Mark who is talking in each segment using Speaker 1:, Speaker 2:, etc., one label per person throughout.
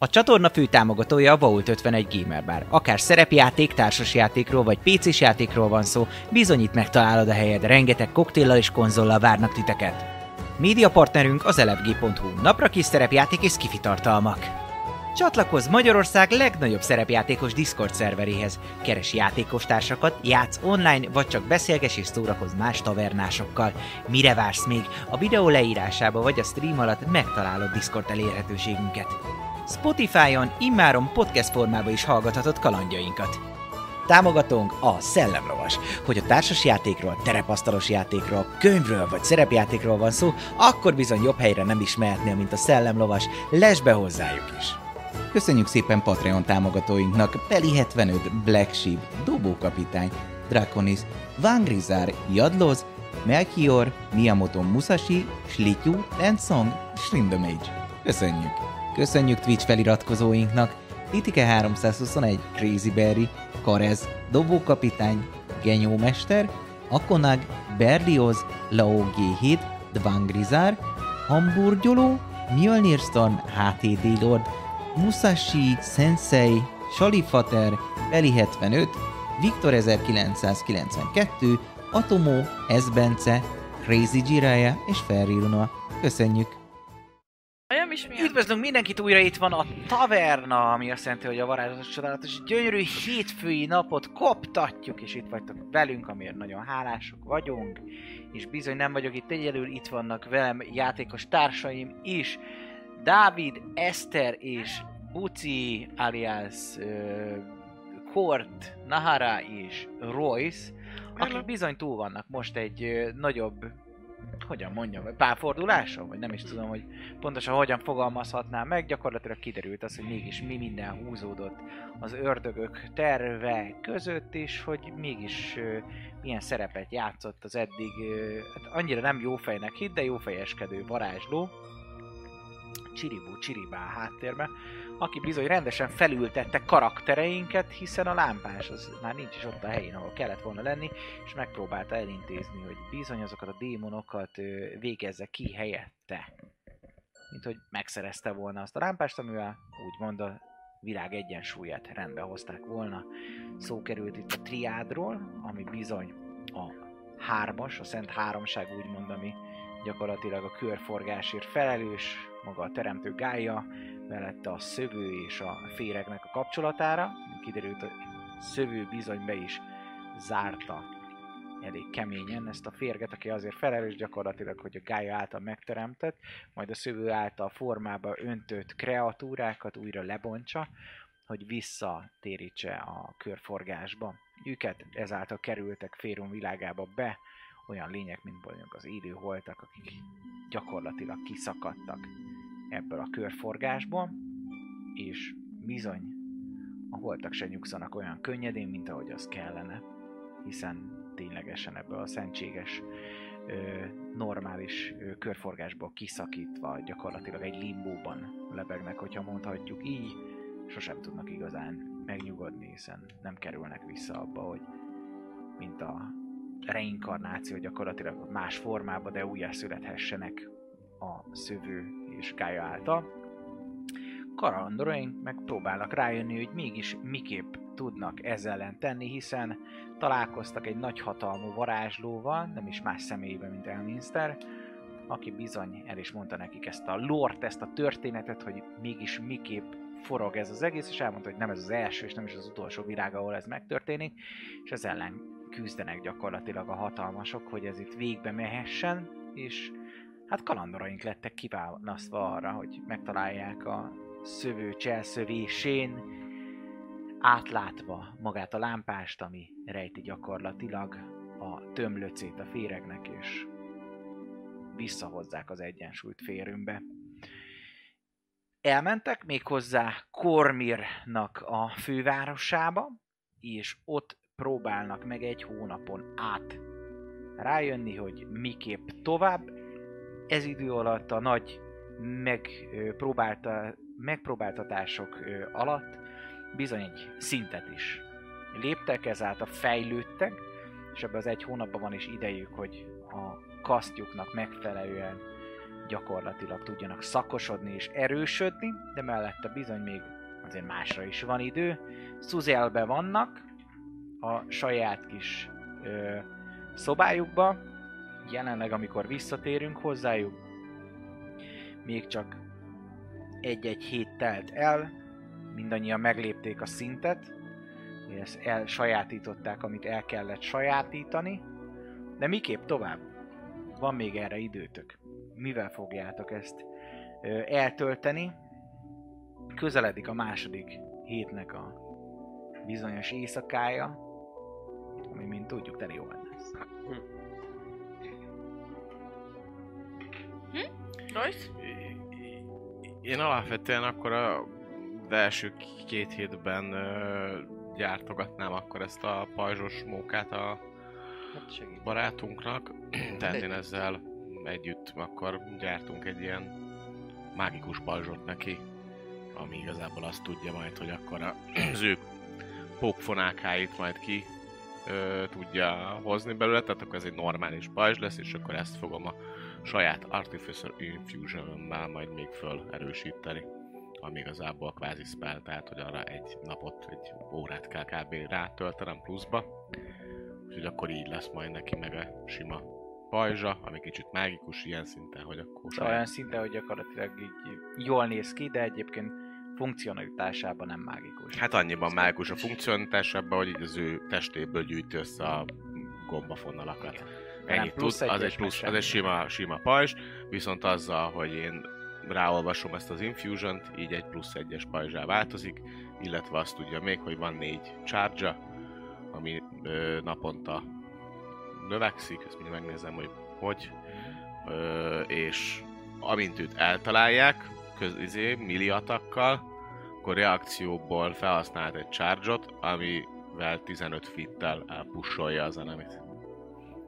Speaker 1: A csatorna fő támogatója a Vault 51 Gamer Bar. Akár szerepjáték, társasjátékról vagy pc játékról van szó, bizonyít megtalálod a helyed, rengeteg koktéllal és konzollal várnak titeket. Média partnerünk az elefg.hu, napra kis szerepjáték és skifi tartalmak. Csatlakozz Magyarország legnagyobb szerepjátékos Discord szerveréhez. Keres játékostársakat, játsz online, vagy csak beszélges és szórakozz más tavernásokkal. Mire vársz még? A videó leírásába vagy a stream alatt megtalálod Discord elérhetőségünket. Spotify-on immáron podcast formában is hallgathatod kalandjainkat. Támogatónk a Szellemlovas. Hogy a társas játékról, terepasztalos játékról, könyvről vagy szerepjátékról van szó, akkor bizony jobb helyre nem is mehetnél, mint a Szellemlovas. Lesz be hozzájuk is! Köszönjük szépen Patreon támogatóinknak Peli75, Black Sheep, Dobókapitány, Draconis, Vangrizár, Jadloz, Melchior, Miyamoto Musashi, Slityu, Lensong, Shrindamage. Köszönjük! Köszönjük Twitch feliratkozóinknak! Titike 321, Crazy Berry, Karez, Dobókapitány, Genyómester, Akonag, Berlioz, Lao G7, Dvangrizár, Hamburgyoló, Mjölnir Storm, HTD Lord, Musashi, Sensei, Salifater, Beli75, Viktor 1992, Atomó, Ezbence, Crazy Jiraya és Ferriruna. Köszönjük!
Speaker 2: Nem is milyen.
Speaker 1: Üdvözlünk mindenkit, újra itt van a taverna, ami azt jelenti, hogy a varázslatos csodálatos gyönyörű hétfői napot koptatjuk, és itt vagytok velünk, amiért nagyon hálások vagyunk, és bizony nem vagyok itt egyedül, itt vannak velem játékos társaim is, Dávid, Eszter és Buci, alias ö, Kort, Nahara és Royce, akik bizony túl vannak most egy ö, nagyobb hogyan mondjam, párforduláson, vagy nem is tudom, hogy pontosan hogyan fogalmazhatnám meg, gyakorlatilag kiderült az, hogy mégis mi minden húzódott az ördögök terve között, és hogy mégis ö, milyen szerepet játszott az eddig, ö, hát annyira nem jófejnek hitt, de jófejeskedő varázsló, Csiribú Csiribá háttérbe, aki bizony rendesen felültette karaktereinket, hiszen a lámpás az már nincs is ott a helyén, ahol kellett volna lenni, és megpróbálta elintézni, hogy bizony azokat a démonokat ö, végezze ki helyette. Mint hogy megszerezte volna azt a lámpást, amivel úgymond a világ egyensúlyát rendbe hozták volna. Szó került itt a triádról, ami bizony a hármas, a Szent Háromság úgymond, ami gyakorlatilag a körforgásért felelős, maga a teremtő gája, mellette a szövő és a féregnek a kapcsolatára. Kiderült, hogy a szövő bizony be is zárta elég keményen ezt a férget, aki azért felelős gyakorlatilag, hogy a gája által megteremtett, majd a szövő által formába öntött kreatúrákat újra lebontsa, hogy visszatérítse a körforgásba. Őket ezáltal kerültek Férum világába be, olyan lények, mint mondjuk az élő holtak, akik gyakorlatilag kiszakadtak ebből a körforgásból, és bizony a holtak se nyugszanak olyan könnyedén, mint ahogy az kellene, hiszen ténylegesen ebből a szentséges, ö, normális ö, körforgásból kiszakítva gyakorlatilag egy limbóban lebegnek, hogyha mondhatjuk így, sosem tudnak igazán megnyugodni, hiszen nem kerülnek vissza abba, hogy mint a reinkarnáció gyakorlatilag más formába, de újjá születhessenek a szövő és Gája által. Karandoraink meg próbálnak rájönni, hogy mégis miképp tudnak ezzel ellen tenni, hiszen találkoztak egy nagyhatalmú varázslóval, nem is más személyében, mint Elminster, aki bizony el is mondta nekik ezt a lort, ezt a történetet, hogy mégis miképp forog ez az egész, és elmondta, hogy nem ez az első és nem is az utolsó világ, ahol ez megtörténik, és ez ellen küzdenek gyakorlatilag a hatalmasok, hogy ez itt végbe mehessen, és hát kalandoraink lettek kiválasztva arra, hogy megtalálják a szövő cselszövésén, átlátva magát a lámpást, ami rejti gyakorlatilag a tömlöcét a féregnek, és visszahozzák az egyensúlyt férőmbe. Elmentek méghozzá Kormirnak a fővárosába, és ott próbálnak meg egy hónapon át rájönni, hogy miképp tovább. Ez idő alatt a nagy megpróbálta, megpróbáltatások alatt bizony egy szintet is léptek, ezáltal fejlődtek, és ebben az egy hónapban van is idejük, hogy a kasztjuknak megfelelően gyakorlatilag tudjanak szakosodni és erősödni, de mellette bizony még azért másra is van idő. Szuzelbe vannak, a saját kis ö, szobájukba. Jelenleg, amikor visszatérünk hozzájuk, még csak egy-egy hét telt el, mindannyian meglépték a szintet, és ezt elsajátították, amit el kellett sajátítani, de miképp tovább? Van még erre időtök. Mivel fogjátok ezt ö, eltölteni? Közeledik a második hétnek a bizonyos éjszakája, ami, mint tudjuk, tele jó lesz.
Speaker 3: Hát,
Speaker 2: Rajsz?
Speaker 3: Én alapvetően akkor a az első két hétben ö, gyártogatnám akkor ezt a pajzsos mókát a
Speaker 4: Hát segít.
Speaker 3: barátunknak. Tehát én ezzel együtt akkor gyártunk egy ilyen mágikus pajzsot neki, ami igazából azt tudja majd, hogy akkor a- az ő pókfonákáit majd ki ö, tudja hozni belőle, tehát akkor ez egy normális pajzs lesz, és akkor ezt fogom a saját Artificer Infusion-nál majd még fölerősíteni ami igazából kvázi spell, tehát hogy arra egy napot, egy órát kell kb. rátöltenem pluszba. Úgyhogy akkor így lesz majd neki meg a sima pajzsa, ami kicsit mágikus ilyen szinten, hogy akkor
Speaker 1: Szóval olyan szinte, hogy gyakorlatilag így jól néz ki, de egyébként funkcionalitásában nem mágikus. Szóval-
Speaker 3: Hát annyiban mágikus a funkcionalitás ebben, hogy így az ő testéből gyűjti össze a gombafonalakat.
Speaker 1: Nem,
Speaker 3: Ennyit
Speaker 1: plusz
Speaker 3: plusz tud,
Speaker 1: egy
Speaker 3: az
Speaker 1: és meg
Speaker 3: egy, plusz, az
Speaker 1: semmi.
Speaker 3: egy sima, sima pajzs, viszont azzal, hogy én ráolvasom ezt az infusion így egy plusz egyes pajzsá változik, illetve azt tudja még, hogy van négy charge ami ö, naponta növekszik, ezt mindjárt megnézem, hogy hogy, ö, és amint őt eltalálják, köz, izé, milli atakkal, akkor reakcióból felhasznált egy charge amivel 15 fittel elpussolja az enemit.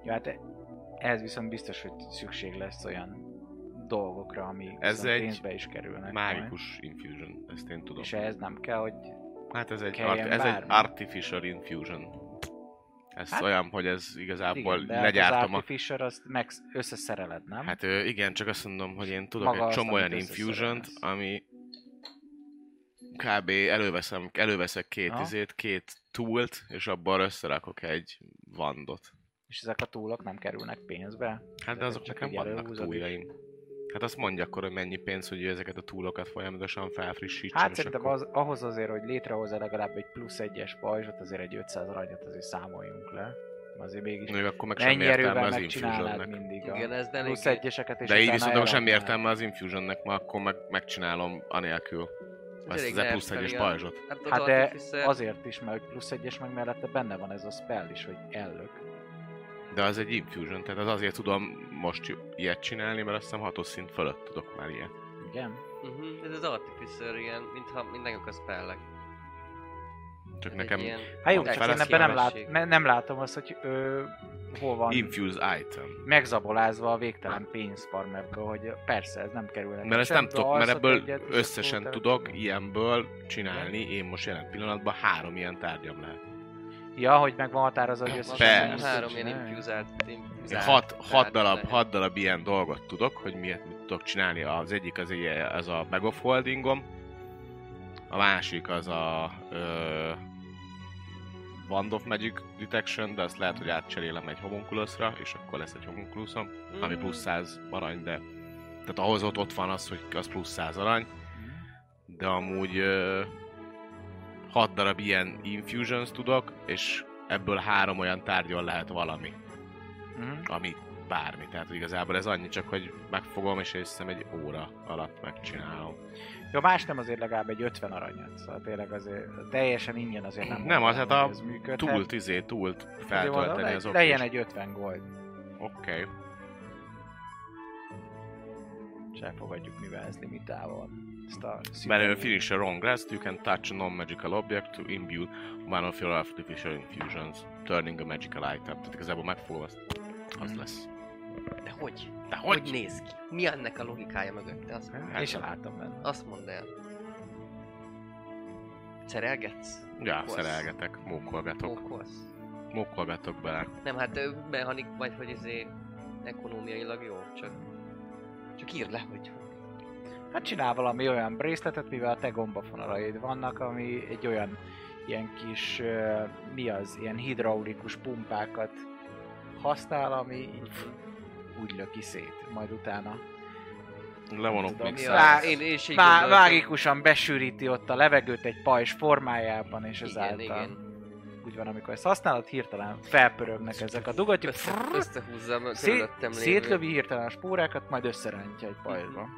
Speaker 1: Ja, hát e- ehhez viszont biztos, hogy szükség lesz olyan dolgokra, ami
Speaker 3: Ez
Speaker 1: viszont
Speaker 3: egy
Speaker 1: pénzbe is kerülnek. majd.
Speaker 3: Mágikus infusion, ezt én tudom.
Speaker 1: És ehhez nem kell, hogy...
Speaker 3: Hát ez egy,
Speaker 1: kelljen
Speaker 3: art, ez egy
Speaker 1: várni.
Speaker 3: artificial infusion. Ez
Speaker 1: Hát-
Speaker 3: hát, olyan, hogy ez igazából
Speaker 1: de
Speaker 3: igen,
Speaker 1: hát
Speaker 3: legyártom
Speaker 1: az
Speaker 3: a
Speaker 1: Artificer, azt meg összeszereled, nem?
Speaker 3: Hát ö, igen, csak azt mondom, hogy én tudok
Speaker 1: Maga
Speaker 3: egy
Speaker 1: azt,
Speaker 3: csomó olyan
Speaker 1: amit
Speaker 3: infusion
Speaker 1: összeszerelsz.
Speaker 3: ami kb. előveszem, előveszek két
Speaker 1: Aha.
Speaker 3: izét, két túlt, és abból összerakok egy vandot.
Speaker 1: És ezek a túlok nem kerülnek pénzbe.
Speaker 3: Hát de
Speaker 1: Ezeket
Speaker 3: azok
Speaker 1: csak
Speaker 3: nekem
Speaker 1: így
Speaker 3: vannak
Speaker 1: előhúzod, és-
Speaker 3: túljaim. Hát azt mondja akkor, hogy mennyi pénz, hogy ő ezeket a túlokat folyamatosan felfrissítsem.
Speaker 1: Hát
Speaker 3: és
Speaker 1: szerintem
Speaker 3: akkor-
Speaker 1: az, ahhoz azért, hogy létrehozza legalább egy plusz egyes pajzsot, azért egy 500 aranyat azért számoljunk le. Azért mégis
Speaker 3: Még akkor meg semmi
Speaker 1: mennyi
Speaker 3: értelme
Speaker 1: erővel
Speaker 3: az
Speaker 1: megcsinálnád
Speaker 3: infusionnek.
Speaker 1: mindig a
Speaker 4: Igen, ez de elég.
Speaker 1: plusz egyeseket, és
Speaker 3: De így
Speaker 1: utána
Speaker 3: viszont akkor semmi
Speaker 1: eladnád.
Speaker 3: értelme az infusionnek, ma akkor meg, megcsinálom anélkül. Ezt
Speaker 4: elég
Speaker 3: az e plusz egyes
Speaker 4: nerfeli a-
Speaker 3: pajzsot.
Speaker 4: Hát, az
Speaker 1: Hát de
Speaker 4: Artificer-
Speaker 1: Azért is, mert plusz egyes meg mellette benne van ez a spell is, hogy ellök.
Speaker 3: De az egy infusion, tehát az azért tudom most ju- ilyet csinálni, mert azt hiszem hatos szint fölött tudok már ilyet.
Speaker 1: Igen?
Speaker 4: Mhm, ez az Artificer ilyen, mintha mindenek a spellek.
Speaker 3: Csak
Speaker 4: Ez
Speaker 3: nekem
Speaker 4: egy ilyen...
Speaker 1: Hát jó,
Speaker 3: Van
Speaker 1: csak
Speaker 3: fele
Speaker 1: én ebben nem, lát,
Speaker 4: szívesség.
Speaker 1: ne- nem látom azt, hogy ö, hol van
Speaker 3: infuse item.
Speaker 1: megzabolázva a végtelen pénzfarmerka, hogy persze, ez nem kerül neki
Speaker 3: Mert ezt
Speaker 1: sem,
Speaker 3: nem
Speaker 1: de
Speaker 3: tudok, mert
Speaker 1: alszok
Speaker 3: ebből
Speaker 1: egyet, és akkor
Speaker 3: összesen
Speaker 1: utána-
Speaker 3: tudok ilyenből csinálni. Én most jelen pillanatban három ilyen tárgyam lehet.
Speaker 1: Ja, hogy meg van határozva, hogy
Speaker 4: Van
Speaker 1: összesen...
Speaker 3: Persze.
Speaker 4: benne
Speaker 1: tudsz
Speaker 4: Három ilyen
Speaker 1: csinálni.
Speaker 4: infuzált,
Speaker 3: Én
Speaker 4: infuzált
Speaker 3: hat, hat,
Speaker 4: tárgy
Speaker 3: darab,
Speaker 4: lehet.
Speaker 3: hat darab ilyen dolgot tudok, hogy miért mit tudok csinálni. Az egyik az, ilyen- az a bag of holdingom, a másik az a ö, Wand of Magic Detection, de azt lehet, hogy átcserélem egy homunkuloszra, és akkor lesz egy homunkuluszom.
Speaker 4: Mhm.
Speaker 3: ami plusz 100 arany, de tehát ahhoz ott, ott van az, hogy az plusz 100 arany, de amúgy ö, 6 darab ilyen infusions tudok, és ebből három olyan tárgyon lehet valami,
Speaker 1: Mhm.
Speaker 3: ami bármi. Tehát igazából ez annyi csak, hogy megfogom, és hiszem egy óra alatt megcsinálom.
Speaker 1: Ja, más nem azért legalább egy 50 aranyat, szóval tényleg azért teljesen ingyen azért nem.
Speaker 3: Nem, az hát
Speaker 1: mondanám,
Speaker 3: a
Speaker 1: hogy ez működhet.
Speaker 3: Túlt, izé, túlt
Speaker 1: Azért mondom,
Speaker 3: feltölteni
Speaker 1: le-
Speaker 3: az oké.
Speaker 1: Legyen egy 50 gold,
Speaker 3: Oké.
Speaker 1: és elfogadjuk, mivel ez limitálva van. Ezt a
Speaker 3: Belőle
Speaker 1: szintén-
Speaker 3: finish a wrong rest, you can touch a non-magical object to imbue one of your artificial infusions, turning a magical item. Tehát igazából megfogom azt, az
Speaker 1: Mhm.
Speaker 3: lesz.
Speaker 4: De hogy?
Speaker 3: De
Speaker 4: Hogy
Speaker 3: hogy? Hát.
Speaker 4: néz ki? Mi ennek a logikája mögötte? Azt mondd
Speaker 1: Én
Speaker 4: el.
Speaker 1: sem láttam benne.
Speaker 4: Azt mondd el. Szerelgetsz?
Speaker 3: Ja,
Speaker 4: Mókolsz.
Speaker 3: szerelgetek, mókolgatok.
Speaker 4: Mókolsz?
Speaker 3: Mókolgatok bele.
Speaker 4: Nem, hát ö, mechanik vagy, hogy izé ekonomiailag jó, csak Csak írd le, hogy...
Speaker 1: Hát csinál valami olyan brészletet, mivel a te gombafonalaid vannak, ami egy olyan ilyen kis, ö, mi az, ilyen hidraulikus pumpákat használ, ami így úgy löki szét, majd utána
Speaker 3: Levonok
Speaker 1: Tudom,
Speaker 3: még
Speaker 1: mi
Speaker 4: Mi
Speaker 1: az?
Speaker 3: száz.
Speaker 4: az? Én, én is így
Speaker 1: Má-
Speaker 4: gondoltam.
Speaker 1: mágikusan besűríti ott a levegőt egy pajzs formájában, és
Speaker 4: Igen,
Speaker 1: ezáltal
Speaker 4: igen.
Speaker 1: úgy van, amikor ezt használod, hirtelen felpörögnek ezek a dugatyok,
Speaker 4: Össze,
Speaker 1: frrrr,
Speaker 4: összehúzzam a
Speaker 1: szé-
Speaker 4: körülöttem lévő.
Speaker 1: szétlövi hirtelen a spórákat, majd összerántja egy pajzsba.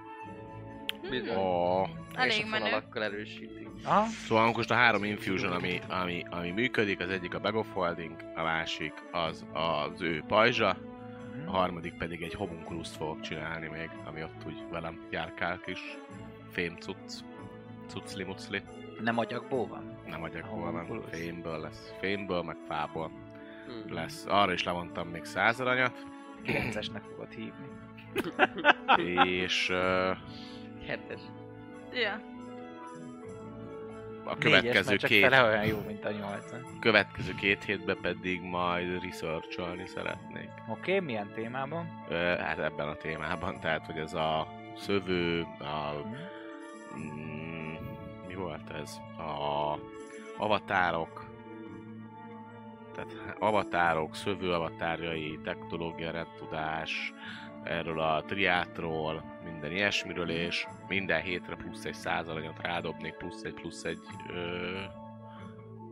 Speaker 4: Bizony.
Speaker 3: Ó.
Speaker 2: Elég
Speaker 4: és a
Speaker 2: menő.
Speaker 4: fonalakkal erősíti.
Speaker 1: Aha.
Speaker 3: Szóval most a három infusion, ami, ami, ami működik, az egyik a Bag of Holding, a másik az az ő pajzsa, a harmadik pedig egy homunkuluszt fogok csinálni még, ami ott úgy velem járkál kis fém cucc, cucli mucli.
Speaker 1: Nem agyagból van.
Speaker 3: Nem agyakból, nem
Speaker 1: Homunkulusz.
Speaker 3: fémből lesz, fémből, meg fából
Speaker 4: Hmm.
Speaker 3: lesz. Arra is levontam még száz aranyat,
Speaker 1: 9-esnek fogod hívni.
Speaker 3: és ö,
Speaker 4: Hetes.
Speaker 2: Ja.
Speaker 3: a
Speaker 1: Négyes,
Speaker 3: következő
Speaker 1: mert csak
Speaker 3: két,
Speaker 1: fele olyan jó, mint a 8 Oké,
Speaker 3: következő két hétben pedig majd researcholni szeretnék.
Speaker 1: okay, milyen témában?
Speaker 3: Ö, hát ebben a témában, tehát hogy ez a szövő, a... Mm, mi volt ez? A avatárok, tehát há- avatárok, szövő avatárjai, technológia, rendtudás, erről a triátról, minden ilyesmiről, és minden hétre plusz egy százalanyat rádobnék, plusz egy, plusz egy ö,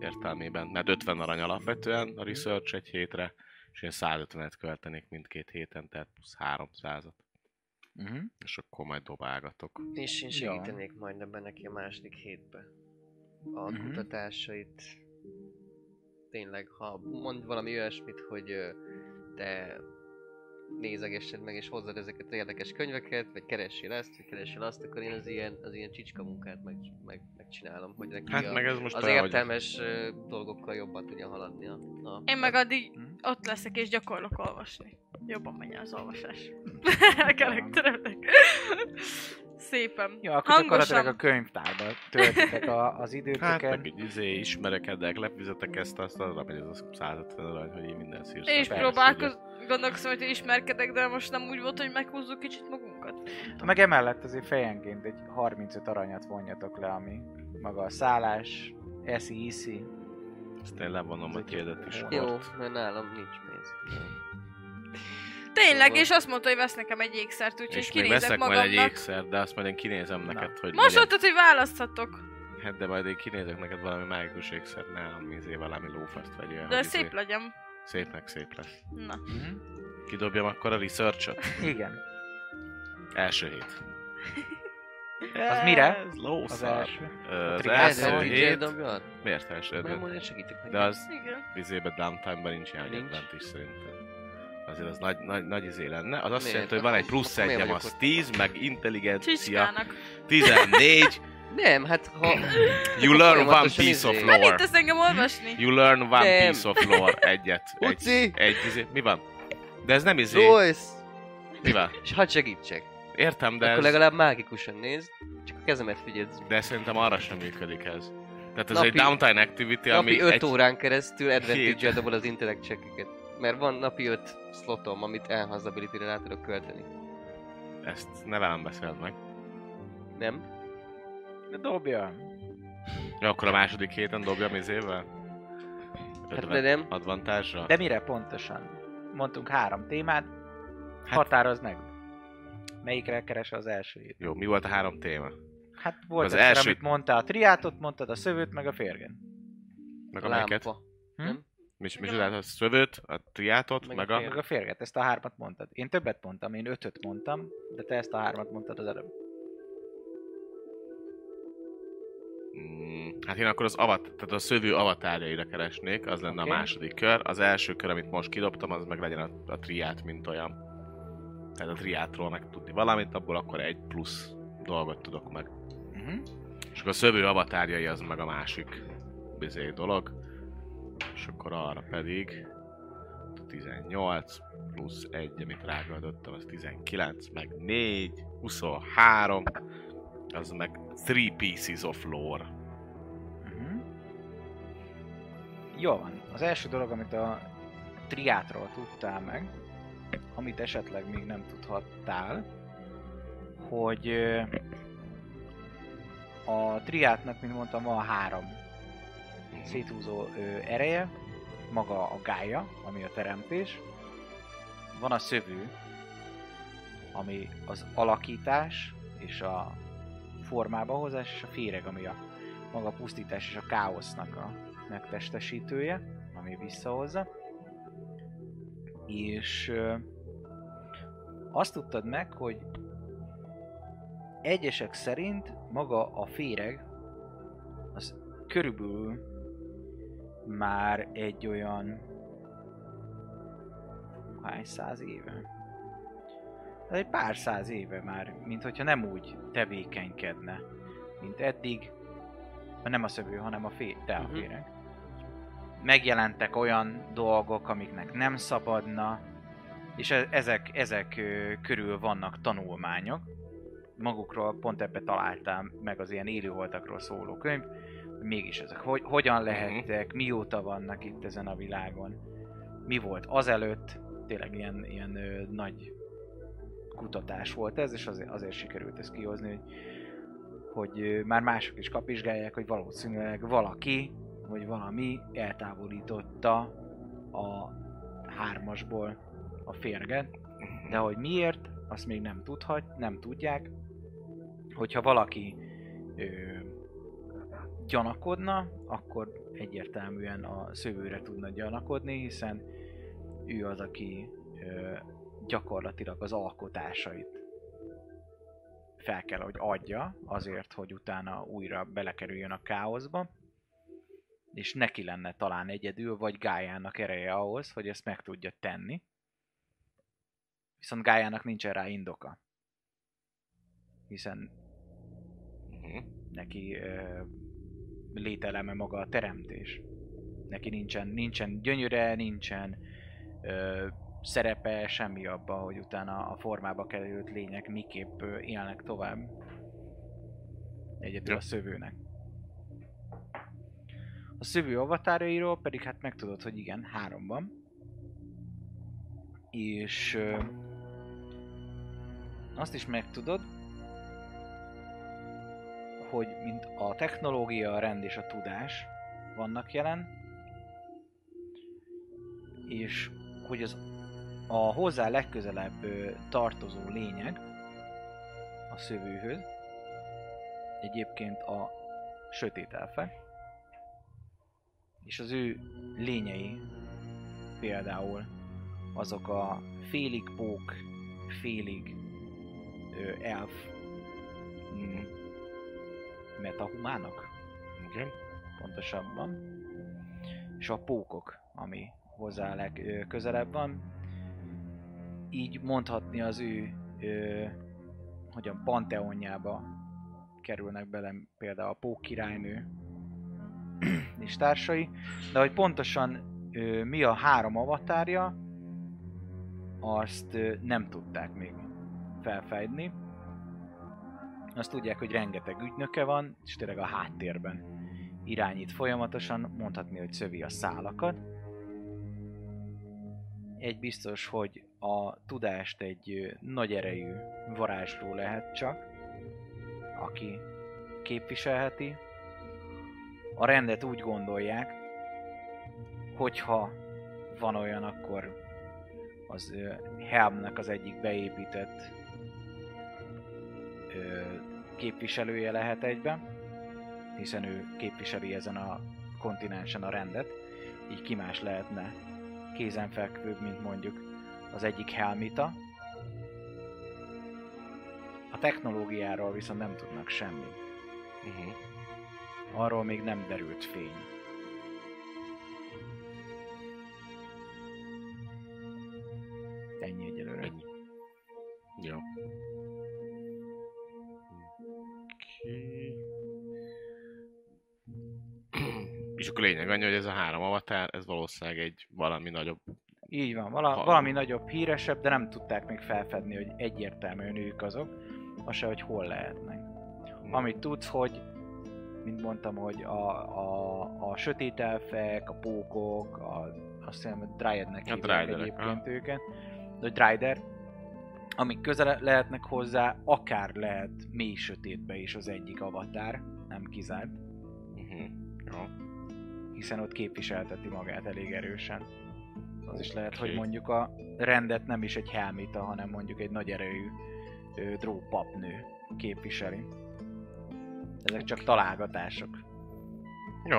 Speaker 3: értelmében, mert 50 arany alapvetően a research egy hétre, és én 150-et költenék mindkét héten, tehát plusz 300-at,
Speaker 1: Uh-huh.
Speaker 3: és akkor majd dobálgatok.
Speaker 4: És én
Speaker 1: Ja.
Speaker 4: segítenék majd ebben neki a második hétbe. A
Speaker 1: Mhm.
Speaker 4: kutatásait. Tényleg, ha mond valami olyasmit, hogy ö, te nézegessed meg és hozzad ezeket az érdekes könyveket, vagy keressél ezt, vagy keressél azt, akkor én az ilyen, az ilyen csicska munkát meg, meg, megcsinálom, hogy neki
Speaker 3: Hát
Speaker 4: a,
Speaker 3: meg ez most
Speaker 4: az
Speaker 3: olyan, hogy-
Speaker 4: értelmes ö, dolgokkal jobban tudja haladni a, a
Speaker 2: Én meg
Speaker 4: a...
Speaker 2: addig
Speaker 3: Hm?
Speaker 1: Mhm.
Speaker 2: ott leszek és gyakorlok olvasni. Jobban megy az olvasás. a karakteremnek. Szépen.
Speaker 1: Ja, akkor gyakorlatilag a
Speaker 2: Hangosan.
Speaker 1: könyvtárba töltitek a, az
Speaker 3: Hát
Speaker 1: időtöket.
Speaker 3: meg így izé, ismerekedek, lefizetek ezt, azt arra megy ez az 150 arany, hogy én minden szírsz.
Speaker 2: Én is
Speaker 1: Persze,
Speaker 2: próbálkoz... Gondolkozom, hogy ismerkedek, de most nem úgy volt, hogy meghúzzuk kicsit magunkat.
Speaker 1: Meg emellett azért fejenként egy 35 aranyat vonjatok le, ami maga a szállás, eszi, iszi.
Speaker 3: Ezt én levonom a tiédet is.
Speaker 1: Jó.
Speaker 4: Jó,
Speaker 3: kort.
Speaker 4: mert nálam nincs pénz.
Speaker 2: Tényleg,
Speaker 4: Szóval-
Speaker 2: és azt mondta, hogy vesz nekem egy ékszert, úgyhogy
Speaker 3: És még
Speaker 2: kinézek
Speaker 3: veszek majd egy
Speaker 2: magamnak.
Speaker 3: ékszer, de azt majd én kinézem
Speaker 1: Na.
Speaker 3: neked, hogy
Speaker 2: Most
Speaker 3: legyen-
Speaker 2: mondtad, hogy választhatok.
Speaker 3: Hát de majd én kinézek neked valami mágikus ékszer, nálam izé valami lófaszt vagy olyan.
Speaker 2: De
Speaker 3: hogy izé-
Speaker 2: szép legyen.
Speaker 3: Szépnek szép lesz.
Speaker 2: Na.
Speaker 1: Mhm.
Speaker 3: Kidobjam akkor a research-ot?
Speaker 1: Igen.
Speaker 3: Első hét.
Speaker 1: Az mire?
Speaker 3: Ez
Speaker 1: Az
Speaker 3: lószar.
Speaker 1: első.
Speaker 3: Ö, Az
Speaker 1: Triátra
Speaker 3: első
Speaker 1: vagy?
Speaker 3: hét.
Speaker 4: Dobjad?
Speaker 3: Miért első
Speaker 4: Nem,
Speaker 3: hét?
Speaker 4: mondja, segítek neki.
Speaker 3: De az
Speaker 2: Igen.
Speaker 3: izébe downtime-ban nincs ilyen
Speaker 4: Nincs.
Speaker 3: advantage szerintem. Azért az nagy, nagy, nagy izé lenne. Az azt
Speaker 4: Miért?
Speaker 3: jelenti, hogy van egy plusz
Speaker 4: Akkor miért
Speaker 3: egyem,
Speaker 4: vagyok
Speaker 3: az
Speaker 4: ott?
Speaker 3: 10, meg intelligencia
Speaker 2: Csicskának.
Speaker 3: 14.
Speaker 4: Nem, hát ha...
Speaker 3: You learn one
Speaker 4: Folyamatosan
Speaker 3: piece of
Speaker 4: izé.
Speaker 3: lore.
Speaker 2: Tanítasz engem olvasni?
Speaker 3: You learn one
Speaker 4: Nem.
Speaker 3: piece of lore. Egyet. Egy,
Speaker 4: Uci!
Speaker 3: egy izé. Mi van? De ez nem izé.
Speaker 4: Joyce!
Speaker 3: Mi van?
Speaker 4: És hadd segítsek.
Speaker 3: Értem, de
Speaker 4: De Akkor
Speaker 3: ez,
Speaker 4: legalább mágikusan nézd, csak a kezemet figyelsz.
Speaker 3: de szerintem arra sem működik ez. Tehát ez
Speaker 4: Napi-
Speaker 3: egy downtime activity, ami
Speaker 4: Napi 5
Speaker 3: egy...
Speaker 4: órán keresztül advantage
Speaker 3: Hét.
Speaker 4: dobol az intellect checkeket. Mert van napi 5 slotom, amit enhance ability-re rá tudok költeni.
Speaker 3: Ezt ne velem beszéld meg.
Speaker 4: Nem?
Speaker 1: De dobja.
Speaker 3: Ja, akkor a második héten dobjam izével?
Speaker 4: Hát
Speaker 3: Ötven-
Speaker 4: de nem.
Speaker 3: Advantage-ra?
Speaker 1: De mire pontosan? Mondtunk három témát, hát...
Speaker 3: Hát-
Speaker 1: határozd meg. Melyikre keres az elsőjét?
Speaker 3: Jó, mi volt a három téma?
Speaker 1: Hát volt az
Speaker 3: Az
Speaker 1: első,
Speaker 3: első-
Speaker 1: amit mondta a triátot, mondtad a szövőt, meg a férgen.
Speaker 3: Meg
Speaker 4: A
Speaker 3: a melyiket?
Speaker 4: lámpa.
Speaker 3: Mis, mis, a szövőt, a triátot, meg,
Speaker 4: Meg
Speaker 3: meg
Speaker 4: a
Speaker 3: a...
Speaker 1: Meg a férget, ezt a hármat mondtad. Én többet mondtam, én ötöt mondtam, de te ezt a hármat mondtad az előbb.
Speaker 3: Mm, hát én akkor az avat, tehát a szövő avatárjaira keresnék, az lenne
Speaker 1: Oké.
Speaker 3: a második kör. Az első kör, amit most kidobtam, az meg legyen a, a triát, mint olyan. Tehát a triátról meg tudni valamit, abból akkor egy plusz dolgot tudok meg.
Speaker 1: Uh-huh.
Speaker 3: És akkor a szövő avatárjai az meg a másik bizé dolog. És akkor arra pedig 18 plusz 1, amit rágaladottam, az 19, meg 4, 23, az meg 3 pieces of lore.
Speaker 1: Uh-huh. Jó van. Az első dolog, amit a triátról tudtál meg, amit esetleg még nem tudhattál, hogy ö, a triátnak, mint mondtam, van három széthúzó ö, ereje, maga a gája, ami a teremtés, van a szövő, ami az alakítás és a formába hozás, és a féreg, ami a maga a pusztítás és a káosznak a megtestesítője, ami visszahozza. És ö, azt tudtad meg, hogy egyesek szerint maga a féreg az körülbelül már egy olyan hány száz éve? Ez egy pár száz éve már, mint hogyha nem úgy tevékenykedne, mint eddig, nem a szövő, hanem a fé, te a
Speaker 4: Mhm.
Speaker 1: féreg. Megjelentek olyan dolgok, amiknek nem szabadna, és e- ezek, ezek ö, körül vannak tanulmányok. Magukról pont ebbe találtam meg az ilyen élőholtakról szóló könyv, hogy mégis ezek hogy, hogyan lehettek, mióta vannak itt ezen a világon, mi volt azelőtt, tényleg ilyen, ilyen ö, nagy kutatás volt ez, és azért, azért sikerült ezt kihozni, hogy, hogy ö, már mások is kapizsgálják, hogy valószínűleg valaki, vagy valami eltávolította a hármasból a férget, de hogy miért, azt még nem tudhat, nem tudják. Hogyha valaki ö, gyanakodna, akkor egyértelműen a szövőre tudna gyanakodni, hiszen ő az, aki ö, gyakorlatilag az alkotásait fel kell, hogy adja, azért, hogy utána újra belekerüljön a káoszba, és neki lenne talán egyedül, vagy Gájának ereje ahhoz, hogy ezt meg tudja tenni viszont Gájának nincsen rá indoka. Hiszen
Speaker 3: Mhm,
Speaker 1: neki ö, lételeme maga a teremtés. Neki nincsen, nincsen gyönyöre, nincsen ö, szerepe, semmi abba, hogy utána a formába került lények miképp ö, élnek tovább. Egyedül
Speaker 3: Ja.
Speaker 1: a szövőnek. A szövő avatárairól pedig hát megtudod, hogy igen, három van. És ö, azt is megtudod, hogy mint a technológia, a rend és a tudás vannak jelen, és hogy az a hozzá legközelebb ö, tartozó lényeg a szövőhöz, egyébként a sötét elfe, és az ő lényei például azok a félig pók, félig ö, elf mm, metahumának
Speaker 3: Igen.
Speaker 1: pontosabban, és a pókok, ami hozzá a legközelebb van. Így mondhatni az ő, ö, hogy a Panteonjába kerülnek bele például a Pók királynő és társai, de hogy pontosan ö, mi a három avatárja, azt ö, nem tudták még felfedni. Azt tudják, hogy rengeteg ügynöke van, és tényleg a háttérben irányít folyamatosan, mondhatni, hogy szövi a szálakat. Egy biztos, hogy a tudást egy ö, nagy erejű varázsló lehet csak, aki képviselheti. A rendet úgy gondolják, hogyha van olyan, akkor az ö, Helmnek az egyik beépített ö, képviselője lehet egyben hiszen ő képviseli ezen a kontinensen a rendet, így ki más lehetne kézenfekvőbb, mint mondjuk az egyik helmita. A technológiáról viszont nem tudnak semmit.
Speaker 3: Mhm.
Speaker 1: Arról még nem derült fény. Ennyi egyelőre.
Speaker 3: Ennyi. Jó. Oké. És akkor lényeg annyi, hogy ez a három avatár, ez valószínűleg egy valami nagyobb.
Speaker 1: Így van, vala,
Speaker 3: Ha-
Speaker 1: valami nagyobb, híresebb, de nem tudták még felfedni, hogy egyértelműen ők azok, az se, hogy hol lehetnek.
Speaker 3: Mm.
Speaker 1: Amit tudsz, hogy, mint mondtam, hogy a, a, a sötét elfek, a pókok, a, azt hiszem, a Dryadnek
Speaker 3: A
Speaker 1: hívják
Speaker 3: Dryderek,
Speaker 1: egyébként őket, de hogy Dryder, amik közel lehetnek hozzá, akár lehet mély sötétbe is az egyik avatár, nem kizárt,
Speaker 3: Uh-huh. Jó.
Speaker 1: hiszen ott képviselteti magát elég erősen. Az is lehet, hogy
Speaker 3: Oké.
Speaker 1: mondjuk a rendet nem is egy helmita, hanem mondjuk egy nagy erejű ö, drópapnő képviseli. Ezek csak találgatások.
Speaker 3: Jó.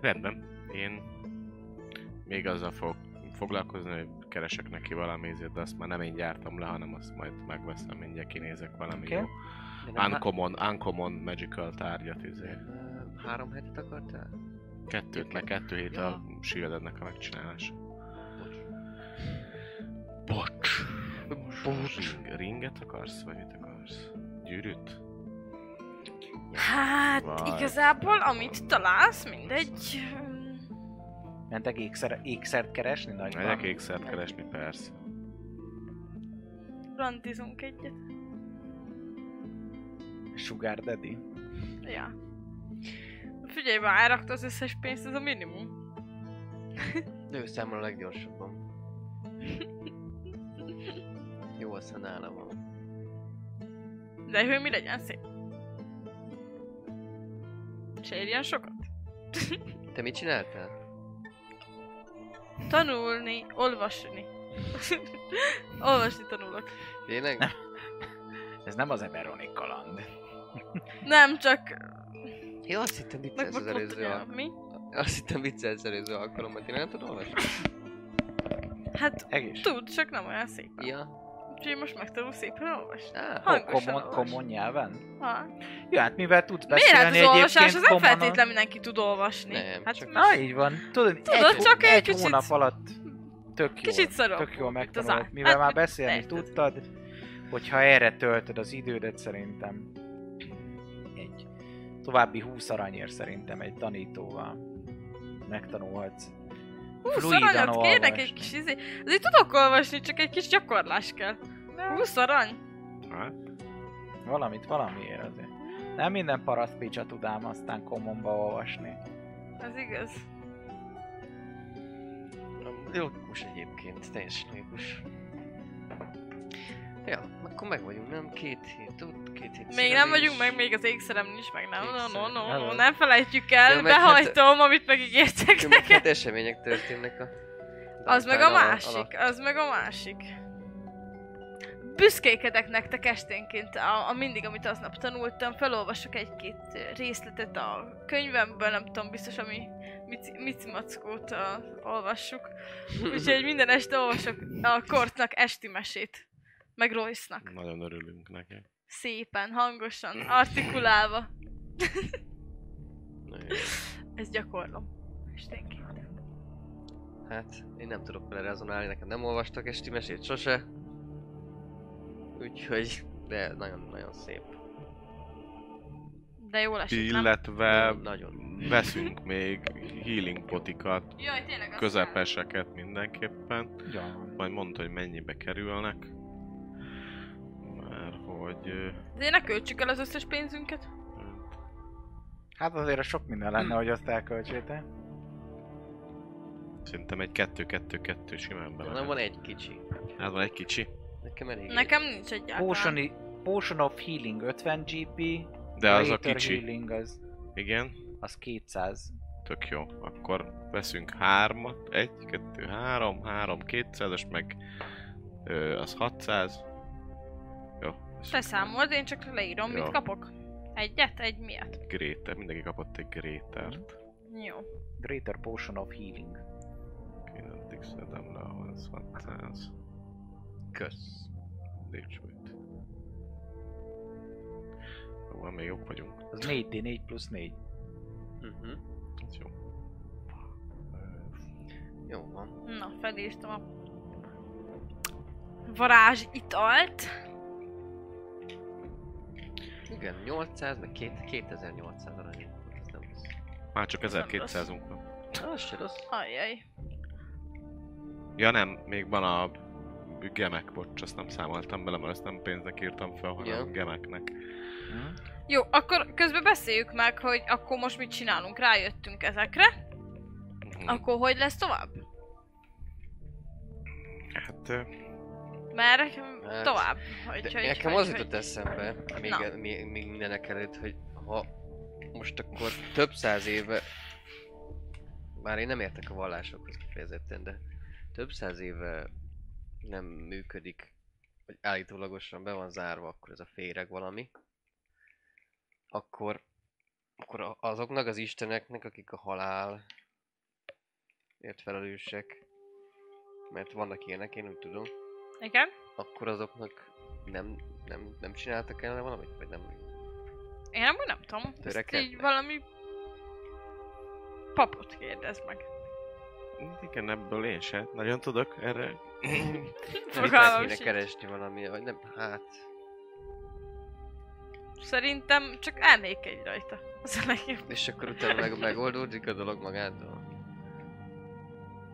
Speaker 3: Rendben. Én még azzal fog foglalkozni, hogy keresek neki valami ízét, de azt már nem én gyártam le, hanem azt majd megveszem, mindjárt kinézek valami
Speaker 1: Oké.
Speaker 3: okay. jó.
Speaker 4: De nem há-
Speaker 3: Uncommon, uncommon magical tárgyat izé.
Speaker 4: Ö, Három hetet akartál?
Speaker 3: Kettőt, meg kettő hét
Speaker 4: Ja.
Speaker 3: a sívedednek a megcsinálása. Bocs.
Speaker 4: Bocs.
Speaker 3: Ring, ringet akarsz, vagy mit akarsz? Gyűrűt?
Speaker 2: Hát,
Speaker 3: Vaj.
Speaker 2: igazából amit találsz, mindegy.
Speaker 1: Mentek ékszer, ékszert keresni nagyban?
Speaker 3: Megyek ékszert keresni, persze.
Speaker 2: Randizunk egyet.
Speaker 1: Sugar Daddy?
Speaker 2: Ja. Figyelj, már elrakta az összes pénzt, ez a minimum.
Speaker 4: Ő számol a leggyorsabban. Jó, aztán nála van.
Speaker 2: De hogy mi legyen szép. Sérjen sokat.
Speaker 4: Te mit csináltál?
Speaker 2: Tanulni, olvasni. olvasni tanulok.
Speaker 4: Tényleg?
Speaker 1: Ez nem az Eberoni kaland.
Speaker 2: Nem csak
Speaker 4: Jó, azt hittem viccelsz az előző
Speaker 2: megmondtam,
Speaker 4: alkalommal.
Speaker 2: mi?
Speaker 4: Azt hittem viccelsz az előző alkalommal. Tényleg nem tudom olvasni?
Speaker 2: Hát
Speaker 1: Egész.
Speaker 2: tud, csak nem olyan szépen.
Speaker 4: Ja.
Speaker 2: Úgyhogy most megtanul szépen olvasni.
Speaker 4: Á,
Speaker 2: Ha.
Speaker 1: Ko-
Speaker 2: hangosan
Speaker 1: Komon,
Speaker 2: olvas.
Speaker 1: komon nyelven?
Speaker 2: Ha.
Speaker 1: Jó, hát mivel tudsz
Speaker 2: Miért hát
Speaker 1: beszélni
Speaker 2: az olvasás, az
Speaker 1: egyébként
Speaker 2: nem
Speaker 1: kommonan-
Speaker 2: feltétlenül mindenki tud olvasni.
Speaker 4: Nem,
Speaker 2: hát
Speaker 4: csak-
Speaker 1: Na,
Speaker 2: most
Speaker 1: így van. Tudod,
Speaker 2: Tudod,
Speaker 1: egy,
Speaker 2: csak egy
Speaker 1: egy
Speaker 2: kicsit-
Speaker 1: hónap alatt tök jól,
Speaker 2: kicsit szarok.
Speaker 1: tök jól
Speaker 2: Itt az
Speaker 1: megtanulod,
Speaker 2: á-
Speaker 1: mivel
Speaker 2: hát,
Speaker 1: már beszélni
Speaker 2: persze.
Speaker 1: tudtad, hogyha erre töltöd az idődet, szerintem egy további 20 aranyért szerintem egy tanítóval megtanulhatsz.
Speaker 2: Húsz
Speaker 1: fluidan
Speaker 2: aranyat kérnek egy
Speaker 1: olvasni.
Speaker 2: kis izé. Azért tudok olvasni, csak egy kis gyakorlás kell. Húsz arany?
Speaker 3: Hát,
Speaker 1: Valamit valamiért azért. Nem minden paraszt picsa tudám aztán komonba olvasni.
Speaker 2: Ez igaz.
Speaker 4: Logikus egyébként, teljesen logikus. Ja, akkor meg vagyunk, nem? Két hét ott, két hét
Speaker 2: Még nem
Speaker 4: szerelés.
Speaker 2: vagyunk, meg még az ékszerem nincs, meg nem. No, no, no, no,
Speaker 1: Ékszerem.
Speaker 2: nem felejtjük
Speaker 4: Jó,
Speaker 2: el,
Speaker 4: meg hát-
Speaker 2: behajtom, amit megígértek
Speaker 4: Jó, meg
Speaker 2: nekem.
Speaker 4: Hát események történnek a...
Speaker 2: Az meg a
Speaker 4: ala-
Speaker 2: másik, az meg a másik. Büszkékedek nektek esténként, a, a mindig, amit aznap tanultam, felolvasok egy-két ö, részletet a könyvemből, nem tudom, biztos, ami mici- micimackót a, olvassuk. Úgyhogy minden este olvasok a Kortnak esti mesét, meg Royce-nak.
Speaker 3: nagyon örülünk neki.
Speaker 2: Szépen, hangosan, artikulálva.
Speaker 4: Na jó.
Speaker 2: Ezt gyakorlom. Esténként.
Speaker 4: Hát, én nem tudok vele rezonálni, nekem nem olvastak esti mesét sose. Úgyhogy, de nagyon-nagyon szép.
Speaker 2: De jól esik, nem?
Speaker 3: Illetve
Speaker 4: Nagyon.
Speaker 3: veszünk még healing potikat,
Speaker 2: Jaj, tényleg az
Speaker 3: közepeseket mindenképpen.
Speaker 1: Jó van.
Speaker 3: Majd mondta, hogy mennyibe kerülnek. Mert hogy... ö,
Speaker 2: De ne költsük el az összes pénzünket.
Speaker 1: Hát azért sok minden lenne, hogy azt elköltsétek.
Speaker 3: Szerintem egy 2-2-2 simán bele.
Speaker 4: Nem van egy kicsi.
Speaker 3: Hát van egy kicsi.
Speaker 4: Nekem elég.
Speaker 2: Nekem nincs egyáltalán.
Speaker 1: Potion, i- Potion of Healing 50 GP,
Speaker 3: De az a
Speaker 1: Greater
Speaker 3: kicsi.
Speaker 1: Healing az,
Speaker 3: Igen.
Speaker 1: az 200.
Speaker 3: Tök jó. Akkor veszünk hármat. Egy, kettő, három, három, kétszázas, meg ö, az 600. Jó. veszünk
Speaker 2: Te számold, én csak leírom,
Speaker 3: Jó.
Speaker 2: mit kapok. Egyet? Egy miatt.
Speaker 3: egy Gréter. Mindenki kapott egy grétert.
Speaker 2: Jó.
Speaker 1: Greater Potion of Healing.
Speaker 4: Mhm.
Speaker 3: Oké, nem addig szedem le, ahol ez 600.
Speaker 4: kösz.
Speaker 3: Nincs mit. Jó, van, még jobb vagyunk.
Speaker 1: Az 4D4 plusz 4.
Speaker 4: Uh-huh.
Speaker 3: Ez jó.
Speaker 4: Jó van.
Speaker 2: Na, felírtam a varázs italt.
Speaker 4: Igen, 800, meg két- 2800 arany. Ez nem rossz.
Speaker 3: Már csak
Speaker 2: Ez nem
Speaker 3: 1200-unk van.
Speaker 4: Na, az se rossz.
Speaker 2: Ajjaj.
Speaker 3: Ja nem, még van a gemek, bocs, azt nem számoltam bele, mert azt nem pénznek írtam fel, hanem
Speaker 4: Ja.
Speaker 3: gemeknek.
Speaker 1: Hm?
Speaker 2: Jó, akkor közben beszéljük meg, hogy akkor most mit csinálunk. Rájöttünk ezekre.
Speaker 3: Mhm.
Speaker 2: Akkor hogy lesz tovább?
Speaker 3: Hát, ö,
Speaker 2: Mert
Speaker 4: Hát,
Speaker 2: tovább.
Speaker 4: De
Speaker 2: Hogy, hogy,
Speaker 4: nekem
Speaker 2: hogy,
Speaker 4: az
Speaker 2: hogy-
Speaker 4: jutott eszembe, még,
Speaker 2: Na.
Speaker 4: még, még mindenek előtt, hogy ha most akkor több száz éve, már én nem értek a vallásokhoz kifejezetten, de több száz éve nem működik, vagy állítólagosan be van zárva akkor ez a féreg valami, akkor, akkor a- azoknak az isteneknek, akik a halál ért felelősek, mert vannak ilyenek, én nem tudom,
Speaker 2: Igen?
Speaker 4: akkor azoknak nem, nem, nem csináltak el valamit, vagy nem?
Speaker 2: Én nem, nem tudom. Ezt
Speaker 4: Törekednek.
Speaker 2: így valami papot kérdez meg.
Speaker 3: igen, ebből én sem nagyon tudok erre.
Speaker 2: Fogalmam
Speaker 4: kéne
Speaker 2: sincs.
Speaker 4: keresni valami, vagy nem, hát...
Speaker 2: Szerintem csak elmékedj rajta. Az a legjobb.
Speaker 4: És akkor utána meg, megoldódik a dolog magától.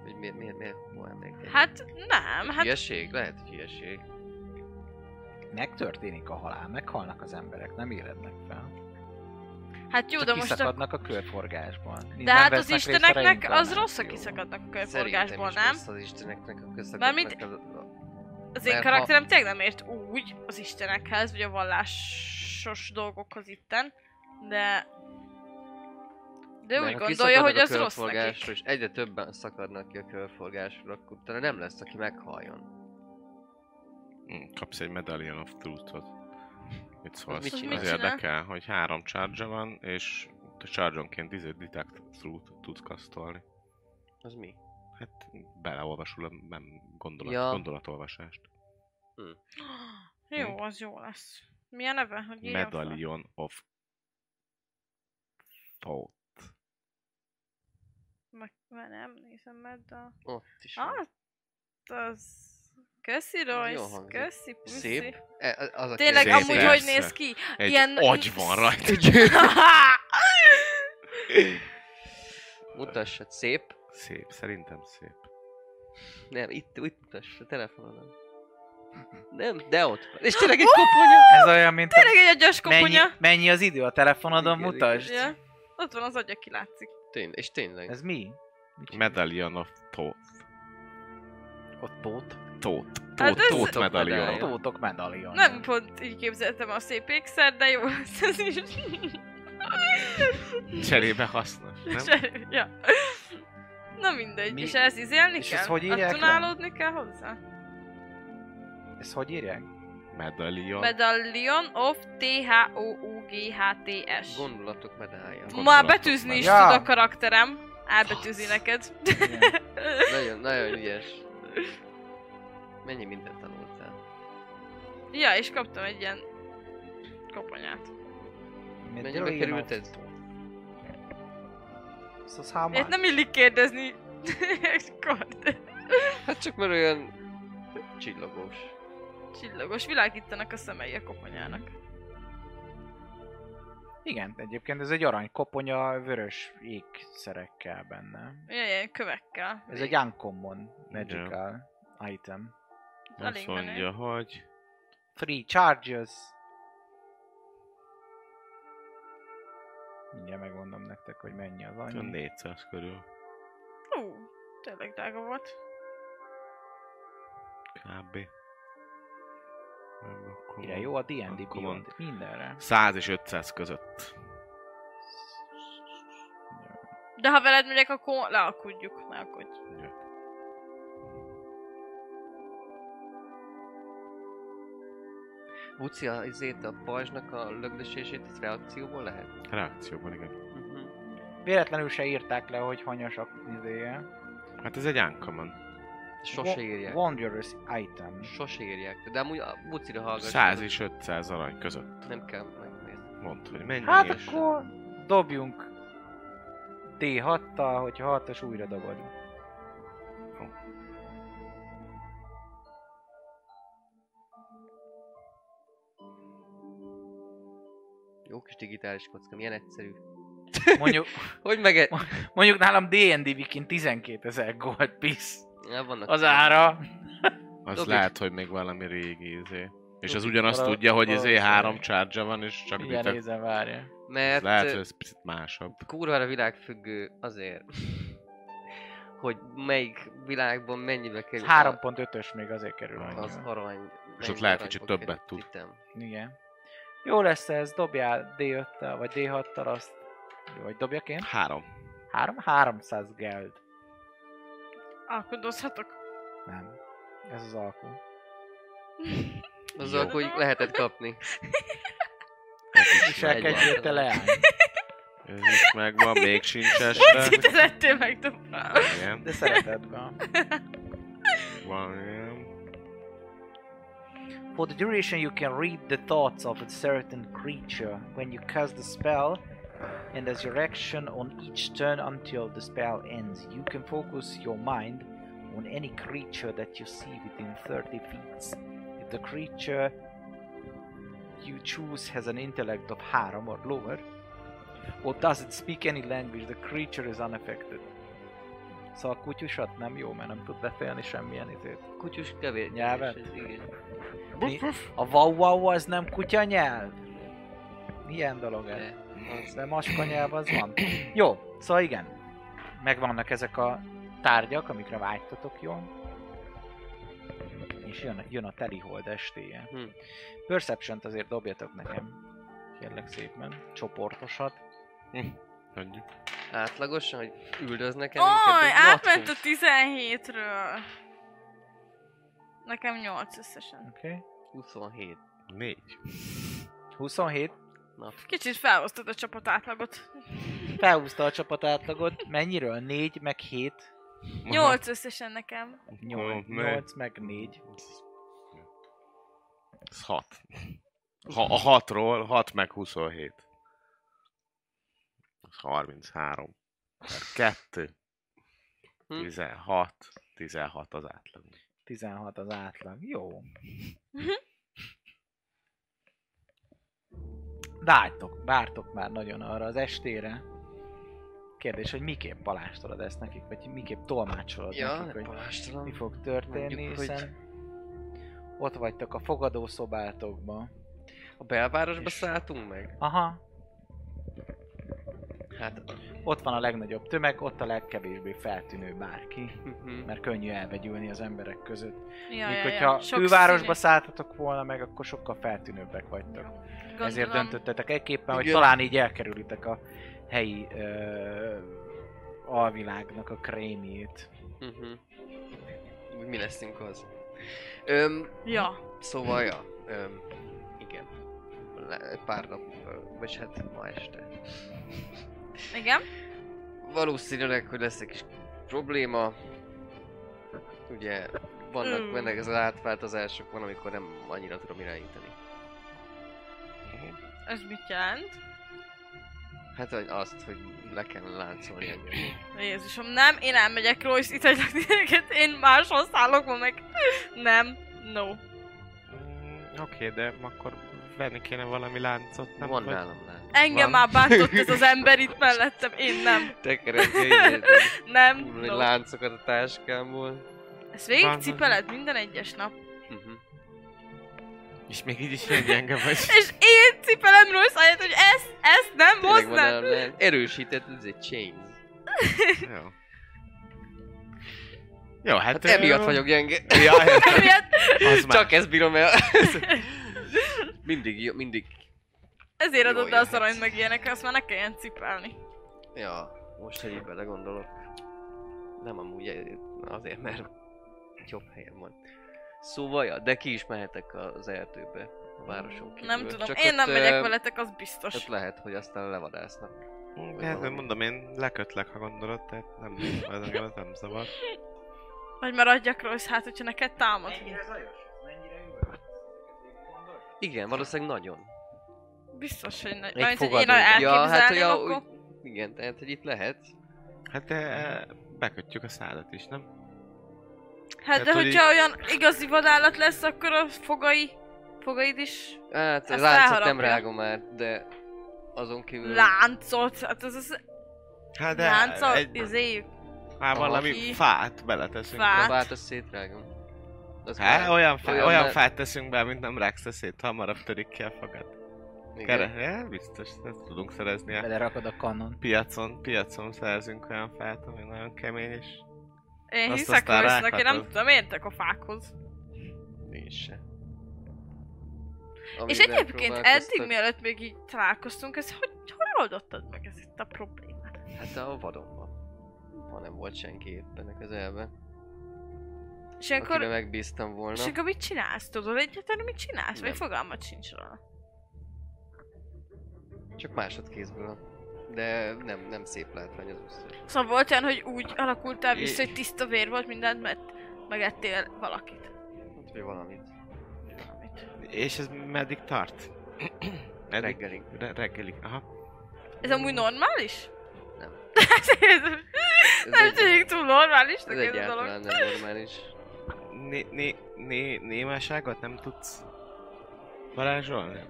Speaker 4: Hogy miért, miért, miért, hol emlékezni?
Speaker 2: Hát nem, hát
Speaker 4: Hülyeség? Lehet, hogy hülyeség.
Speaker 1: Megtörténik a halál, meghalnak az emberek, nem élednek fel.
Speaker 2: Hát jó,
Speaker 1: Csak
Speaker 2: de most a...
Speaker 1: kiszakadnak a körforgásban.
Speaker 2: De hát az isteneknek az rossz, a
Speaker 1: aki
Speaker 2: kiszakadnak a
Speaker 4: Szerintem
Speaker 2: körforgásból,
Speaker 4: is
Speaker 2: nem?
Speaker 4: rossz az isteneknek a közszakadnak
Speaker 2: Mármint-
Speaker 4: az, a-
Speaker 2: Az én
Speaker 4: mert ha-
Speaker 2: karakterem tényleg nem ért úgy az istenekhez, vagy a vallásos dolgokhoz itten, de... De
Speaker 4: mert
Speaker 2: úgy
Speaker 4: ha
Speaker 2: gondolja,
Speaker 4: kiszakadnak
Speaker 2: hogy
Speaker 4: a
Speaker 2: az rossz
Speaker 4: körforgásról,
Speaker 2: nekik.
Speaker 4: És egyre többen szakadnak ki a körforgásról, akkor utána nem lesz, aki meghaljon.
Speaker 3: Mm, Kapsz egy Medallion of Truth-ot. Mit szólsz?
Speaker 4: mit
Speaker 3: Az,
Speaker 4: csinál?
Speaker 3: az
Speaker 2: Mit csinál?
Speaker 3: érdekel, hogy három charge van, és a charge-onként izé Detect Truth tudsz kasztolni.
Speaker 4: Az mi?
Speaker 3: Hát beleolvasul a nem gondolat,
Speaker 4: Ja.
Speaker 3: ja. gondolatolvasást.
Speaker 2: Jó,
Speaker 4: Hm.
Speaker 2: az jó lesz. Mi a neve? Hogy írjam fel?
Speaker 3: Medallion of Thought.
Speaker 2: Meg, már nem nézem meg, de...
Speaker 4: Ott is van.
Speaker 2: Hát, az... Köszi,
Speaker 4: jól
Speaker 2: Royce,
Speaker 4: hangzik.
Speaker 2: köszi, puszi.
Speaker 4: Szép. E, az- az a
Speaker 2: Tényleg,
Speaker 3: Szép,
Speaker 4: kérdés.
Speaker 2: amúgy
Speaker 3: persze.
Speaker 2: hogy néz ki?
Speaker 3: Egy
Speaker 2: Ilyen-
Speaker 3: Ilyen... agy van rajta.
Speaker 4: Mutassad, hát szép.
Speaker 3: Szép, szerintem szép.
Speaker 4: Nem, itt, itt mutass, a telefonon. Nem, de ott van. És tényleg egy koponya!
Speaker 1: Ez olyan, mint
Speaker 2: Tényleg egy agyas
Speaker 1: mennyi,
Speaker 2: koponya.
Speaker 1: mennyi az idő a telefonodon,
Speaker 4: Igen,
Speaker 1: mutasd.
Speaker 2: Ja. Ott van az agya, ki látszik.
Speaker 4: Tény, és tényleg. Ez
Speaker 1: Ez mi? Mit csinál?
Speaker 3: Medallion of Thought.
Speaker 1: Ott tót.
Speaker 3: Thought.
Speaker 2: Hát
Speaker 3: Thought,
Speaker 2: ez-
Speaker 3: thought medallion.
Speaker 1: A
Speaker 4: medallion.
Speaker 1: tótok medalion.
Speaker 2: Nem pont így képzeltem a szép ékszer, de jó lesz ez is.
Speaker 3: Cserébe hasznos, nem?
Speaker 2: Se- ja. Na mindegy,
Speaker 1: Mi-
Speaker 2: és ez izélni
Speaker 1: és
Speaker 2: kell?
Speaker 1: ezt hogy írják le?
Speaker 2: Attunálódni kell hozzá?
Speaker 1: Ezt hogy írják?
Speaker 3: Medallion.
Speaker 2: Medallion of T-H-O-U-G-H-T-S.
Speaker 4: gondolatok medálja.
Speaker 3: Gond-
Speaker 2: Ma betűzni is
Speaker 1: Ja.
Speaker 2: tud a karakterem. Elbetűzi neked.
Speaker 1: Igen.
Speaker 4: Nagyon, nagyon ügyes. Mennyi mindent tanultál?
Speaker 2: ja, és kaptam egy ilyen koponyát.
Speaker 4: Mennyibe
Speaker 1: Medallion
Speaker 4: került
Speaker 1: of
Speaker 4: ez?
Speaker 1: Thought. Ez az how
Speaker 2: Ezt
Speaker 1: much?
Speaker 2: nem illik kérdezni. Kard.
Speaker 4: Hát csak mert olyan csillogós.
Speaker 2: Csillagos, világítanak a szemei a koponyának.
Speaker 1: Igen, egyébként ez egy arany koponya vörös ékszerekkel benne.
Speaker 2: Ilyen, ilyen kövekkel.
Speaker 1: Ez egy uncommon
Speaker 3: Igen.
Speaker 1: magical item.
Speaker 2: Elég
Speaker 3: Azt
Speaker 2: menő.
Speaker 3: mondja, hogy...
Speaker 1: Free charges. Mindjárt megmondom nektek, hogy mennyi az
Speaker 3: olyan
Speaker 1: annyi.
Speaker 3: 400 körül.
Speaker 2: Ú, tényleg drága volt.
Speaker 3: Kb. Meg akkor
Speaker 1: Mire jó a D&D
Speaker 3: Akkor
Speaker 1: Beyond?
Speaker 3: mond.
Speaker 1: Mindenre.
Speaker 3: 100 és 500 között.
Speaker 2: De ha veled megyek, akkor lealkudjuk. Lealkudj.
Speaker 4: Buci, a izét, a pajzsnak a lögdösését, az reakcióból lehet?
Speaker 3: Reakcióban, igen.
Speaker 4: Uh-huh.
Speaker 1: Véletlenül se írták le, hogy hanyasak izéje.
Speaker 3: Hát ez egy uncommon.
Speaker 4: Sose
Speaker 1: Wo-
Speaker 4: írják.
Speaker 1: Wondrous item.
Speaker 4: Sose írják. De amúgy a bucira hallgass.
Speaker 3: 100 és 500 arany között.
Speaker 4: Nem kell megnézni.
Speaker 3: Mondd, hogy mennyi
Speaker 1: Hát
Speaker 3: és...
Speaker 1: akkor dobjunk D6-tal, hogyha 6-os újra dobod.
Speaker 4: Jó kis digitális kocka, milyen egyszerű.
Speaker 1: Mondjuk,
Speaker 4: Hogy e- mege...
Speaker 1: mondjuk nálam D&D Wikin 12 ezer gold piece.
Speaker 4: Ja, vannak
Speaker 1: Az ára.
Speaker 3: Az
Speaker 4: Dobjuk.
Speaker 3: lehet, hogy még valami régi izé. És az ugyanazt
Speaker 1: Vala-
Speaker 3: tudja, hogy izé
Speaker 1: valószínűleg.
Speaker 3: három charge van, és csak
Speaker 1: Igen,
Speaker 3: bitek.
Speaker 1: nézem, várja.
Speaker 4: Mert
Speaker 3: Lehet,
Speaker 4: ö,
Speaker 3: hogy ez picit másabb.
Speaker 4: kurvára világfüggő azért, hogy melyik világban mennyibe
Speaker 1: Ez
Speaker 4: kerül.
Speaker 1: 3.5-ös még azért kerül
Speaker 3: Az
Speaker 4: Az
Speaker 1: annyira.
Speaker 4: arany.
Speaker 3: És ott
Speaker 4: mennyi
Speaker 3: lehet
Speaker 4: aranyba
Speaker 3: kicsit
Speaker 4: kerül,
Speaker 3: többet tud.
Speaker 4: hittem.
Speaker 1: Igen. Jó lesz ez, dobjál D5-tel, vagy D6-tal azt. Jó, vagy dobjak én?
Speaker 3: Három.
Speaker 1: 3? 300 geld.
Speaker 2: Alkudozhatok?
Speaker 1: Nem. Ez az alkú.
Speaker 4: Azzal,
Speaker 3: Jó.
Speaker 4: hogy lehetett kapni.
Speaker 3: Ez is megvan.
Speaker 1: Viselkedjél te leány.
Speaker 3: Ez is megvan, még sincs
Speaker 2: Hogy
Speaker 3: este.
Speaker 2: itt lettél megdobálva?
Speaker 3: Igen,
Speaker 1: De szeretetben.
Speaker 3: van, igen.
Speaker 1: For the duration, you can read the thoughts of a certain creature when you cast the spell, and as your action on each turn until the spell ends, you can focus your mind on any creature that you see within 30 feet. If the creature you choose has an intellect of harm or lower, or doesn't speak any language, the creature is unaffected. Szóval a kutyusat nem jó, mert nem tud beszélni semmilyen izét.
Speaker 4: Kutyus kevés.
Speaker 1: Nyelvet?
Speaker 4: Igen.
Speaker 1: Mi- A wow wow az nem kutya nyelv? Milyen dolog ez?
Speaker 4: De
Speaker 1: Az nem maska nyelv, az van. Jó, szóval igen. Megvannak ezek a tárgyak, amikre vágytatok, jó? És jön, jön a teli hold estéje.
Speaker 4: Hm.
Speaker 1: perception azért dobjatok nekem. Kérlek szépen. Csoportosat.
Speaker 3: Adjuk.
Speaker 4: Átlagosan, hogy üldöznek el
Speaker 2: Oj,
Speaker 4: minket, de
Speaker 2: átment a
Speaker 4: latin.
Speaker 2: 17-ről. Nekem 8 összesen.
Speaker 1: Oké. Okay.
Speaker 4: 27.
Speaker 3: Négy.
Speaker 1: 27.
Speaker 4: Na,
Speaker 2: Kicsit felhoztad a csapat átlagot.
Speaker 1: Felhúzta a csapat átlagot. Mennyiről? 4 meg 7.
Speaker 3: Aha.
Speaker 2: 8 összesen nekem.
Speaker 1: 8,
Speaker 3: ne.
Speaker 1: 8 meg 4.
Speaker 3: Ez hat. Ha, a hatról, hat meg 27. Az 33. Per kettő.
Speaker 4: Hm.
Speaker 3: 16. 16 az átlag.
Speaker 1: 16 az átlag. Jó.
Speaker 2: Mhm.
Speaker 1: Vágytok, vártok már nagyon arra az estére. Kérdés, hogy miképp palástolod ezt nekik, vagy miképp tolmácsolod
Speaker 4: ja,
Speaker 1: nekik, hogy mi
Speaker 4: palástalan.
Speaker 1: fog történni,
Speaker 4: Mondjuk, hogy-
Speaker 1: hiszen ott vagytok a fogadószobátokban.
Speaker 4: A belvárosba
Speaker 1: És-
Speaker 4: szálltunk meg?
Speaker 1: Aha,
Speaker 4: Hát,
Speaker 1: ott van a legnagyobb tömeg, ott a legkevésbé feltűnő bárki,
Speaker 4: mhm. mert
Speaker 1: mert könnyű elvegyülni az emberek között.
Speaker 2: Ja,
Speaker 1: Míg
Speaker 2: ja,
Speaker 1: hogyha
Speaker 2: ja. Sok
Speaker 1: külvárosba
Speaker 2: színű.
Speaker 1: szálltatok volna meg, akkor sokkal feltűnőbbek vagytok.
Speaker 2: Gondolom.
Speaker 1: Ezért döntöttetek egyképpen, hogy
Speaker 4: Igen.
Speaker 1: talán így elkerülitek a helyi ö, alvilágnak a krémjét.
Speaker 4: Mhm. Úgy Mi leszünk az? Öm,
Speaker 2: Ja.
Speaker 4: szóval, ja, öm, igen. Le, pár nap, ö, vagy hát ma este.
Speaker 2: Igen.
Speaker 4: Valószínűleg, hogy lesz egy kis probléma. Ugye, vannak,
Speaker 2: Mm.
Speaker 4: vannak ez az átváltozások, van, amikor nem annyira tudom irányítani.
Speaker 2: Ez mit jelent?
Speaker 4: Hát hogy azt, hogy le kell láncolni engem.
Speaker 2: Jézusom, nem, én elmegyek, Royce, itt hagylak titeket, én máshol szállok ma meg. Nem, no.
Speaker 3: Oké, okay, de akkor venni kéne valami láncot,
Speaker 4: Nem van nálam lánc.
Speaker 2: Engem
Speaker 3: Van.
Speaker 2: már bántott ez az ember itt mellettem, én nem,
Speaker 4: Tekeredj
Speaker 2: nem,
Speaker 4: no.
Speaker 2: no.
Speaker 4: láncokat a táskámból.
Speaker 2: Ezt
Speaker 3: Van.
Speaker 2: végig cipeled minden egyes nap.
Speaker 4: Mhm.
Speaker 3: És még így is ilyen gyenge vagy.
Speaker 2: És én cipelem Royce ahelyett, hogy ezt, ezt nem
Speaker 4: Tényleg van
Speaker 2: hoznád.
Speaker 4: nálam lánc. Erősített, ez egy chains.
Speaker 3: Jó. Jó, hát...
Speaker 4: Hát emiatt
Speaker 3: ö,
Speaker 4: vagyok gyenge.
Speaker 3: Ja, értem.
Speaker 2: Emiatt
Speaker 3: az már.
Speaker 4: Csak ezt bírom el. mindig, jó, mindig.
Speaker 2: Ezért
Speaker 4: Jó,
Speaker 2: adod be az
Speaker 4: jöhetsz.
Speaker 2: arany meg ilyenek, azt már ne kelljen cipelni.
Speaker 4: Ja, most, hogy így belegondolok. Nem amúgy azért, mert jobb helyen van. Szóval, ja, de ki is mehetek az erdőbe, a városon kívül.
Speaker 2: Nem tudom,
Speaker 4: Csak
Speaker 2: én
Speaker 4: ott,
Speaker 2: nem
Speaker 4: ö,
Speaker 2: megyek veletek, az biztos.
Speaker 4: Ott lehet, hogy aztán levadásznak.
Speaker 3: Hát nem mondom, én lekötlek, ha gondolod, tehát nem, ez engem ez nem szabad.
Speaker 2: Vagy maradjak Royce, hát hogyha neked támad.
Speaker 1: zajos? Mennyire jó?
Speaker 4: Igen, valószínűleg nagyon.
Speaker 2: Biztos, hogy ne...
Speaker 4: Egy
Speaker 2: Mármint, hogy én
Speaker 4: fogadó. Ja, hát,
Speaker 2: elképzelném,
Speaker 4: hogy
Speaker 2: ja,
Speaker 4: a,
Speaker 2: akkor...
Speaker 4: úgy, igen, tehát, hogy itt lehet.
Speaker 3: Hát de bekötjük a szádat is, nem?
Speaker 2: Hát
Speaker 3: Hát,
Speaker 2: de
Speaker 3: hogy
Speaker 2: hogyha olyan igazi vadállat lesz, akkor a fogai... Fogaid is
Speaker 4: Hát,
Speaker 2: Ezt
Speaker 4: láncot nem
Speaker 2: elharapja.
Speaker 4: rágom már, de azon kívül...
Speaker 2: láncot, hát az izé. az
Speaker 3: Hát de
Speaker 2: láncot,
Speaker 3: egy,
Speaker 2: izéjük.
Speaker 3: már valami
Speaker 2: Ki?
Speaker 3: fát beleteszünk.
Speaker 2: Fát.
Speaker 4: Próbált, azt szétrágom. Az
Speaker 3: Há,
Speaker 4: már-
Speaker 3: olyan, fá,
Speaker 4: olyan
Speaker 3: olyan
Speaker 4: ne-
Speaker 3: fát teszünk be, mint nem ráksz szét, hamarabb törik ki a fogad.
Speaker 4: igen.
Speaker 3: Kere, ja, biztos, ezt tudunk szerezni. A
Speaker 1: Belerakod a kanon.
Speaker 3: piacon, piacon szerzünk olyan fát, ami nagyon kemény, és
Speaker 2: Én
Speaker 3: Azt
Speaker 2: hiszek
Speaker 3: aztán
Speaker 2: ősznek, én nem
Speaker 3: rághatod.
Speaker 2: tudom, értek a fákhoz.
Speaker 4: nincs se.
Speaker 2: És
Speaker 4: Amivel
Speaker 2: egyébként eddig
Speaker 4: próbálkoztak-
Speaker 2: mielőtt még így találkoztunk, ez hogy, hogy oldottad meg ezt itt a problémát?
Speaker 4: Hát a vadonban. Ha nem volt senki éppen a közelben.
Speaker 2: És
Speaker 4: Akkor... Akire
Speaker 2: akkor,
Speaker 4: megbíztam volna.
Speaker 2: és akkor mit csinálsz? Tudod egyáltalán mit csinálsz? Vagy
Speaker 4: Nem.
Speaker 2: fogalmat sincs róla?
Speaker 4: Csak másodkézből. De nem, nem szép látvány az összes.
Speaker 2: Szóval volt olyan, hogy úgy alakultál vissza,
Speaker 4: Jé.
Speaker 2: hogy tiszta vér volt mindent, mert megettél valakit.
Speaker 4: Hát, hogy valamit.
Speaker 2: Valamit.
Speaker 3: És ez meddig tart? Eddig?
Speaker 4: Reggelig.
Speaker 3: Re- reggelig, aha.
Speaker 2: Ez amúgy normális?
Speaker 4: Nem.
Speaker 2: ez, ez,
Speaker 4: Ez,
Speaker 2: nem
Speaker 4: egy-
Speaker 2: tűnik túl normálisnak
Speaker 4: ez
Speaker 2: ez a dolog.
Speaker 4: egyáltalán nem normális.
Speaker 3: Né, né, né, némaságot nem tudsz varázsolni?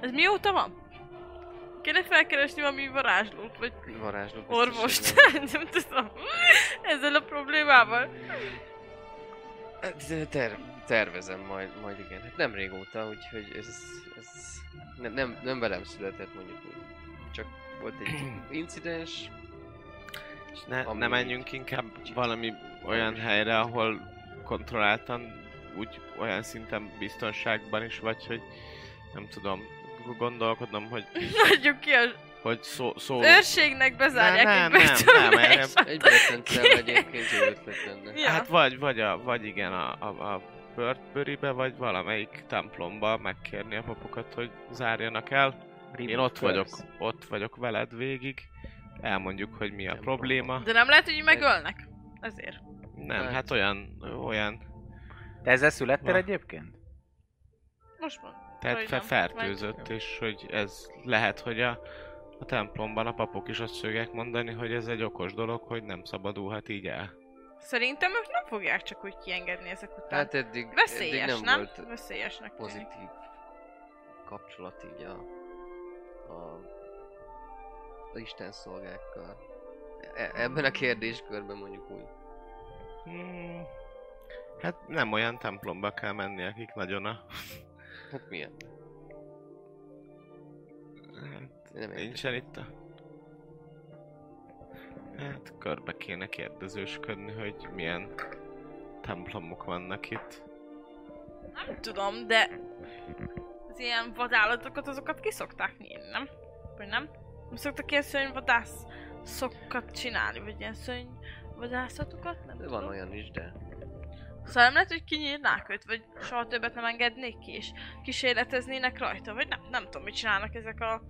Speaker 2: Ez mióta van? Kéne felkeresni valami varázslót, vagy
Speaker 4: Varázsló biztos, hogy
Speaker 2: orvost,
Speaker 4: nem.
Speaker 2: nem tudom, ezzel a problémával.
Speaker 4: Hát, de ter- tervezem majd, majd igen. Hát nem régóta, úgyhogy ez, ez ne, nem, nem velem született mondjuk úgy. Csak volt egy incidens,
Speaker 3: És ne,
Speaker 4: Ami
Speaker 3: ne
Speaker 4: így-
Speaker 3: menjünk inkább valami olyan helyre, ahol kontrolláltan, úgy olyan szinten biztonságban is vagy, hogy nem tudom, g- gondolkodom, hogy,
Speaker 2: Adjuk ki az
Speaker 3: hogy szó, szó...
Speaker 2: őrségnek, bezárják
Speaker 3: Nem, nem,
Speaker 2: egy
Speaker 3: nem, nem,
Speaker 2: börtönbe,
Speaker 3: erre-
Speaker 2: és ott-
Speaker 4: egy börtöncel egyébként jó ötlet lenne.
Speaker 2: Ja.
Speaker 3: Hát vagy, vagy, a, vagy igen, a, a, a Birdbury-be, vagy valamelyik templomba megkérni a papokat, hogy zárjanak el. Én ott vagyok, ott vagyok veled végig. Elmondjuk, hogy mi a
Speaker 4: Templomba.
Speaker 3: probléma.
Speaker 2: De nem lehet, hogy így megölnek. Ezért.
Speaker 3: Nem, hát olyan, olyan,
Speaker 1: Te ezzel születtél
Speaker 3: Na.
Speaker 1: egyébként?
Speaker 2: Most van.
Speaker 3: tehát
Speaker 2: Vagy
Speaker 3: fe,
Speaker 2: nem,
Speaker 3: fertőzött, és hogy ez lehet, hogy a, a templomban a papok is azt fogják mondani, hogy ez egy okos dolog, hogy nem szabadulhat így el.
Speaker 2: Szerintem ők nem fogják csak úgy kiengedni ezek után.
Speaker 4: Hát eddig, eddig nem,
Speaker 2: Veszélyes, nem?
Speaker 4: volt
Speaker 2: Veszélyesnek tűnik.
Speaker 4: pozitív kapcsolat így a, a, a Isten szolgákkal. E- ebben a kérdéskörben mondjuk úgy.
Speaker 3: Hmm. Hát nem olyan templomba kell menni, akik nagyon a...
Speaker 4: Hát milyen?
Speaker 3: Hát,
Speaker 4: Nem értek.
Speaker 3: nincsen itt a... Hát körbe kéne kérdezősködni, hogy milyen templomok vannak itt.
Speaker 2: Nem tudom, de az ilyen vadállatokat, azokat ki szokták nyírni, nem? Vagy nem? Nem szoktak ilyen szörnyvadász szokat csinálni, vagy ilyen szörnyvadászatokat? Nem
Speaker 4: De
Speaker 2: tudom.
Speaker 4: van olyan is, de
Speaker 2: Szóval nem lehet, hogy kinyírnák őt, vagy soha többet nem engednék ki, és kísérleteznének rajta, vagy nem, nem tudom, mit csinálnak ezek a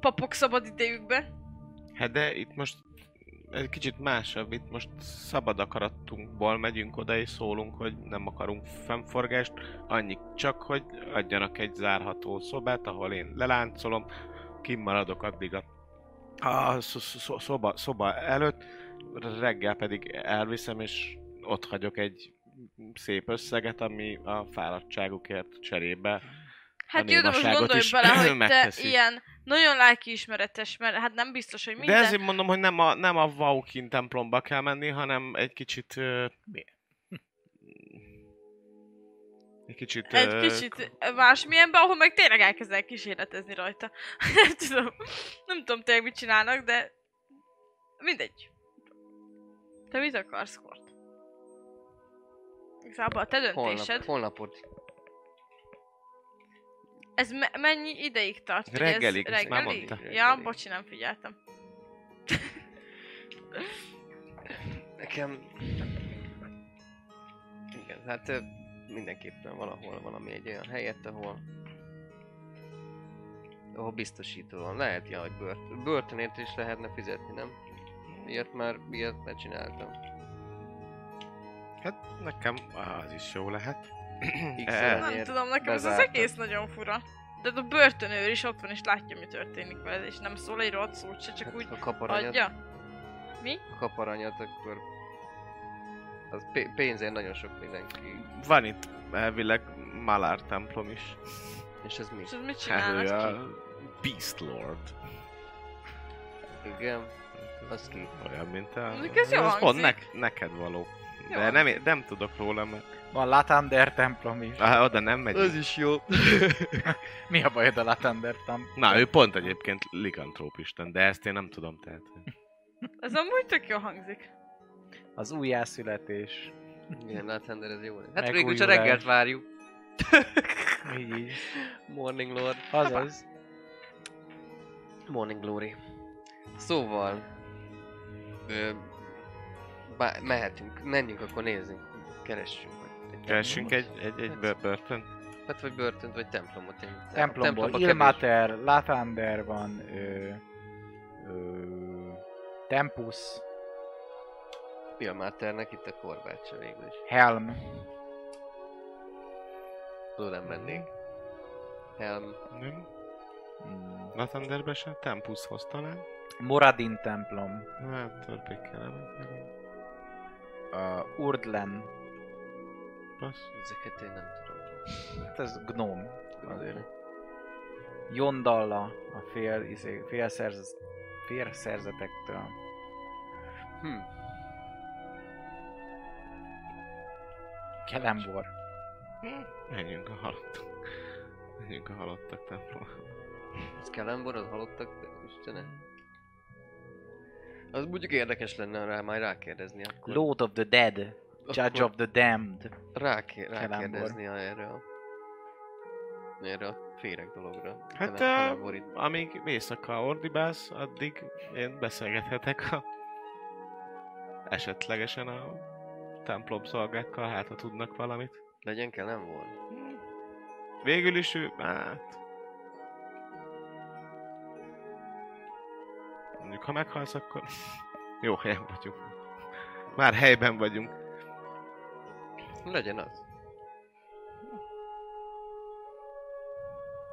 Speaker 2: papok szabad idejükben.
Speaker 3: Hát de itt most egy kicsit másabb, itt most szabad akaratunkból megyünk oda és szólunk, hogy nem akarunk fennforgást, annyi csak, hogy adjanak egy zárható szobát, ahol én leláncolom, kimaradok addig a, a szo- szo- szoba, szoba előtt, reggel pedig elviszem és ott hagyok egy szép összeget, ami a fáradtságukért cserébe.
Speaker 2: Hát
Speaker 3: A
Speaker 2: jó, de most
Speaker 3: némaságot
Speaker 2: gondolj
Speaker 3: is
Speaker 2: bele, hogy te
Speaker 3: megteszik.
Speaker 2: ilyen nagyon lelkiismeretes, mert hát nem biztos, hogy minden...
Speaker 3: De ezért mondom, hogy nem a, nem a Vaukin templomba kell menni, hanem egy kicsit... ö, Egy kicsit...
Speaker 2: Egy
Speaker 3: ö,
Speaker 2: kicsit másmilyenbe, ahol meg tényleg elkezdenek kísérletezni rajta. nem tudom. Nem tudom tényleg mit csinálnak, de... Mindegy. Te mit akarsz, Kort? Igazából a te
Speaker 4: holnap,
Speaker 2: döntésed.
Speaker 4: holnapot
Speaker 2: Ez me- mennyi ideig tart? hogy
Speaker 3: Reggelig,
Speaker 2: ez
Speaker 3: ezt már
Speaker 2: reggelig?
Speaker 3: mondta.
Speaker 2: Ja, bocsi, nem figyeltem.
Speaker 4: nekem... Igen, hát ö, mindenképpen valahol valami egy olyan helyet, ahol ahol biztosító van. Lehet, ja, hogy bört, börtönért is lehetne fizetni, nem? Ilyet már, ilyet már csináltam.
Speaker 3: Hát nekem az is jó lehet.
Speaker 4: X-el.
Speaker 3: Eh,
Speaker 2: Nem
Speaker 4: Ezért
Speaker 2: tudom, nekem ez az
Speaker 4: bezártak.
Speaker 2: egész nagyon fura. De a börtönőr is ott van és látja, mi történik vele, és nem szól egy rossz szót se, csak
Speaker 4: Hát,
Speaker 2: úgy
Speaker 4: ha kap aranyat,
Speaker 2: adja.
Speaker 4: ha kap aranyat, akkor az pé- pénzért nagyon sok mindenki.
Speaker 3: Van itt elvileg Malár templom is.
Speaker 4: És ez mi?
Speaker 2: És ez
Speaker 3: Hát
Speaker 2: mit csinálnak?
Speaker 3: ő a Beast Lord.
Speaker 4: Igen, az ki.
Speaker 3: Olyan, mint a...
Speaker 2: Mondjuk ez jó
Speaker 3: pont
Speaker 2: hangzik.
Speaker 3: nek, neked való. De nem, é- nem tudok róla, mert
Speaker 1: Van Latander templom is.
Speaker 3: Á, oda nem megy.
Speaker 4: Az is jó.
Speaker 1: Mi a bajod a Latander templom?
Speaker 3: Na, ő pont egyébként likantrópisten, de ezt én nem tudom, tehát...
Speaker 2: Ez amúgy tök jó hangzik.
Speaker 1: Az újjászületés.
Speaker 4: Igen, Nathander, ez jó. Hát
Speaker 1: Megújulás.
Speaker 4: végül csak reggelt várjuk.
Speaker 1: Így így.
Speaker 4: Morning Lord.
Speaker 1: Azaz.
Speaker 4: Morning Glory. Szóval... Ö, bá, mehetünk, menjünk, akkor nézzünk. Keressünk. vagy egy templomot.
Speaker 3: Keresünk egy, egy, egy bör- börtön?
Speaker 4: Hát vagy börtönt, vagy templomot. Én,
Speaker 1: Templomból.
Speaker 4: kevés.
Speaker 1: Ilmater, Latander van. Ö, ö, Tempus,
Speaker 4: Ilmáternek itt a korbácsa végül is.
Speaker 1: Helm.
Speaker 4: Oda nem mennék. Helm.
Speaker 3: Nem?
Speaker 1: Mm.
Speaker 3: Latanderbe se? Tempuszhoz talán?
Speaker 1: Moradin templom.
Speaker 3: Hát, törpékkel nem.
Speaker 1: A Urdlen.
Speaker 3: Basz.
Speaker 4: Ezeket én nem tudom.
Speaker 1: Hát ez gnóm. Azért. Jondalla a fél, izé, fél, szerz, fél szerzetektől.
Speaker 4: Hm.
Speaker 1: Kelembor.
Speaker 3: Menjünk a halottak. Menjünk a halottak templomába.
Speaker 4: Ez Kelembor, az halottak, de Istenem. Az mondjuk érdekes lenne rá majd rákérdezni akkor.
Speaker 1: Lord of the Dead. Judge
Speaker 4: Akkor
Speaker 1: of the Damned.
Speaker 4: Ráké-
Speaker 1: Kelembor.
Speaker 4: rákérdezni a- erre a... Erre a féreg dologra.
Speaker 3: Hát,
Speaker 4: Kelem-
Speaker 3: á,
Speaker 4: Kelembor itt.
Speaker 3: Amíg éjszaka ordibálsz, addig én beszélgethetek a... Esetlegesen a templom szolgákkal, hát ha tudnak valamit.
Speaker 4: Legyen Kelembor.
Speaker 3: Végül is ő, hát... Mondjuk, ha meghalsz, akkor jó helyen vagyunk. Már helyben vagyunk.
Speaker 4: Legyen az.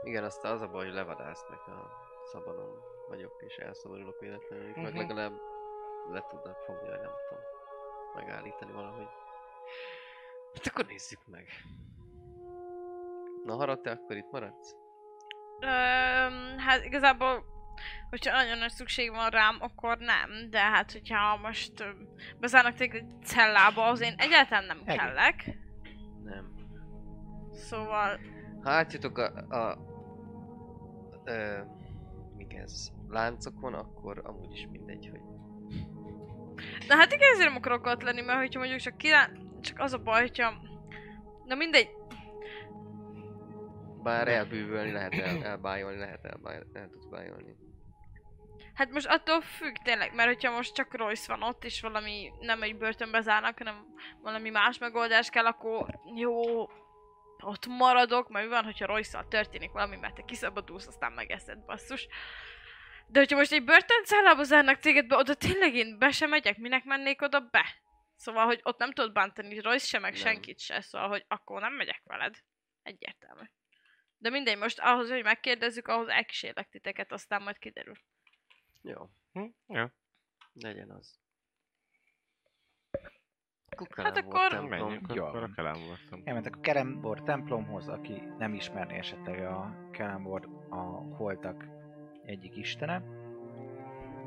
Speaker 4: Igen, aztán az a baj, hogy levadásznak a szabadon vagyok és elszabadulok véletlenül, uh-huh. meg
Speaker 3: Mhm.
Speaker 4: legalább le tudnak fogni, vagy nem tudom, megállítani valahogy. Hát akkor nézzük meg. Na Hara, te akkor itt maradsz?
Speaker 2: Öm, hát igazából, hogyha nagyon nagy szükség van rám, akkor nem. De hát, hogyha most öm, bezárnak téged egy cellába, az én egyáltalán nem
Speaker 1: Elég.
Speaker 2: kellek.
Speaker 4: Nem.
Speaker 2: Szóval,
Speaker 4: Ha átjutok a... a, ö, mik ez? Láncokon, akkor amúgy is mindegy, hogy...
Speaker 2: na hát igen, ezért nem akarok ott lenni, mert hogyha mondjuk csak király... Csak az a baj, hogyha... Na mindegy,
Speaker 4: Bár elbűvölni lehet, el, elbájolni lehet, elbájolni, el tudsz bájolni.
Speaker 2: Hát most attól függ tényleg, mert hogyha most csak Royce van ott, és valami nem egy börtönbe zárnak, hanem valami más megoldás kell, akkor jó, ott maradok, mert mi van, hogyha royce történik valami, mert te kiszabadulsz, aztán megeszed, basszus. De hogyha most egy börtöncellába zárnak téged be, oda tényleg én be sem megyek, minek mennék oda be? Szóval, hogy ott nem tudod bántani Royce sem, meg
Speaker 4: Nem.
Speaker 2: senkit se, szóval, hogy akkor nem megyek veled. Egyértelmű. De mindegy, most ahhoz, hogy megkérdezzük, ahhoz elkísérlek titeket, aztán majd kiderül.
Speaker 4: Jó.
Speaker 3: Hm? Ja.
Speaker 4: Legyen az.
Speaker 2: Hát
Speaker 4: Kukálából
Speaker 2: akkor-
Speaker 4: templom.
Speaker 3: Menjünk,
Speaker 1: Jó.
Speaker 3: akkor a kelem voltam.
Speaker 1: Elmentek a Kerembor templomhoz, aki nem ismerné esetleg a Kerembor a holtak egyik istene,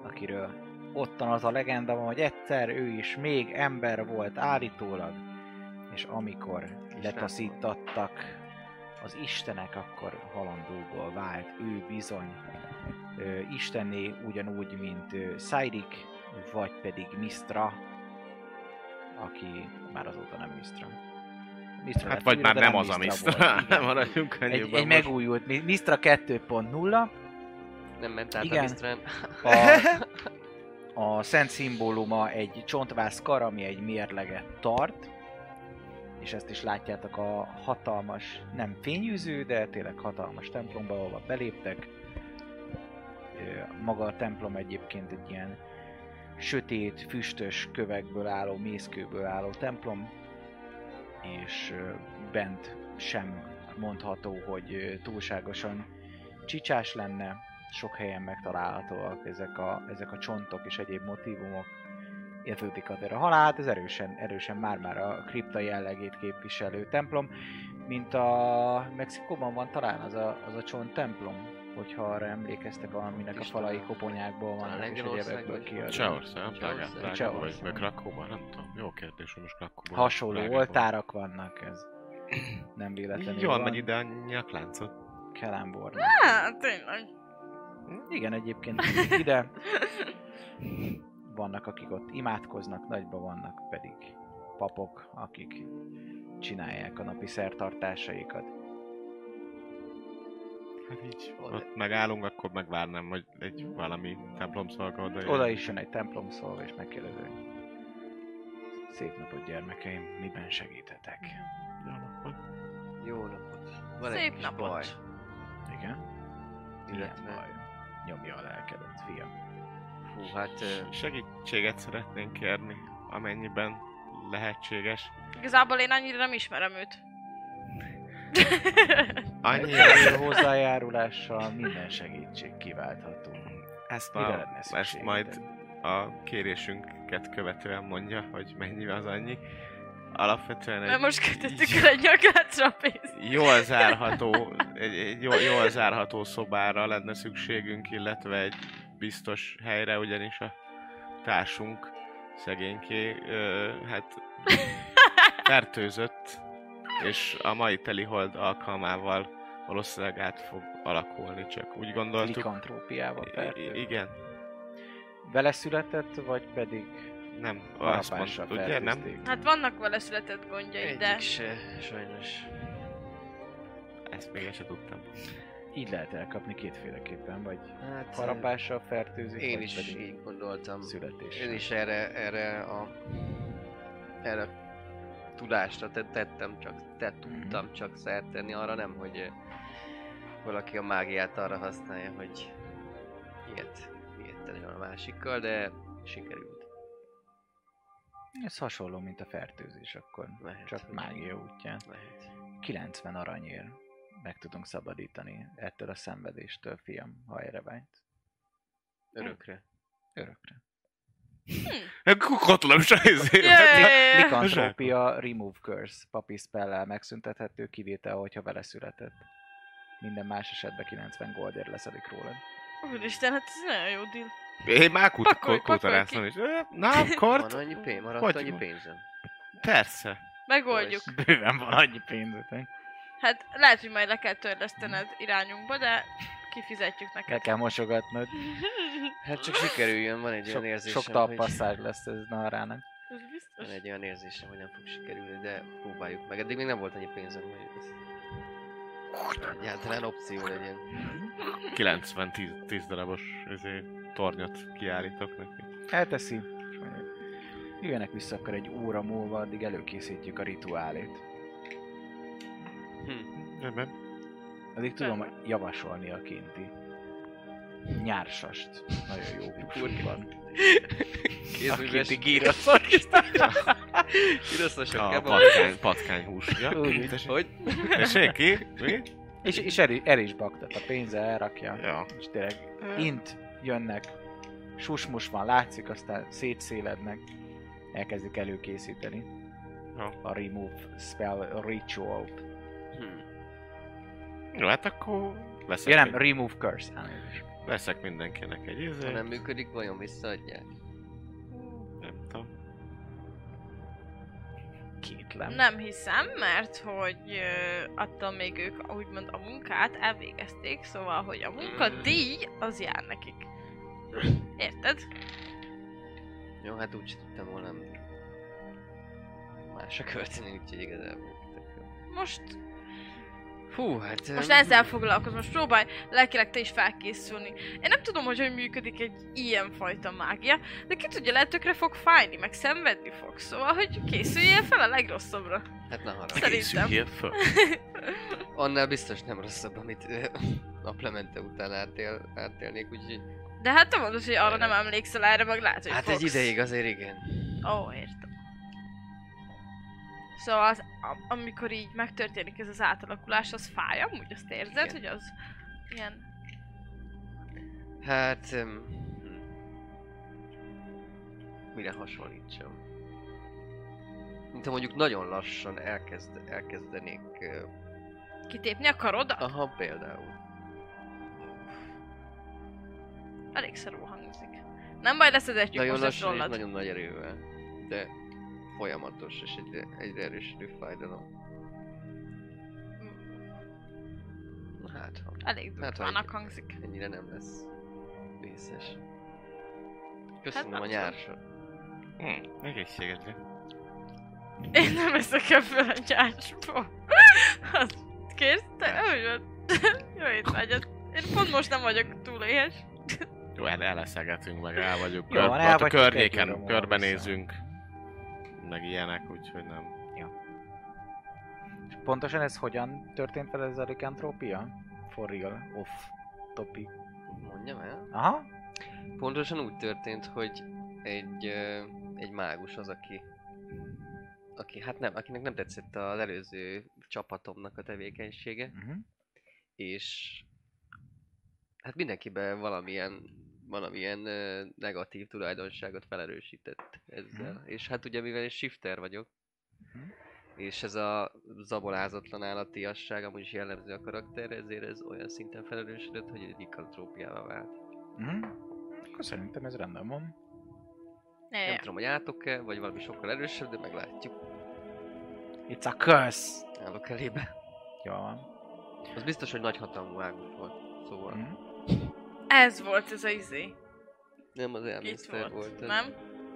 Speaker 1: akiről ottan az a legenda van, hogy egyszer ő is még ember volt állítólag, és amikor letaszítattak az istenek, akkor halandóból vált ő bizony ö, istenné, ugyanúgy, mint ö, Cyrik, vagy pedig Mistra, aki már azóta nem Mistra. Mistra
Speaker 3: Hát
Speaker 1: lett
Speaker 3: vagy
Speaker 1: újra,
Speaker 3: már
Speaker 1: de
Speaker 3: nem az a Mistra.
Speaker 1: volt. Igen.
Speaker 3: Maradjunk
Speaker 1: Egy,
Speaker 3: ennyiben
Speaker 1: egy
Speaker 3: most.
Speaker 1: megújult Mi- Mistra 2.0,
Speaker 4: Nem ment át
Speaker 1: Igen.
Speaker 4: a Misztrán.
Speaker 1: a, a szent szimbóluma egy csontvászkar, ami egy mérleget tart, és ezt is látjátok a hatalmas, nem fényűző, de tényleg hatalmas templomba, ahova beléptek. Ö, Maga a templom egyébként egy ilyen sötét, füstös kövekből álló, mészkőből álló templom, és ö, bent sem mondható, hogy ö, túlságosan csicsás lenne, sok helyen megtalálhatóak ezek a, ezek a csontok és egyéb motivumok. Értődik azért a halált, ez erősen, erősen már-már a kripta jellegét képviselő templom, mint a Mexikóban van talán az a, az a csont templom. hogyha arra emlékeztek valaminek a
Speaker 4: Isten.
Speaker 1: falai koponyákból
Speaker 4: Talán
Speaker 1: vannak, és
Speaker 4: Lengyelország
Speaker 1: egyebekből
Speaker 4: vagy-
Speaker 1: kiadnak.
Speaker 3: Csehország, nem? Prágá-
Speaker 4: Csehország.
Speaker 3: Prágában, vagy,
Speaker 1: Csehország.
Speaker 3: vagy Krakóban, nem tudom. Jó kérdés, hogy most Krakóban.
Speaker 1: Hasonló
Speaker 3: Prágában.
Speaker 1: oltárak vannak, ez nem véletlenül
Speaker 3: Jól
Speaker 1: van.
Speaker 3: megy ide a nyakláncot.
Speaker 1: Kelámbornak.
Speaker 2: Hát, tényleg.
Speaker 1: Igen, egyébként ide vannak, akik ott imádkoznak, nagyba vannak pedig papok, akik csinálják a napi szertartásaikat.
Speaker 3: Hát így,
Speaker 4: Oda.
Speaker 3: ott megállunk, akkor megvárnám, hogy egy valami templom szolga oda
Speaker 1: Oda is jön egy templom szolga, és megkérdezi, hogy szép napot gyermekeim, miben segíthetek?
Speaker 4: Jó napot. Van
Speaker 2: Szép
Speaker 4: egy kis
Speaker 2: napot.
Speaker 4: baj.
Speaker 1: Igen? Milyen
Speaker 4: Illetve,
Speaker 1: baj? Nyomja a lelkedet, fiam.
Speaker 4: fú, hát ö,
Speaker 3: Segítséget szeretnénk kérni, amennyiben lehetséges.
Speaker 2: Igazából én annyira nem ismerem őt.
Speaker 3: Annyi,
Speaker 1: Megfelelő hozzájárulással minden segítség kiváltható.
Speaker 3: ezt,
Speaker 1: Mire
Speaker 3: a,
Speaker 1: lenne
Speaker 3: ezt
Speaker 1: szükséged?
Speaker 3: majd a kérésünket követően mondja, hogy mennyi az annyi. Alapvetően
Speaker 2: Mert
Speaker 3: egy
Speaker 2: most kötöttük el egy nyakácra a pénzt.
Speaker 3: jól zárható, egy, egy jól, jól zárható szobára lenne szükségünk, illetve egy biztos helyre, ugyanis a társunk szegényké, ö, hát fertőzött, és a mai teli hold alkalmával valószínűleg át fog alakulni, csak úgy gondoltuk.
Speaker 1: Likantrópiával
Speaker 3: I- i-
Speaker 1: fertőzött.
Speaker 3: igen,
Speaker 1: Vele született, vagy pedig
Speaker 3: nem, azt
Speaker 1: harapással
Speaker 3: mondtad, ugye, nem?
Speaker 1: fertőzték?
Speaker 2: Hát vannak vele született gondjai, de...
Speaker 4: egyik se, sajnos.
Speaker 3: Ezt még el sem tudtam.
Speaker 1: Így lehet elkapni kétféleképpen, vagy
Speaker 4: Hát,
Speaker 1: harapással fertőzik,
Speaker 4: Én
Speaker 1: vagy
Speaker 4: is
Speaker 1: pedig
Speaker 4: így gondoltam.
Speaker 1: születéssel.
Speaker 4: Én is erre, erre a... Erre a tudásra te- tettem csak, te tudtam csak szert tenni arra nem, hogy ö, valaki a mágiát arra használja, hogy ilyet, ilyet tenni a másikkal, de sikerült.
Speaker 1: Ez hasonló, mint a fertőzés akkor.
Speaker 4: Lehet,
Speaker 1: Csak
Speaker 4: hogy-
Speaker 1: mágia útján.
Speaker 4: Lehet.
Speaker 1: 90 aranyért meg tudunk szabadítani ettől a szenvedéstől, fiam, ha erre vágysz.
Speaker 4: Örökre.
Speaker 1: Örökre.
Speaker 3: Katolom se ezért.
Speaker 4: Hát,
Speaker 2: Yeah.
Speaker 1: Likantrópia Remove Curse papi spellel megszüntethető, kivétel, hogyha vele született. Minden más esetben 90 goldért leszedik rólad.
Speaker 2: Úristen, hát ez nagyon jó deal.
Speaker 3: Én már kut-
Speaker 2: Pakolj,
Speaker 3: kut- kutaráztam is. Ö, Na, akkor
Speaker 4: Van annyi pénz, maradt
Speaker 3: Hogy
Speaker 4: annyi
Speaker 3: van?
Speaker 4: pénzem.
Speaker 3: persze.
Speaker 2: Megoldjuk.
Speaker 1: Bőven van annyi pénzetek.
Speaker 2: Hát lehet, hogy majd le kell törlesztened irányunkba, de kifizetjük
Speaker 1: El
Speaker 2: neked.
Speaker 1: kell mosogatnod.
Speaker 4: Hát csak sikerüljön, van egy
Speaker 1: Sok,
Speaker 4: olyan érzésem,
Speaker 1: sok talpasszás lesz ez Narának.
Speaker 2: Ez
Speaker 4: Van
Speaker 2: biztos.
Speaker 4: egy olyan érzésem, hogy nem fog sikerülni, de próbáljuk meg. Eddig még nem volt annyi pénzem, hogy ez egyáltalán opció legyen.
Speaker 3: 90-10 darabos izé, tornyot kiállítok neki.
Speaker 1: Elteszi. és mondja, Jöjjenek vissza akkor egy óra múlva, addig előkészítjük a rituálét.
Speaker 3: Nem,
Speaker 1: Addig tudom javasolni a kinti. Nyársast. Nagyon jó húsú van. A kinti gíraszos.
Speaker 4: Kirasztasak
Speaker 3: a
Speaker 4: kebab.
Speaker 3: patkány, patkány húsja.
Speaker 1: Úgy.
Speaker 4: Hogy?
Speaker 3: Tessék ki? Mi?
Speaker 1: És, és el, el is baktat a pénze, elrakja.
Speaker 3: Ja.
Speaker 1: És tényleg
Speaker 2: Mm.
Speaker 1: int jönnek, susmus van, látszik, aztán szétszélednek. Elkezdik előkészíteni.
Speaker 3: Ja.
Speaker 1: A remove spell ritual.
Speaker 4: Hm.
Speaker 3: Jó, hát akkor
Speaker 1: Ja
Speaker 3: veszek,
Speaker 1: nem, remove curse. Elnézést.
Speaker 3: veszek mindenkinek egy
Speaker 4: Ha
Speaker 3: izé.
Speaker 4: nem működik, vajon visszaadják?
Speaker 3: Nem tudom.
Speaker 1: Kétlem.
Speaker 2: Nem hiszem, mert hogy ö, attól még ők úgymond a munkát elvégezték, szóval, hogy a munkadíj az jár nekik. Érted?
Speaker 4: Jó, hát úgy tudtam volna még. Másra költeni, úgyhogy igazából. tök jó.
Speaker 2: Most,
Speaker 4: Hú, hát...
Speaker 2: most
Speaker 4: em,
Speaker 2: ezzel foglalkozom, most próbálj lelkileg te is felkészülni. Én nem tudom, hogy hogy működik egy ilyen fajta mágia, de ki tudja, lehet tökre fog fájni, meg szenvedni fog, szóval, hogy készüljél fel a legrosszabbra.
Speaker 4: Hát ne haragudj.
Speaker 2: Szerintem.
Speaker 3: Készüljél föl.
Speaker 4: Annál biztos nem rosszabb, amit ö, naplemente után átél, átélnék, úgyhogy...
Speaker 2: De hát te mondod, hogy arra nem emlékszel, erre meg lehet, hogy
Speaker 4: Hát
Speaker 2: fogsz.
Speaker 4: egy ideig azért igen.
Speaker 2: Ó, értem. Szóval az, am- amikor így megtörténik ez az átalakulás, az fáj amúgy, azt érzed,
Speaker 4: Igen.
Speaker 2: hogy az ilyen...
Speaker 4: Hát... em, hm. Mire hasonlítsam? Mint ha mondjuk nagyon lassan elkezd, elkezdenék... ö,
Speaker 2: Kitépni a karodat?
Speaker 4: Aha, például.
Speaker 2: Elég szarul hangzik. Nem baj, leszedettjük
Speaker 4: Nagyon
Speaker 2: most ezt
Speaker 4: lassan és
Speaker 2: rólad.
Speaker 4: nagyon nagy erővel. De folyamatos és egyre, egyre erősödő fájdalom. Na Hát, ha
Speaker 2: Mm, Elég
Speaker 4: Hát, ha
Speaker 2: durvának
Speaker 4: egy-
Speaker 2: hangzik.
Speaker 4: ennyire nem lesz vészes. Köszönöm a
Speaker 2: Hát abszolút.
Speaker 4: nyársat.
Speaker 3: Hm, egészségedre.
Speaker 2: Én nem eszek ebből a gyácsból. Azt kérsz? Te úgy van. Jó étvágyat. Én pont most nem vagyok túl éhes.
Speaker 3: Jó, el, eleszegetünk, meg el vagyunk.
Speaker 1: Jó,
Speaker 3: Kör,
Speaker 1: van,
Speaker 3: van,
Speaker 1: el
Speaker 3: a
Speaker 1: vagytok, egy óra
Speaker 3: környéken
Speaker 1: múlva
Speaker 3: körbenézünk. Meg ilyenek, úgyhogy nem.
Speaker 1: És pontosan ez hogyan történt vele ez a likantrópia? For real, off topic.
Speaker 4: Mondjam el.
Speaker 1: Aha,
Speaker 4: Pontosan úgy történt, hogy egy, ö, egy mágus az, aki, aki hát nem, akinek nem tetszett az előző csapatomnak a tevékenysége,
Speaker 1: uh-huh.
Speaker 4: és hát mindenkiben valamilyen, valamilyen ö, negatív tulajdonságot felerősített ezzel.
Speaker 1: Mhm.
Speaker 4: És hát ugye mivel én shifter vagyok,
Speaker 1: Mhm.
Speaker 4: és ez a zabolázatlan állatiasság amúgy is jellemző a karakterre, ezért ez olyan szinten felerősödött, hogy egy ikantrópiává vált.
Speaker 1: Uh-huh. Akkor szerintem ez rendben van.
Speaker 2: Ne,
Speaker 4: Nem tudom, hogy átok-e, vagy valami sokkal erősebb, de meglátjuk.
Speaker 1: It's a curse!
Speaker 4: Állok elébe.
Speaker 1: Jó van.
Speaker 4: Az biztos, hogy nagy hatalmú águs volt. Szóval
Speaker 1: Mhm.
Speaker 2: Ez volt ez a izé.
Speaker 4: nem az
Speaker 2: Itt
Speaker 4: elmészter
Speaker 2: volt,
Speaker 4: volt. ez.
Speaker 2: nem?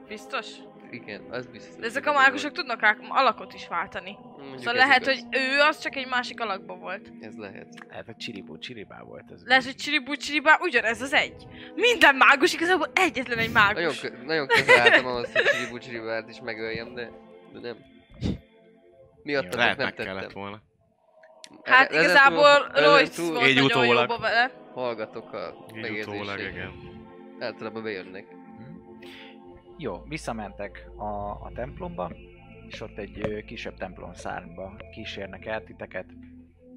Speaker 2: Biztos?
Speaker 4: Igen, az biztos.
Speaker 2: De ezek a
Speaker 4: hogy ez
Speaker 2: mágusok
Speaker 4: volt.
Speaker 2: tudnak ák- alakot is váltani.
Speaker 4: Mondjuk
Speaker 2: Szóval
Speaker 4: ez
Speaker 2: lehet,
Speaker 4: igaz.
Speaker 2: hogy ő az csak egy másik alakban volt.
Speaker 4: Ez lehet.
Speaker 1: Lehet, hogy csiribó csiribá volt ez.
Speaker 2: Lehet, hogy csiribú csiribá ugyanez az egy. Minden mágus igazából egyetlen egy mágus.
Speaker 4: Nagyon, kö- nagyon közel álltam ahhoz, hogy Csiribu Csiribát is megöljem, de, de nem. Miattatok
Speaker 3: Lehet,
Speaker 4: nem
Speaker 3: meg
Speaker 4: tettem.
Speaker 3: kellett volna.
Speaker 2: Hát
Speaker 4: e- Ezen
Speaker 2: igazából
Speaker 4: túl- ezen
Speaker 2: Royce
Speaker 4: túl
Speaker 2: volt
Speaker 3: Így
Speaker 2: nagyon
Speaker 3: utólag.
Speaker 2: jóba vele.
Speaker 4: Hallgatok a
Speaker 3: Így utólag,
Speaker 4: megérzéseim.
Speaker 3: igen.
Speaker 4: Általában bejönnek.
Speaker 1: Mhm. Jó, visszamentek a, a templomba, és ott egy ö, kisebb templom szárnyba kísérnek el titeket,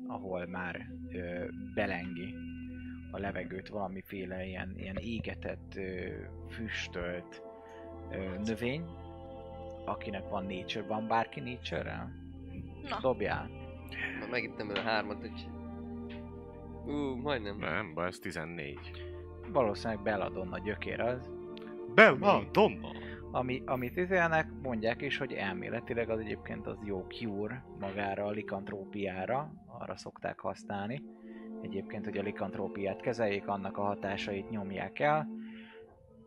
Speaker 1: ahol már ö, belengi a levegőt valamiféle ilyen, ilyen égetett, ö, füstölt ö, növény, akinek van nature, van bárki nature-rel?
Speaker 2: Na.
Speaker 1: Dobjál.
Speaker 4: Már megittem a hármat, hogy... Ú, majdnem.
Speaker 3: Nem, baj, ez 14.
Speaker 1: Valószínűleg Belladonna gyökér az,
Speaker 3: Belladonna!
Speaker 1: ami, amit izélnek, mondják is, hogy elméletileg az egyébként az jó cure magára a likantrópiára, arra szokták használni. Egyébként, hogy a likantrópiát kezeljék, annak a hatásait nyomják el.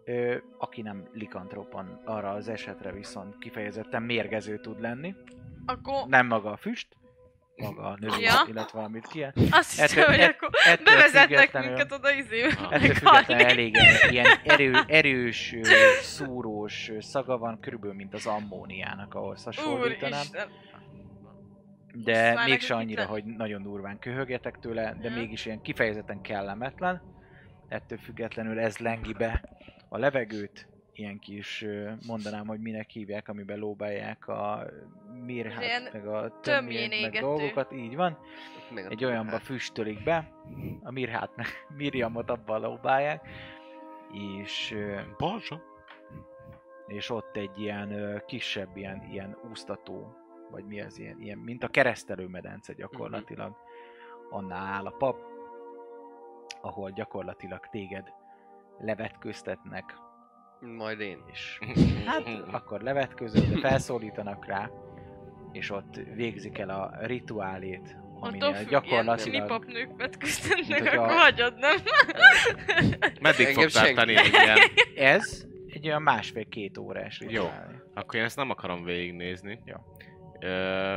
Speaker 1: Ö, aki nem likantrópan, arra az esetre viszont kifejezetten mérgező tud lenni.
Speaker 2: Akkor
Speaker 1: Nem maga a füst, maga a növény,
Speaker 2: Ja.
Speaker 1: illetve amit ki.
Speaker 2: azt
Speaker 1: Ettől-
Speaker 2: hiszem, hogy
Speaker 1: ett-
Speaker 2: akkor
Speaker 1: ettől
Speaker 2: bevezetnek
Speaker 1: függetlenül-
Speaker 2: minket oda izé. izébe.
Speaker 3: Ah.
Speaker 1: Ettől függetlenül elég ilyen erő, erős, ö, szúrós ö, szaga van, körülbelül mint az ammóniának, ahhoz hasonlítanám.
Speaker 2: Úristen.
Speaker 1: De mégse
Speaker 2: Szóval nekünk itt
Speaker 1: annyira,
Speaker 2: le-
Speaker 1: hogy nagyon durván köhögjetek tőle, de
Speaker 2: Ja.
Speaker 1: mégis ilyen kifejezetten kellemetlen. Ettől függetlenül ez lengi be a levegőt, ilyen kis, ö, mondanám, hogy minek hívják, amiben lóbálják a
Speaker 2: Ilyen
Speaker 1: mirhát, meg a
Speaker 2: tömjén
Speaker 1: tömjén, meg
Speaker 2: égető.
Speaker 1: dolgokat, így van.
Speaker 4: Meg Hát,
Speaker 1: Egy olyanba füstölik be, a mirhát, meg mirjamot abban lóbálják, és ö,
Speaker 3: Balzsa?
Speaker 1: és ott egy ilyen ö, kisebb, ilyen, ilyen úsztató, vagy mi az ilyen, ilyen mint a keresztelő medence gyakorlatilag. Annál áll a pap, ahol gyakorlatilag téged levetköztetnek,
Speaker 4: Majd én.
Speaker 1: és hát
Speaker 3: Mhm.
Speaker 1: akkor levetközöd, de felszólítanak rá, és ott végzik el a rituálét,
Speaker 2: Attól
Speaker 1: aminél
Speaker 2: függ, ilyen
Speaker 1: gyakorlatilag...
Speaker 2: nipap nők vetköztetnek,
Speaker 1: Mint hogy a-
Speaker 2: akkor hagyod, nem?
Speaker 3: Meddig
Speaker 4: Engem
Speaker 3: fogtál
Speaker 4: senki.
Speaker 3: tanítani ilyen?
Speaker 1: Ez egy olyan másfél-két órás
Speaker 3: Jó.
Speaker 1: rituálé.
Speaker 3: Akkor én ezt nem akarom végignézni.
Speaker 1: Jó.
Speaker 3: Ö,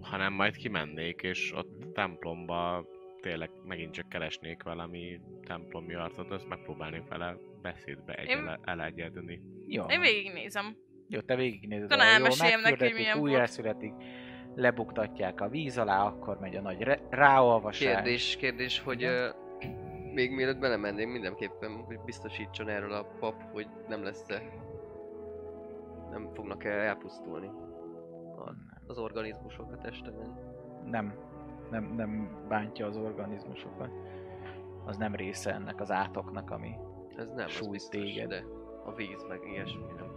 Speaker 3: hanem majd kimennék, és ott a templomba tényleg megint csak keresnék valami templomi arcot, azt megpróbálnék vele beszédbe egy
Speaker 2: Én-
Speaker 3: ele- elegyedni.
Speaker 1: Jó.
Speaker 2: Én végignézem.
Speaker 1: Jó, te végignézed,
Speaker 2: Tudom,
Speaker 1: ahol jól
Speaker 2: elmeséljem neki, hogy
Speaker 1: megkürdetik,
Speaker 2: milyen volt.
Speaker 1: újra születik, lebuktatják a víz alá, akkor megy a nagy re- ráolvasás.
Speaker 4: Kérdés, kérdés, hogy
Speaker 1: Igen.
Speaker 4: ö, még mielőtt belemennénk, mindenképpen hogy biztosítson erről a pap, hogy nem lesz-e... Nem fognak-e elpusztulni a- az organizmusok a testemen.
Speaker 1: Nem, nem, nem bántja az organizmusokat. Az nem része ennek az átoknak, ami
Speaker 4: Ez nem, az
Speaker 1: Sújt
Speaker 4: biztos,
Speaker 1: téged.
Speaker 4: de a víz meg ilyesmi nem.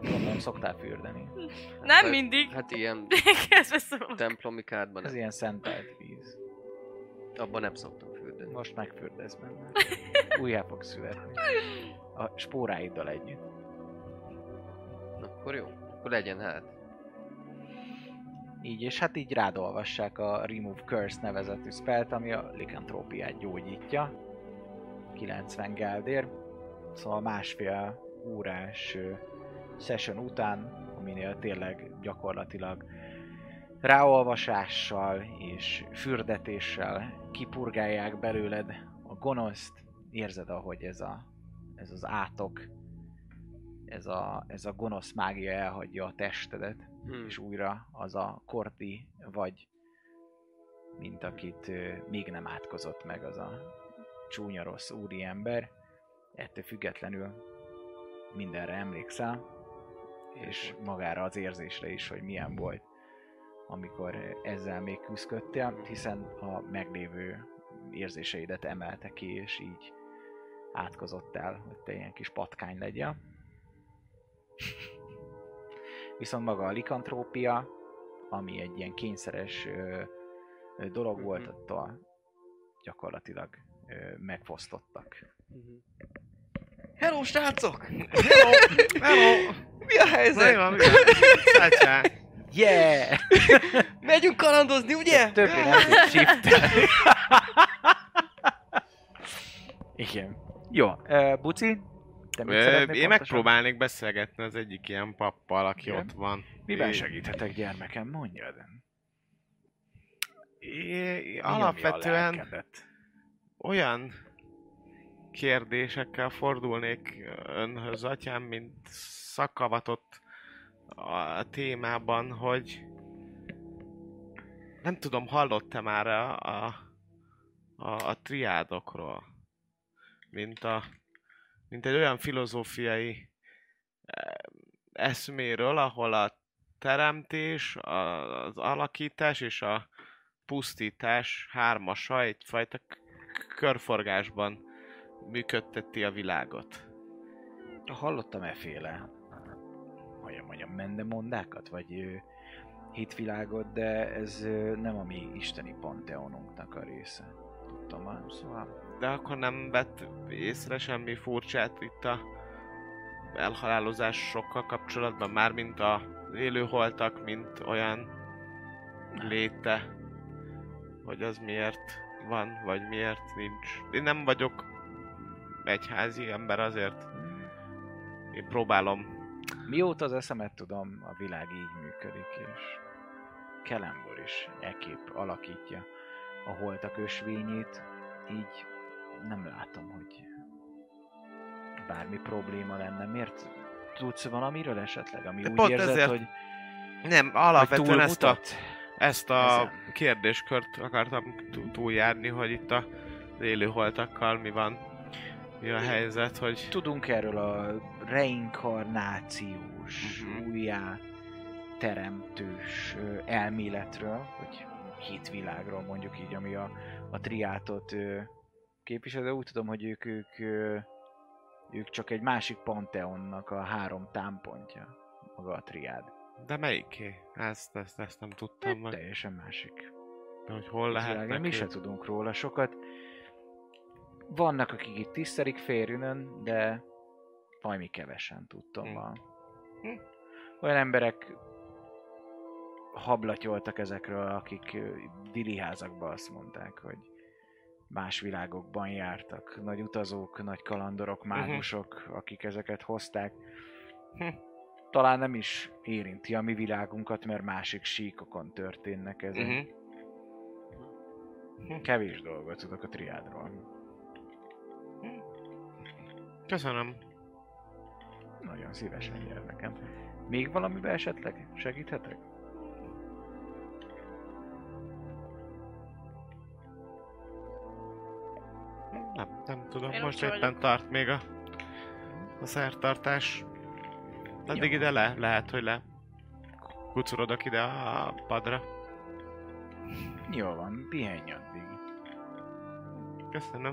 Speaker 1: gondolom szoktál fürdeni.
Speaker 4: Hát,
Speaker 2: Nem
Speaker 4: ö,
Speaker 2: mindig.
Speaker 4: Hát ilyen
Speaker 2: Kezdve szólok.
Speaker 4: templomi kádban
Speaker 1: Ez
Speaker 4: nem,
Speaker 1: ilyen szentelt víz.
Speaker 4: abban nem szoktam fürdeni.
Speaker 1: Most megfürdesz benne. újjá fog születni. A spóráiddal együtt.
Speaker 4: Akkor jó. Akkor legyen hát.
Speaker 1: Így, és hát így rád olvassák a Remove Curse nevezetű spelt, ami a likantrópiát gyógyítja. 90 geldér. Szóval másfél órás ö, session után, aminél tényleg gyakorlatilag ráolvasással és fürdetéssel kipurgálják belőled a gonoszt, érzed, ahogy ez, a, ez az átok, ez a, ez a gonosz mágia elhagyja a testedet
Speaker 4: Hmm.
Speaker 1: és újra az a Korti vagy, mint akit ö, még nem átkozott meg az a csúnya rossz úri ember. Ettől függetlenül mindenre emlékszel, és magára az érzésre is, hogy milyen volt, amikor ö, ezzel még küzdöttél, hiszen a meglévő érzéseidet emelte ki, és így átkozottál, hogy te ilyen kis patkány legyél. Viszont maga a likantrópia, ami egy ilyen kényszeres ö, ö, dolog
Speaker 4: Mhm.
Speaker 1: volt, attól gyakorlatilag ö, megfosztottak.
Speaker 4: Hello, srácok!
Speaker 3: Hello! Hello!
Speaker 4: Mi a helyzet?
Speaker 3: Zajva, mi van? Szácsák!
Speaker 1: Yeah!
Speaker 4: Megyünk kalandozni, ugye?
Speaker 1: Többé nem tudsz shiftelni. Igen. Jó, ö, Buci? Te mit
Speaker 3: Ö,
Speaker 1: szeretnél
Speaker 3: Én
Speaker 1: pontosan?
Speaker 3: megpróbálnék beszélgetni az egyik ilyen pappal, aki
Speaker 1: Igen.
Speaker 3: ott van.
Speaker 1: Miben
Speaker 3: Én-
Speaker 1: segíthetek gyermekem, mondjad?
Speaker 3: É,
Speaker 1: Mi, ami a
Speaker 3: alapvetően
Speaker 1: lelkedet?
Speaker 3: olyan kérdésekkel fordulnék önhöz, atyám, mint szakavatott a témában, hogy nem tudom, hallott-e már a, a, a, a triádokról, mint, a, mint egy olyan filozófiai eh, eszméről, ahol a teremtés, a- az alakítás és a pusztítás hármasa egyfajta k- körforgásban működteti a világot.
Speaker 1: Hallottam eféle, hogy mondjam, mendemondákat, vagy ö, hitvilágot, de ez ö, nem a mi isteni panteonunknak a része. Tudtam már, szóval...
Speaker 3: De akkor nem vett észre semmi furcsát itt a elhalálozásokkal kapcsolatban, mármint a élőholtak, mint olyan léte, hogy az miért van, vagy miért nincs. Én nem vagyok egyházi ember azért. Én próbálom.
Speaker 1: Mióta az eszemet tudom, a világ így működik, és Kelembor is ekép alakítja a holtak ösvényét, így nem látom, hogy bármi probléma lenne. Miért tudsz valamiről esetleg, ami
Speaker 3: De
Speaker 1: úgy
Speaker 3: pont
Speaker 1: érzed,
Speaker 3: ezért
Speaker 1: hogy,
Speaker 3: Nem,
Speaker 1: hogy
Speaker 3: alapvetően ezt a,
Speaker 1: túlmutat?
Speaker 3: ezt a
Speaker 1: Ezen.
Speaker 3: kérdéskört akartam tú- túljárni, hogy itt a élőholtakkal mi van, mi a helyzet, hogy
Speaker 1: Tudunk erről a reinkarnációs,
Speaker 3: Mhm.
Speaker 1: újjá teremtős ö, elméletről, vagy hitvilágról mondjuk így, ami a, a triátot ö, képvisel, de úgy tudom, hogy ők, ők, ö, ők csak egy másik panteonnak a három támpontja, maga a triád.
Speaker 3: de melyiké? Ezt, ezt, ezt nem tudtam meg,
Speaker 1: Teljesen másik
Speaker 3: de hogy hol
Speaker 1: Lehet
Speaker 3: lehetnek
Speaker 1: mi se
Speaker 3: ők.
Speaker 1: tudunk róla sokat. Vannak, akik itt tisztelik férjünön, de valami kevesen tudtam
Speaker 3: Hm.
Speaker 1: van.
Speaker 3: Hm.
Speaker 1: Olyan emberek hablatyoltak ezekről, akik ö, diliházakban azt mondták, hogy más világokban jártak. Nagy utazók, nagy kalandorok, mágusok, akik ezeket hozták.
Speaker 3: Mhm. Hm.
Speaker 1: Talán nem is érinti a mi világunkat, mert másik síkokon történnek ezek.
Speaker 3: Mhm.
Speaker 1: Kevés dolgot tudok a triádról.
Speaker 3: Köszönöm.
Speaker 1: Nagyon szívesen gyermekem. Még valamiben esetleg segíthetek?
Speaker 3: Nem, nem tudom,
Speaker 2: Én
Speaker 3: most
Speaker 2: ott
Speaker 3: éppen
Speaker 2: vagyok.
Speaker 3: tart még a, a szertartás. Addig
Speaker 1: Jó.
Speaker 3: ide le, lehet, hogy le kucorodok ide a padra.
Speaker 1: Jó van, pihenj addig.
Speaker 3: Köszönöm.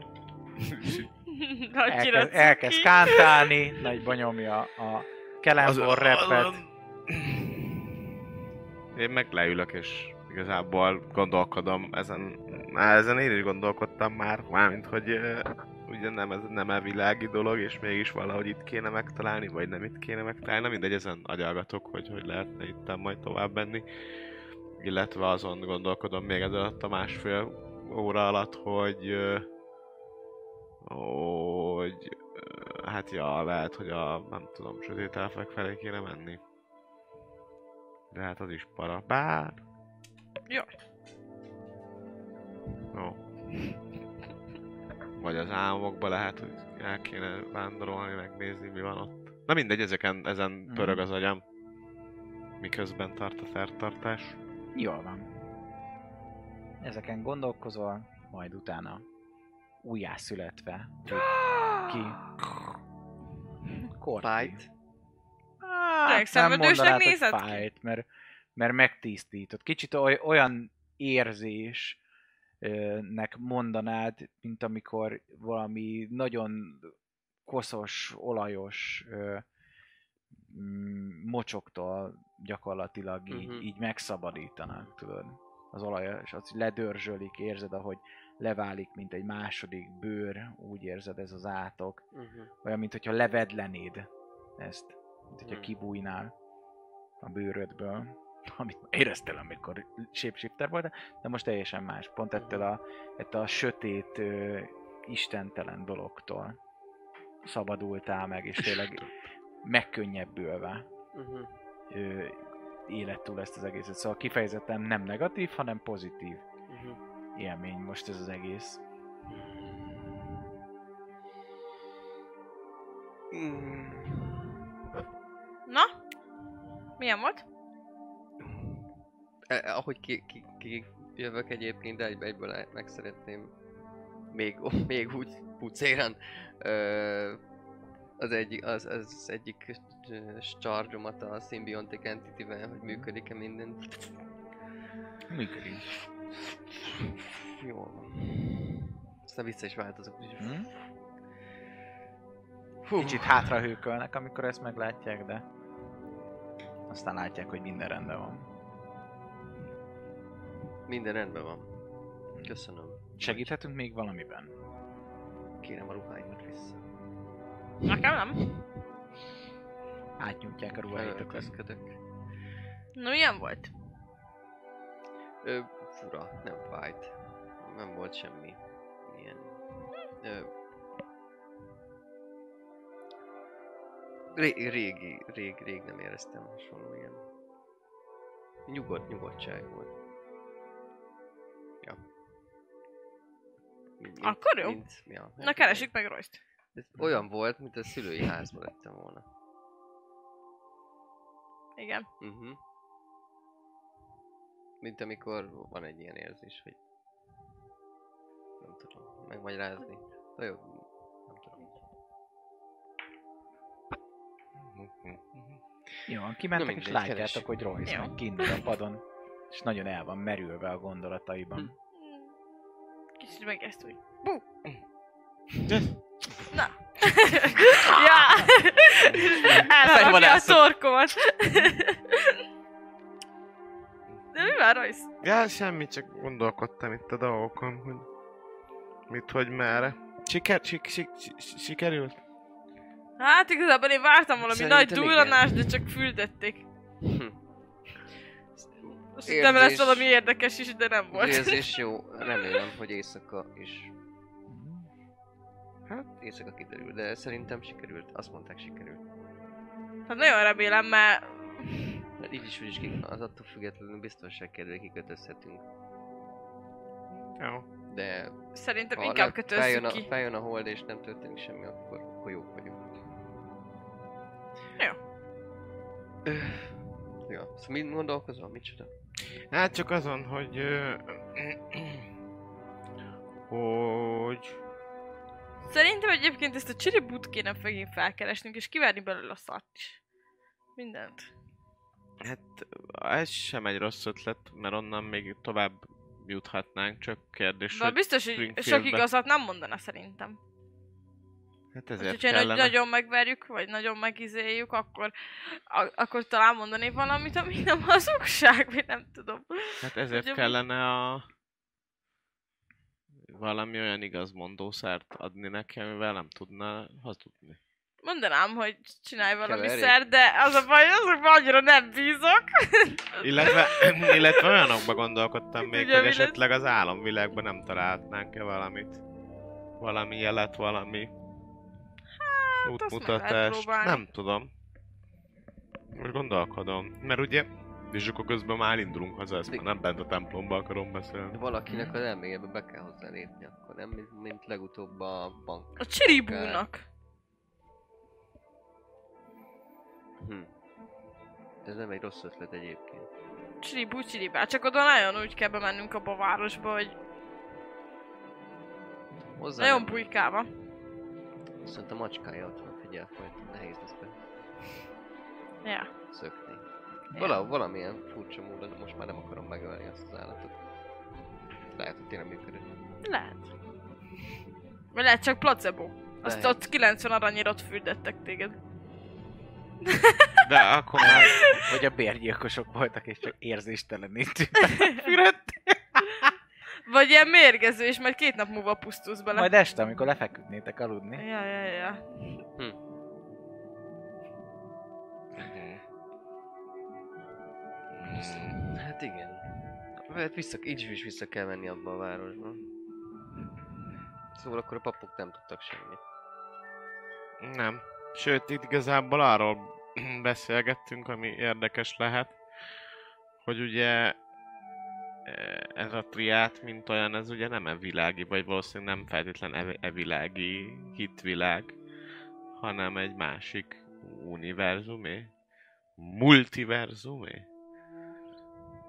Speaker 1: Elkezd, elkezd kántálni, nagyba nyomja a kelembor repet.
Speaker 3: Én meg leülök, és igazából gondolkodom ezen, már ezen én is gondolkodtam már, mármint, hogy ö, ugye nem, ez nem elvilági dolog, és mégis valahogy itt kéne megtalálni, vagy nem itt kéne megtalálni, Na mindegy, ezen agyalgatok, hogy hogy lehetne itt majd tovább menni. Illetve azon gondolkodom még ez alatt a másfél óra alatt, hogy... ö, hogy... ö, hát ja, lehet, hogy a, nem tudom, sötét elfek felé kéne menni. De hát az is para. Bár...
Speaker 2: Jó.
Speaker 3: Jó. Vagy az álmokba lehet, hogy el kéne vándorolni, megnézni, mi van ott. Na mindegy, ezeken, ezen
Speaker 1: Mhm.
Speaker 3: pörög az agyam. Miközben tart a szertartás.
Speaker 1: Jól van. Ezeken gondolkozol, majd utána újjászületve ki. Korti.
Speaker 4: Fight.
Speaker 1: Hát,
Speaker 2: Tényleg szenvedősnek
Speaker 1: mondanád, hogy
Speaker 2: nézed ki?
Speaker 1: fájt, mert, mert megtisztított. Kicsit oly, olyan érzés ö, nek mondanád, mint amikor valami nagyon koszos, olajos ö, mm, mocsoktól gyakorlatilag így,
Speaker 4: Mhm.
Speaker 1: így megszabadítanak, tudod. Az olajos, az ledörzsölik, érzed, ahogy leválik, mint egy második bőr, úgy érzed ez az átok
Speaker 4: Uh-huh.
Speaker 1: olyan, mint hogyha levedlenéd ezt, mint hogyha
Speaker 4: Hmm.
Speaker 1: kibújnál a bőrödből, amit éreztél, amikor shapeshifter volt, de most teljesen más, pont ettől a, ettől a sötét, ö, istentelen dologtól szabadultál meg, és tényleg megkönnyebbülve
Speaker 4: Uh-huh.
Speaker 1: ö, élet túl ezt az egészet. Szóval kifejezetten nem negatív, hanem pozitív
Speaker 4: Uh-huh.
Speaker 1: élmény most ez az egész.
Speaker 4: Hmm.
Speaker 2: Na? Milyen volt?
Speaker 4: Eh, ahogy ki, ki, ki jövök egyébként, de egy, egyből el- meg szeretném még, még úgy pucéran ö, az, egy, az, az egyik ö, charge-omat a Symbiontic Entity-vel, hogy működik-e minden.
Speaker 1: Működik.
Speaker 4: Jól van. Aztán vissza is változok.
Speaker 1: Hm?
Speaker 4: Hú.
Speaker 1: Kicsit hátra hőkölnek, amikor ezt meglátják, de aztán látják, hogy minden rendben van.
Speaker 4: Minden rendben van. Köszönöm.
Speaker 1: Segíthetünk még valamiben?
Speaker 4: Kérem a ruháimat vissza.
Speaker 2: Nekem nem.
Speaker 1: Átnyújtják a ruháitokat.
Speaker 4: Felöltözködök.
Speaker 2: Na milyen volt?
Speaker 4: Ö, fura, nem fájt. Nem volt semmi. Ilyen. Ö, ré, régi, rég, rég nem éreztem hasonló ilyen. Nyugodt, nyugodtság volt. Ja. Mint- mint-
Speaker 2: Akkor jó.
Speaker 4: mint- ja,
Speaker 2: Na keresik meg Royce-t.
Speaker 4: Ez olyan volt, mint a szülői házban lettem volna.
Speaker 2: Igen.
Speaker 4: Uh-huh. Mint amikor van egy ilyen érzés, hogy nem tudom megmagyarázni. Na jó, nem tudom.
Speaker 1: Jó, van,
Speaker 4: Na
Speaker 1: kimentek és
Speaker 4: mindegy,
Speaker 1: látjátok,
Speaker 4: keressük.
Speaker 1: hogy Royce
Speaker 2: Jó.
Speaker 1: meg kint a padon, és nagyon el van merülve a gondolataiban.
Speaker 2: Kicsit megezt úgy. Bú!
Speaker 3: Yes.
Speaker 2: Na! ja! Elharapja a
Speaker 4: Fejvadászok.
Speaker 2: torkomat. De mi van, Royce?
Speaker 3: Ja, semmi, csak gondolkodtam itt a dolgokon, hogy mit, hogy merre. Siker, sik, sik, sik, sikerült?
Speaker 2: Hát igazából én vártam valami
Speaker 4: Szerintem
Speaker 2: nagy durranást, de csak füldették. Azt hittem lesz
Speaker 4: Érzés.
Speaker 2: valami érdekes is, de nem
Speaker 4: Az
Speaker 2: volt.
Speaker 4: érzés jó, remélem, hogy éjszaka is. Hát éjszaka kiderül, de szerintem sikerült. Azt mondták sikerült.
Speaker 2: Hát nagyon remélem, mert
Speaker 4: Hát így is, úgy is ki, az attól függetlenül biztonság kedvé kikötözhetünk.
Speaker 3: Jó.
Speaker 4: De
Speaker 2: szerintem
Speaker 4: ha
Speaker 2: inkább
Speaker 4: le- feljön
Speaker 2: kötözzük
Speaker 4: a,
Speaker 2: ki.
Speaker 4: feljön a hold és nem történik semmi, akkor, akkor jók vagyunk.
Speaker 2: Jó.
Speaker 4: Öh, Ja, szóval mit gondolkozol? Micsoda?
Speaker 3: Hát csak azon, hogy... Ö, hogy...
Speaker 2: Szerintem egyébként ezt a csiribút kéne megint felkeresnünk, és kiverni belőle a szart is. Mindent.
Speaker 3: Hát ez sem egy rossz ötlet, mert onnan még tovább juthatnánk, csak kérdés,
Speaker 2: De
Speaker 3: hogy...
Speaker 2: biztos, hogy sok
Speaker 3: Springfieldbe.
Speaker 2: igazat nem mondana szerintem.
Speaker 3: Hát
Speaker 2: Ezért
Speaker 3: ezért
Speaker 2: hogyha kellene.
Speaker 3: kellene.
Speaker 2: nagyon megverjük, vagy nagyon megizéljük, akkor, a, akkor talán mondani valamit, ami nem hazugság, vagy nem tudom.
Speaker 3: Hát ezért
Speaker 2: Ugye-
Speaker 3: kellene a... valami olyan igazmondószert adni neki, amivel nem tudna hazudni.
Speaker 2: Mondanám, hogy csinálj valami
Speaker 4: Keverjük.
Speaker 2: szer, de az a baj, azokban annyira nem bízok.
Speaker 3: Illetve, illetve olyanokba gondolkodtam még,
Speaker 2: Tudja,
Speaker 3: hogy
Speaker 2: mi lesz?
Speaker 3: esetleg az álomvilágban nem találhatnánk-e valamit. Valami jelet, valami
Speaker 2: Hát, azt meg lehet
Speaker 3: útmutatást.
Speaker 2: próbálni.
Speaker 3: Nem tudom. Most gondolkodom. Mert ugye, és akkor közben már elindulunk haza, ezt már nem bent a templomba akarom beszélni.
Speaker 4: Valakinek az elméjébe be kell hozzá lépni, akkor nem, mint, mint legutóbb a bank.
Speaker 2: A csiribúnak.
Speaker 4: Hm. Ez nem egy rossz ötlet egyébként.
Speaker 2: Csiribú, csiribá. Csak oda nagyon úgy kell bemennünk abba a városba, hogy
Speaker 4: Hozzá
Speaker 2: nagyon
Speaker 4: nem-
Speaker 2: pulykába.
Speaker 4: Viszont a macskája ott van, figyel, majd nehéz lesz be
Speaker 2: Ja.
Speaker 4: szökni. Valahol, valamilyen furcsa módon most már nem akarom megölni azt az állatot. Lehet, hogy tényleg működő.
Speaker 2: Lehet. Vagy lehet csak placebo. Azt
Speaker 4: Lehet.
Speaker 2: ott 90 aranyért fürdettek téged.
Speaker 3: De akkor
Speaker 2: Hát,
Speaker 3: már...
Speaker 1: Vagy a bérgyilkosok voltak, és csak érzéstelenítő.
Speaker 2: Vagy ilyen mérgező, és majd két nap múlva pusztulsz bele.
Speaker 1: Majd este, amikor lefeküdnétek aludni.
Speaker 2: Ja, ja, ja. hm.
Speaker 4: Hát igen. Hát vissza, így is vissza kell menni abba a városba. Szóval akkor a papok nem tudtak semmit.
Speaker 3: Nem. Sőt, itt igazából arról beszélgettünk, ami érdekes lehet, hogy ugye eh, ez a triát, mint olyan, ez ugye nem evilági, vagy valószínűleg nem feltétlen ev- evilági hitvilág, hanem egy másik univerzumé, multiverzumé,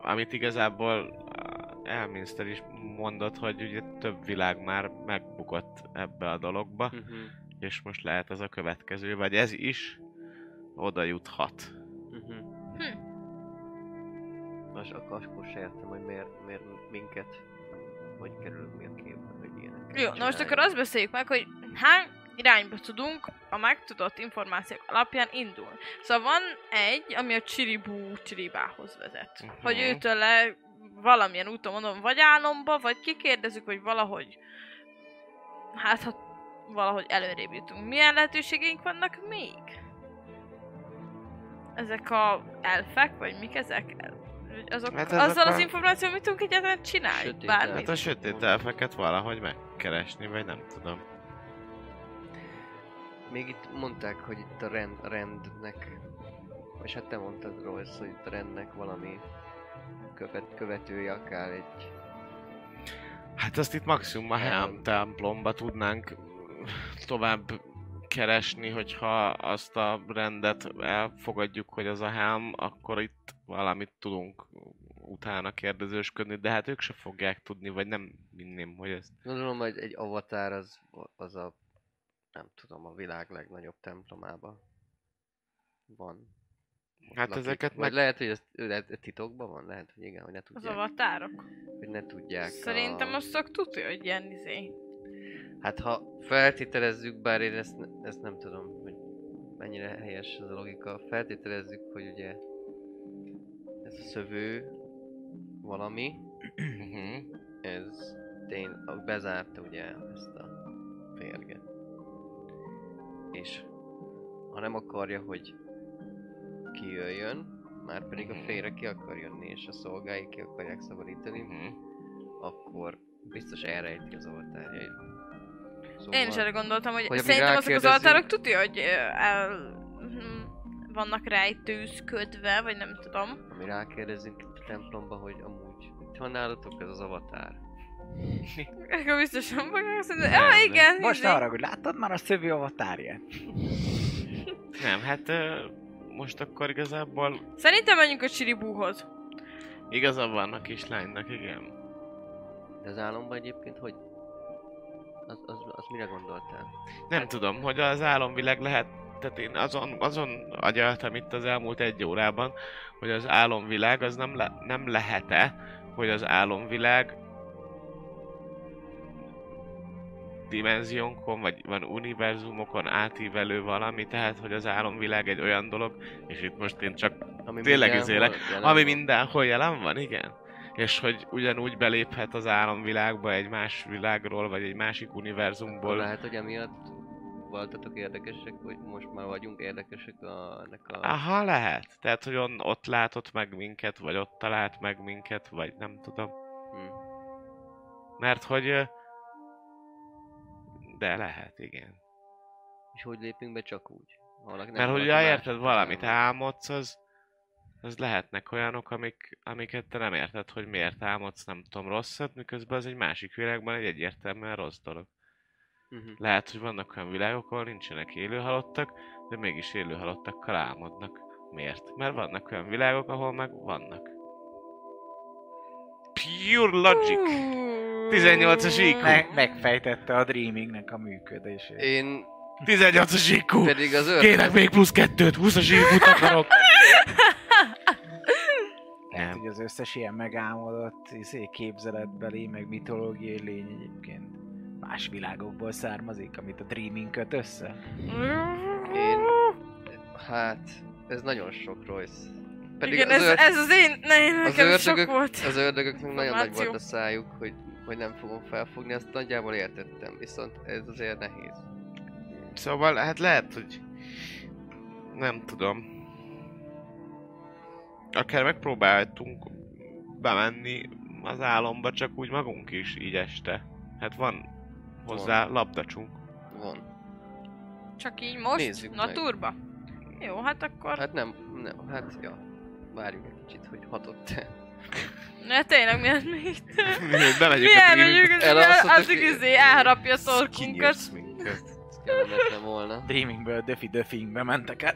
Speaker 3: amit igazából ah, Elminster is mondott, hogy ugye több világ már megbukott ebbe a dologba,
Speaker 2: Mhm.
Speaker 4: Uh-huh.
Speaker 3: és most lehet ez a következő, vagy ez is oda juthat. Mhm.
Speaker 4: Uh-huh.
Speaker 2: Hm.
Speaker 4: Most akkor, akkor se értem, hogy miért, miért minket, hogy kerülünk mi a képbe, hogy ilyenek.
Speaker 2: Jó, na most akkor azt beszéljük meg, hogy hány irányba tudunk a megtudott információk alapján indulni. Szóval van egy, ami a Csiribú Csiribához vezet.
Speaker 3: Mhm.
Speaker 2: Hogy őtől le valamilyen úton mondom, vagy álomba, vagy kikérdezzük, hogy valahogy hát ha valahogy előrébb jutunk. Milyen lehetőségeink vannak még? Ezek a elfek, vagy mik ezek? Azok,
Speaker 3: Hát
Speaker 2: hát
Speaker 3: ezek
Speaker 2: azzal
Speaker 3: a-
Speaker 2: az információval mit tudunk egyáltalán csinálni?
Speaker 4: Sötét
Speaker 2: Bármit.
Speaker 3: Hát a sötét
Speaker 4: mondom.
Speaker 3: elfeket valahogy megkeresni, vagy nem tudom.
Speaker 4: Még itt mondták, hogy itt a rend, rendnek, és hát te mondtad Royce, hogy itt a rendnek valami követ, követője akár egy...
Speaker 3: Hát azt itt maximum a Helm templomba tudnánk tovább keresni, hogyha azt a rendet elfogadjuk, hogy az a Helm, akkor itt valamit tudunk utána kérdezősködni, de hát ők se fogják tudni, vagy nem minném, hogy ezt
Speaker 4: Gondolom, hogy egy avatár az, az a, nem tudom, a világ legnagyobb templomába van. Ott
Speaker 3: Hát ezeket
Speaker 4: Vagy
Speaker 3: meg-
Speaker 4: lehet, hogy ez ő lehet, titokban van? Lehet, hogy igen, hogy ne
Speaker 2: Az
Speaker 4: tudják.
Speaker 2: avatárok.
Speaker 4: Hogy ne tudják
Speaker 2: Szerintem
Speaker 4: a...
Speaker 2: azt csak tudja, hogy ilyen izé.
Speaker 4: Hát ha feltételezzük, bár én ezt, ne- ezt nem tudom, hogy mennyire helyes ez a logika, feltételezzük, hogy ugye ez a szövő valami,
Speaker 3: Mhm,
Speaker 4: ez tény, a- bezárta ugye ezt a férget. És ha nem akarja, hogy kijöjjön, már pedig a
Speaker 3: Mhm.
Speaker 4: félre ki akar jönni, és a szolgái ki akarják szabadítani,
Speaker 3: mhm.
Speaker 4: akkor biztos elrejti az avatárjait. Szóval...
Speaker 2: Én is erre gondoltam, hogy,
Speaker 4: Hogy amíg
Speaker 2: szerintem azok az
Speaker 4: rákérdezünk-
Speaker 2: altárok tudja, hogy ö, el, hm, vannak rejtőzködve, vagy nem tudom.
Speaker 4: Ami rákérdezünk itt a templomba, hogy amúgy itt van nálatok ez az avatár.
Speaker 2: Akkor biztosan fogják szerintem.
Speaker 3: Nem,
Speaker 2: Ja,
Speaker 3: nem.
Speaker 2: igen,
Speaker 1: Most
Speaker 2: izé.
Speaker 1: arra, hogy láttad már a szövő avatárját?
Speaker 3: Nem, hát ö, most akkor igazából
Speaker 2: Szerintem menjünk a Csiribúhoz.
Speaker 3: Igaza van a kislánynak, igen.
Speaker 4: De az álomban egyébként hogy? Az, az, az mire gondoltál?
Speaker 3: Nem tudom, hogy az álomvilág lehet... Tehát én azon, azon agyaltam itt az elmúlt egy órában, hogy az álomvilág az nem, le, nem lehet-e, hogy az álomvilág dimenziónkon, vagy van univerzumokon átívelő valami, tehát hogy az álomvilág egy olyan dolog, és itt most én csak
Speaker 4: Ami
Speaker 3: Tényleg
Speaker 4: mindenhol
Speaker 3: izélek.
Speaker 4: jelen
Speaker 3: Ami
Speaker 4: van.
Speaker 3: mindenhol jelen van, igen. és hogy ugyanúgy beléphet az álomvilágba egy más világról, vagy egy másik univerzumból.
Speaker 4: Lehet, hogy emiatt voltatok érdekesek, hogy most már vagyunk érdekesek a, ennek a...
Speaker 3: Aha, lehet. Tehát, hogy on, ott látott meg minket, vagy ott talált meg minket, vagy nem tudom.
Speaker 4: Hm.
Speaker 3: Mert hogy... ö, De lehet, igen.
Speaker 4: És hogy lépünk be csak úgy? Ha Valaki
Speaker 3: Mert
Speaker 4: valaki
Speaker 3: hogy ja,
Speaker 4: más-
Speaker 3: érted, valamit
Speaker 4: nem.
Speaker 3: hát. álmodsz, az, az lehetnek olyanok, amik, amiket te nem érted, hogy miért álmodsz, nem tudom, rosszat, miközben az egy másik világban egy egyértelműen rossz dolog.
Speaker 4: Mhm.
Speaker 3: Lehet, hogy vannak olyan világok, ahol nincsenek élőhalottak, de mégis élőhalottakkal álmodnak. Miért? Mert vannak olyan világok, ahol meg vannak. Pure
Speaker 2: Hmm.
Speaker 3: logic! 18-as IQ.
Speaker 1: Me- megfejtette a Dreamingnek a működését.
Speaker 4: Én
Speaker 3: 18-as IQ!
Speaker 4: pedig az ördög...
Speaker 3: Kérek még plusz kettőt, 20-as IQ-t akarok!
Speaker 1: Tehát,
Speaker 3: Nem.
Speaker 1: hogy az összes ilyen megálmodott izé, képzeletbeli, meg mitológiai lény egyébként más világokból származik, amit a Dreaming köt össze.
Speaker 4: Én... Hát... Ez nagyon sok, Royce. Pedig
Speaker 2: Igen,
Speaker 4: az
Speaker 2: ez,
Speaker 4: ördög-
Speaker 2: ez az én, ne, nekem sok
Speaker 4: ördögök-
Speaker 2: volt.
Speaker 4: Az ördögöknek nagyon nagy
Speaker 2: Információ.
Speaker 4: volt a szájuk, hogy, hogy nem fogom felfogni, azt nagyjából értettem. Viszont ez azért nehéz.
Speaker 3: Szóval, hát lehet, hogy... Nem tudom. Akár megpróbáltunk bemenni az álomba, csak úgy magunk is, így este. Hát van hozzá labdacsunk.
Speaker 4: Van.
Speaker 2: Csak így most?
Speaker 4: Nézzük meg.
Speaker 2: Naturba? Jó, hát akkor...
Speaker 4: Hát nem, nem, hát ja. Várjuk egy kicsit, hogy hatott.
Speaker 2: Ne tényleg, miért mi itt?
Speaker 3: Mi, hogy bemegyünk
Speaker 2: Mi
Speaker 3: a dreaming-
Speaker 2: elmegyünk, az
Speaker 4: Elasszottak-
Speaker 2: addig izé elharapja a torkunkat.
Speaker 3: Kinyírsz minket.
Speaker 4: Ez kellemetlen volna.
Speaker 1: Dreamingből Döfi Döfingbe mentek el.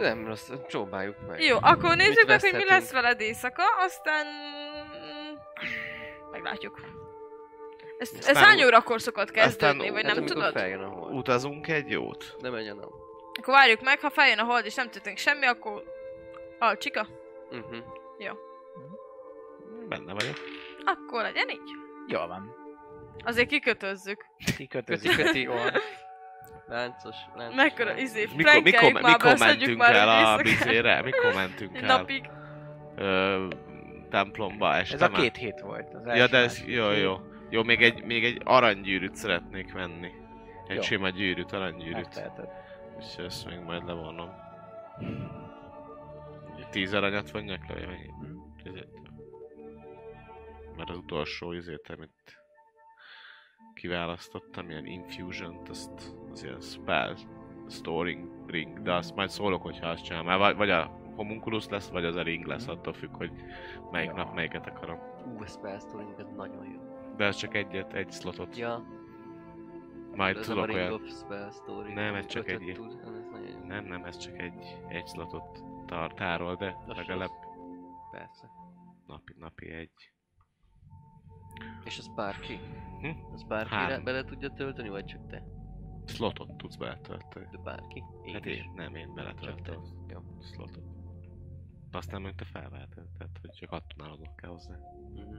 Speaker 4: Nem rossz, próbáljuk meg.
Speaker 2: Mm. Jó, akkor nézzük meg, hogy mi
Speaker 4: veszthetünk?
Speaker 2: lesz veled éjszaka, aztán... Meglátjuk. Ez, ez
Speaker 3: Aztán-
Speaker 2: hány órakor szokott kezdődni,
Speaker 3: aztán-
Speaker 2: vagy
Speaker 4: hát
Speaker 2: nem
Speaker 4: amikor
Speaker 2: tudod?
Speaker 4: feljön a hol.
Speaker 3: Utazunk egy jót?
Speaker 4: Ne menjen a...
Speaker 2: Akkor várjuk meg, ha feljön a hold és nem történik semmi, akkor... Ah, csika?
Speaker 4: Uh-huh.
Speaker 3: Benne vagyok.
Speaker 2: Akkor legyen így.
Speaker 1: Jól van.
Speaker 2: Azért kikötözzük.
Speaker 1: Kikötözik.
Speaker 4: Köti, köti, van. Láncos, láncos.
Speaker 2: Mekkora
Speaker 4: láncos.
Speaker 2: izé,
Speaker 3: Mikor, mikor,
Speaker 2: flankeljük már,
Speaker 3: mikor
Speaker 2: beszedjük
Speaker 3: mentünk
Speaker 2: már
Speaker 3: el a
Speaker 2: éjszaka-
Speaker 3: bizére? Mikor mentünk el?
Speaker 2: Napig.
Speaker 3: Ö, templomba este
Speaker 1: Ez a
Speaker 3: már?
Speaker 1: két hét volt. Az
Speaker 3: Ja,
Speaker 1: első
Speaker 3: de ez...
Speaker 1: másik.
Speaker 3: Jó, jó. Jó, még egy, még egy aranygyűrűt szeretnék venni. Egy
Speaker 1: Jó. Hát
Speaker 3: sima gyűrűt, aranygyűrűt.
Speaker 1: Megteheted.
Speaker 3: És ezt még majd levonom. Tíz aranyat vonjak le, vagy mennyi?
Speaker 1: Hm.
Speaker 3: Ezért. Mert az utolsó izét, amit kiválasztottam, ilyen infusion azt az ilyen spell storing ring, de azt majd szólok, hogyha azt csinálom. Már Vagy, vagy a homunculus lesz, vagy az a ring lesz, attól függ, hogy melyik
Speaker 1: Jó.
Speaker 3: nap melyiket akarom.
Speaker 4: Ú, ez felsztorink, ez nagyon jó.
Speaker 3: De ez csak egyet, egy slotot.
Speaker 4: Ja,
Speaker 3: Majd
Speaker 4: ez
Speaker 3: tudok
Speaker 4: a Ring
Speaker 3: olyan.
Speaker 4: of Spell Story.
Speaker 3: Nem, ez csak
Speaker 4: Ötöt
Speaker 3: egy-
Speaker 4: tud, ez nagyon jó.
Speaker 3: Nem, nem, ez csak egy, egy slotot tar- tárol, de
Speaker 4: Az
Speaker 3: legalább
Speaker 4: Persze.
Speaker 3: napi, napi egy.
Speaker 4: És az bárki?
Speaker 3: Hm?
Speaker 4: Az bárki
Speaker 3: Három.
Speaker 4: re- bele tudja tölteni, vagy csak te?
Speaker 3: Slotot tudsz beletölteni.
Speaker 4: De bárki? Én
Speaker 3: Hát
Speaker 4: is.
Speaker 3: én, nem, én
Speaker 4: Csak te.
Speaker 3: beletöltöm
Speaker 4: Jó.
Speaker 3: a slotot. Aztán meg te felváltad, tehát hogy csak attonálodok kell hozzá.
Speaker 4: Mhm.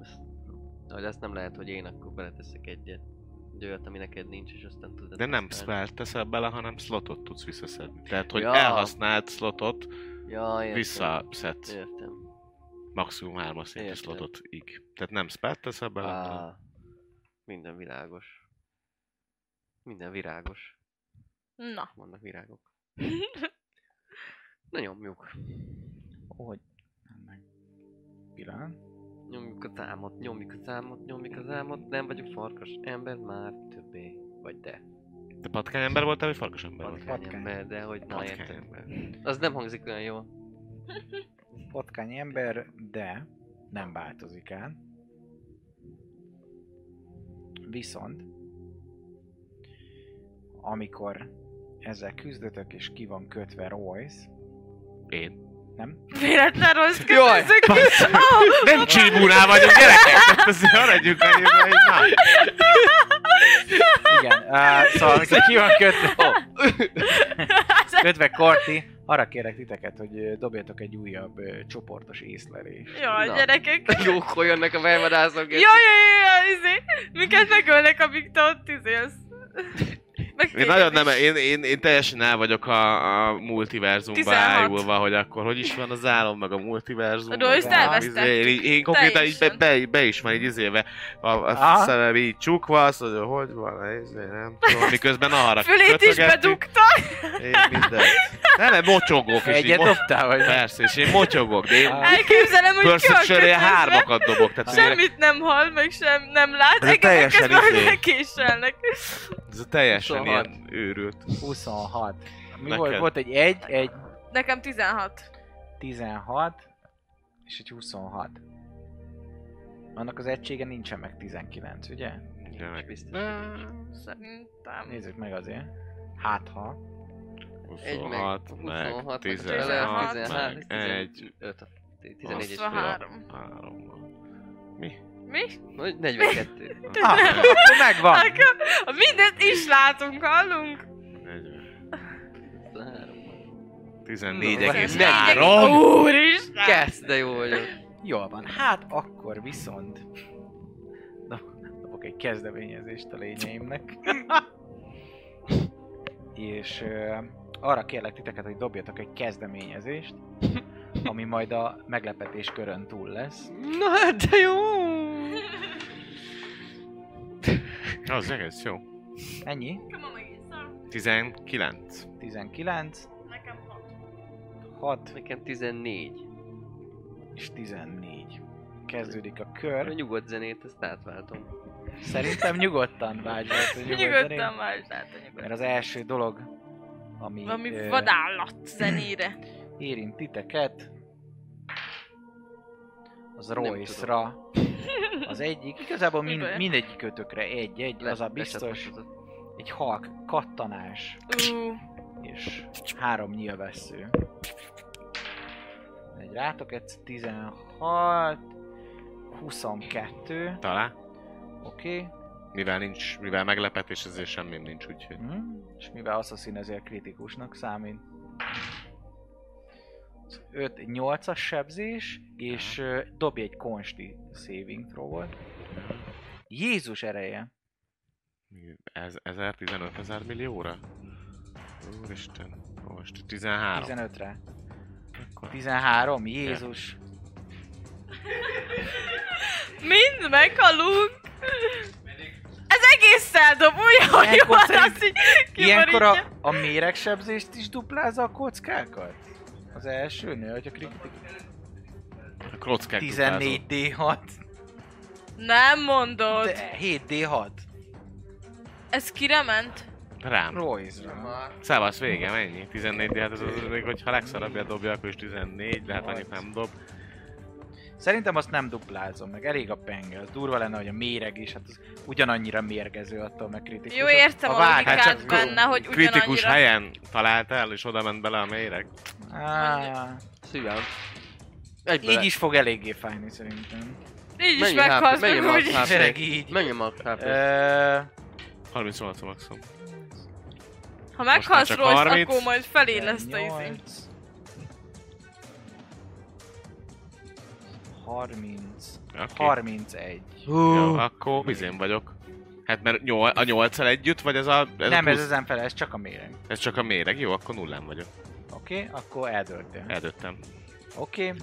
Speaker 4: Ezt- Hogy azt nem lehet, hogy én akkor beleteszek egyet. Egy olyat, ami neked nincs, és aztán tudod
Speaker 3: De nem
Speaker 4: használni.
Speaker 3: spell teszel bele, hanem slotot tudsz visszaszedni. Tehát, hogy
Speaker 4: Ja.
Speaker 3: elhasznált slotot
Speaker 4: Ja, értem.
Speaker 3: visszaszedsz.
Speaker 4: Értem.
Speaker 3: Maximum hármas szintű
Speaker 4: Értem.
Speaker 3: slotot ig. Tehát nem spell teszel bele, hanem
Speaker 4: Á, minden világos. Minden virágos.
Speaker 2: Na.
Speaker 4: Vannak virágok. Na nyomjuk.
Speaker 1: Hogy? Ennek. Pillanat.
Speaker 4: Nyomjuk az álmot, nyomjuk az álmot, nyomjuk az álmot. Nem vagyok farkas ember már többé. Vagy de.
Speaker 3: Te patkány ember voltál, vagy farkas ember voltál?
Speaker 4: Patkány
Speaker 1: Patkány.
Speaker 4: ember, de hogy na
Speaker 3: Patkány
Speaker 4: érted.
Speaker 3: ember.
Speaker 4: Az nem hangzik olyan jól.
Speaker 1: Patkány ember, de nem változik el. Viszont, amikor ezzel küzdötök és ki van kötve Royce,
Speaker 3: Én.
Speaker 1: nem?
Speaker 2: Véletlen rossz
Speaker 4: Jaj,
Speaker 2: kötözzük.
Speaker 3: Nem csíbúnál vagyok, gyerekek! Tehát azért maradjunk annyiba, hogy na.
Speaker 1: Igen, á, szóval amikor ki van kötve, oh. kötve Korti, arra kérek titeket, hogy ö, dobjatok egy újabb ö, csoportos észlelés.
Speaker 2: Jaj,
Speaker 4: Na.
Speaker 2: gyerekek.
Speaker 4: Jókol jönnek a belvadászok.
Speaker 2: izé Jaj, jaj, jaj, jaj, izé. Minket megölnek, amíg te ott izélsz. Meg
Speaker 3: Én
Speaker 2: téged
Speaker 3: nagyon nem,
Speaker 2: is.
Speaker 3: én, én, én teljesen el vagyok a, a multiverzumba
Speaker 2: 16.
Speaker 3: ájulva, hogy akkor hogy is van az álom, meg a multiverzum.
Speaker 2: A
Speaker 3: meg
Speaker 2: Royce-t
Speaker 3: a-
Speaker 2: elvesztettük.
Speaker 3: izé, Én, így- én konkrétan így be,
Speaker 2: Teljesen.
Speaker 3: be, be, is már így izéve a, a
Speaker 1: Aha.
Speaker 3: szemem így csukva, azt mondja, hogy van, ez izé, nem tudom, miközben arra
Speaker 2: Fülét is
Speaker 3: kötögettük,
Speaker 2: bedugta.
Speaker 3: Én mindent. Nem, nem, motyogok, és így
Speaker 1: Egyet
Speaker 3: mo-
Speaker 1: dobtál, vagy nem?
Speaker 3: Persze, és én motyogok, de én
Speaker 1: Á.
Speaker 2: Elképzelem, hogy
Speaker 3: perception
Speaker 2: kölkötözve.
Speaker 3: hármakat dobok, tehát én-
Speaker 2: Semmit nem hall, meg sem nem lát.
Speaker 3: Ez
Speaker 2: Engem
Speaker 3: teljesen
Speaker 2: közben
Speaker 3: izé.
Speaker 2: megkéselnek.
Speaker 3: ez teljesen
Speaker 4: 26.
Speaker 1: Szóval.
Speaker 3: ilyen őrült.
Speaker 1: 26. Mi
Speaker 3: Neked?
Speaker 1: volt? Volt egy 1, egy
Speaker 2: Nekem 16.
Speaker 1: 16, és egy 26. Annak az egysége nincsen meg 19, ugye?
Speaker 3: Jaj.
Speaker 4: Biztos.
Speaker 2: Szerintem.
Speaker 1: Nézzük meg azért. Hát ha.
Speaker 4: Egy meg,
Speaker 3: 26, meg
Speaker 4: 26,
Speaker 3: 16,
Speaker 2: 16,
Speaker 3: meg egy,
Speaker 4: 5, 11 és
Speaker 3: Azt
Speaker 4: fél.
Speaker 3: vár.
Speaker 2: 23.
Speaker 3: három van.
Speaker 2: Mi?
Speaker 4: Vagy 42.
Speaker 1: Ah, akkor megvan!
Speaker 2: Akkor Mindent is látunk, hallunk?
Speaker 3: 14,3.
Speaker 2: Úristen!
Speaker 4: Kezd, de jó vagyok.
Speaker 1: Jól van, hát akkor viszont... Do- Dobok egy kezdeményezést a lényeimnek. És ö, arra kérlek titeket, hogy dobjatok egy kezdeményezést, ami majd a meglepetés körön túl lesz.
Speaker 4: Na hát de jó!
Speaker 3: Az egész jó.
Speaker 1: Ennyi,
Speaker 3: 19.
Speaker 1: 19,
Speaker 2: Nekem 6.
Speaker 1: 6
Speaker 4: Nekem 14.
Speaker 1: és 14. Kezdődik a kör.
Speaker 4: A nyugodt zenét, ezt átváltom.
Speaker 1: Szerintem nyugodtan vágyott. hogy nyugodtan
Speaker 2: Nyugodtan
Speaker 1: én-
Speaker 2: már, hát a
Speaker 1: Mert
Speaker 2: nyugodtan.
Speaker 1: az első dolog, ami,
Speaker 2: Valami
Speaker 1: ö,
Speaker 2: vadállat zenére.
Speaker 1: érint titeket, az
Speaker 4: Nem
Speaker 1: Royce-ra az egyik. Igazából
Speaker 2: Mibe?
Speaker 1: mind, mindegyikötökre egy-egy, az a biztos.
Speaker 4: Lecsatlakozott.
Speaker 1: Egy halk kattanás
Speaker 2: Ú,
Speaker 1: és három nyilvessző. Egy rátok, ez 16, 22,
Speaker 3: Talán.
Speaker 1: oké. Okay.
Speaker 3: Mivel nincs, mivel meglepetés, ezért semmim nincs, úgyhogy.
Speaker 1: Mm. És mivel Assassin ezért kritikusnak számít. 5 8-as sebzés, és ö, dobj egy konsti saving throw-ot. Jézus ereje!
Speaker 3: Ez, 1000, 15 ezer millióra? Úristen. Most 13.
Speaker 1: 15-re. 13, Jézus.
Speaker 2: Mind meghalunk. Ez egész szeldom, úgy, hogy
Speaker 1: Ilyenkor
Speaker 2: van,
Speaker 1: szerint-
Speaker 2: azt így
Speaker 1: Ilyenkor a,
Speaker 2: kiborítja.
Speaker 1: a méregsebzést is duplázza a kockákat? Az elsőnél, hogy a kritikus...
Speaker 3: A kockák
Speaker 1: 14 D6,
Speaker 2: Nem mondod.
Speaker 1: 7 D6,
Speaker 2: Ez kire ment?
Speaker 3: duplázott. Rám.
Speaker 1: Royce-ra.
Speaker 3: Szávasz vége, mennyi? 14, de hát ez az, még hogyha legszarabbja dobja, akkor is 14, de hát annyit nem dob.
Speaker 1: Szerintem azt nem duplázom, meg elég a penge, az durva lenne, hogy a méreg is, hát az ugyanannyira mérgező attól meg kritikus.
Speaker 2: Jó, értem a, logikát
Speaker 3: Hát csak
Speaker 2: benne, hogy
Speaker 3: Kritikus
Speaker 2: ugyanannyira...
Speaker 3: helyen találtál, és oda ment bele a méreg.
Speaker 1: Á,
Speaker 4: Szívem. Egyből
Speaker 1: így is fog eléggé fájni szerintem.
Speaker 2: Így is
Speaker 4: Mennyi HP?
Speaker 2: meghalsz,
Speaker 4: Mennyi
Speaker 2: meg úgy.
Speaker 4: HP? Hát,
Speaker 1: Tényleg így.
Speaker 4: Menjem a tápra.
Speaker 1: Ö,
Speaker 3: 38 a maximum.
Speaker 2: Ha
Speaker 3: már
Speaker 2: meghalsz
Speaker 3: csak
Speaker 2: Royce,
Speaker 3: 30.
Speaker 2: akkor majd felé lesz a izé.
Speaker 1: 18, 30,
Speaker 3: Okay.
Speaker 1: 31.
Speaker 3: Jó, akkor bizén vagyok. Hát mert nyol, a nyolccal együtt, vagy ez a... Ez
Speaker 1: nem,
Speaker 3: a
Speaker 1: ez
Speaker 3: plusz-
Speaker 1: ezen fele, ez csak a méreg.
Speaker 3: ez csak a méreg, jó, akkor nullán vagyok.
Speaker 1: Oké, okay, akkor eldöltél.
Speaker 3: Eldöttem.
Speaker 1: Oké. Okay.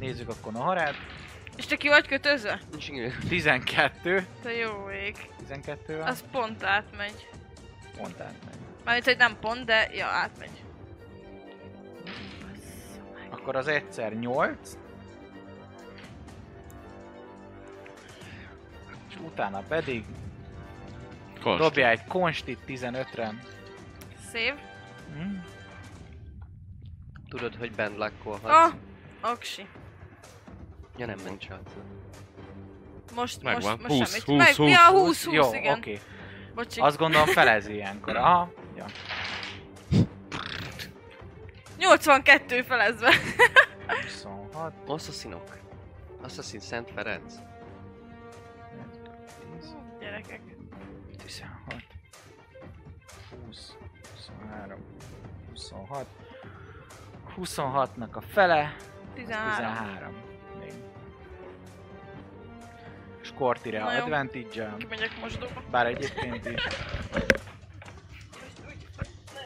Speaker 1: Nézzük akkor a harát.
Speaker 2: És te ki vagy kötözve?
Speaker 4: Nincs ingyen.
Speaker 1: 12.
Speaker 2: Te jó ég.
Speaker 1: 12-vel.
Speaker 2: Az pont átmegy.
Speaker 1: Pont átmegy.
Speaker 2: Mármint, hogy nem pont, de ja, átmegy.
Speaker 1: Akkor az egyszer 8. És utána pedig
Speaker 3: Konst.
Speaker 1: dobja egy konstit 15-re.
Speaker 2: Szép.
Speaker 1: Hm?
Speaker 4: Tudod, hogy bent lakkolhatsz.
Speaker 2: Ah, oksi.
Speaker 4: Ja nem, nem csak.
Speaker 2: Most,
Speaker 3: Megvan.
Speaker 2: most, most
Speaker 3: 20,
Speaker 2: semmit.
Speaker 3: 20,
Speaker 2: Meg,
Speaker 3: 20,
Speaker 2: Ja, 20, 20,
Speaker 1: Jó, oké.
Speaker 2: igen.
Speaker 1: Okay.
Speaker 2: Bocsi.
Speaker 1: Azt gondolom felez ilyenkor. Aha. Ja.
Speaker 2: 82 felezve.
Speaker 1: 26,
Speaker 4: Assassinok. Assassin Szent Ferenc.
Speaker 1: 10,
Speaker 2: Gyerekek.
Speaker 1: 16, 20, 23, 26. 26-nak a fele,
Speaker 2: 13.
Speaker 1: 13. Még. És Kortire
Speaker 2: Na jó.
Speaker 1: advantage -el.
Speaker 2: Kimegyek mosdóba.
Speaker 1: Bár egyébként is.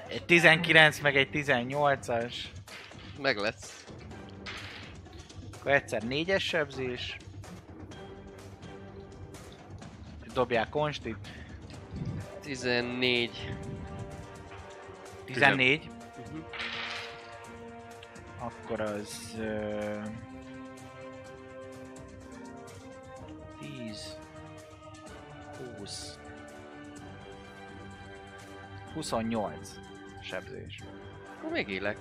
Speaker 1: Egy 19 meg egy 18-as.
Speaker 4: Meg lesz.
Speaker 1: Akkor egyszer 4-es sebzés. Dobják konstit.
Speaker 4: 14.
Speaker 1: 14.
Speaker 4: Uh-huh.
Speaker 1: Akkor az... Ö... 10... 20... 28 sebzés.
Speaker 4: Akkor még élek.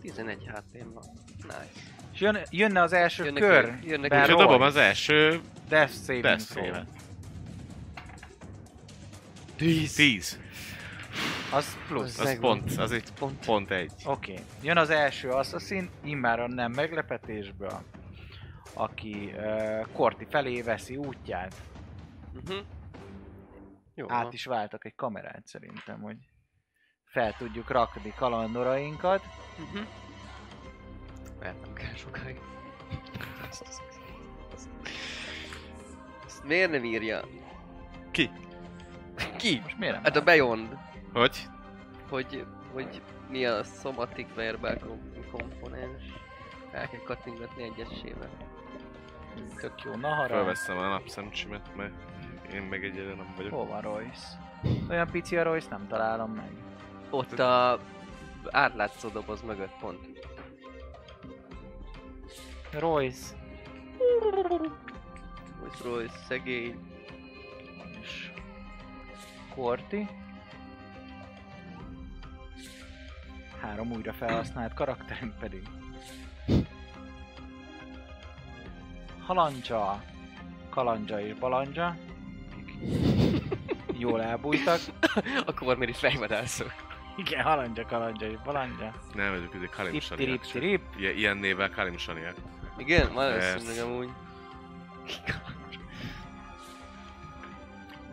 Speaker 4: 11 HP-n van. Nice.
Speaker 1: És jön, jönne az első
Speaker 4: Jönnek-
Speaker 1: kör.
Speaker 4: jönnek-
Speaker 1: bár
Speaker 3: És
Speaker 4: Error.
Speaker 3: dobom az első
Speaker 1: Death saving
Speaker 3: Death
Speaker 1: throw.
Speaker 3: save Tíz. Tíz.
Speaker 1: Az plusz.
Speaker 4: Az-
Speaker 1: Oké.
Speaker 3: Az
Speaker 4: Megvan.
Speaker 3: pont, az egy
Speaker 4: Pont.
Speaker 3: pont egy.
Speaker 1: Okay. Jön az első assassin, immáron nem meglepetésből, aki uh, Korti felé veszi útját.
Speaker 4: Uh-huh. Jó.
Speaker 1: Át is váltak egy kamerát szerintem, hogy fel tudjuk rakni kalandorainkat.
Speaker 4: Uh-huh. Mert nem kell sokáig. Ezt miért nem írja?
Speaker 3: Ki?
Speaker 4: Ki?
Speaker 1: És miért nem?
Speaker 4: Hát a Beyond,
Speaker 3: Hogy?
Speaker 4: hogy, hogy mi a szomatik verbál kom- komponens. El kell kattingatni egyesével.
Speaker 1: Tök jó nahara.
Speaker 3: Fölveszem a napszemcsimet, mert én meg egyre nem vagyok.
Speaker 1: Hol van Royce? Olyan pici a Royce, nem találom meg.
Speaker 4: Ott a átlátszó doboz mögött pont.
Speaker 1: Royce.
Speaker 4: Royce Royce, szegény.
Speaker 1: És Korti. Három újra felhasznált karakterünk pedig. Halancsa, Kalandja és Balandja. akik Jól elbújtak.
Speaker 4: Akkor miért is fejvadászok?
Speaker 1: Igen, Halandja, Kalandja és Balandja.
Speaker 3: Nem vagyok, izé ezek kalimsaniak.
Speaker 1: Rip-ti-rip-ti-rip.
Speaker 3: Ilyen, ilyen névvel kalimsaniak.
Speaker 4: Igen,
Speaker 3: Persze.
Speaker 4: valószínűleg amúgy.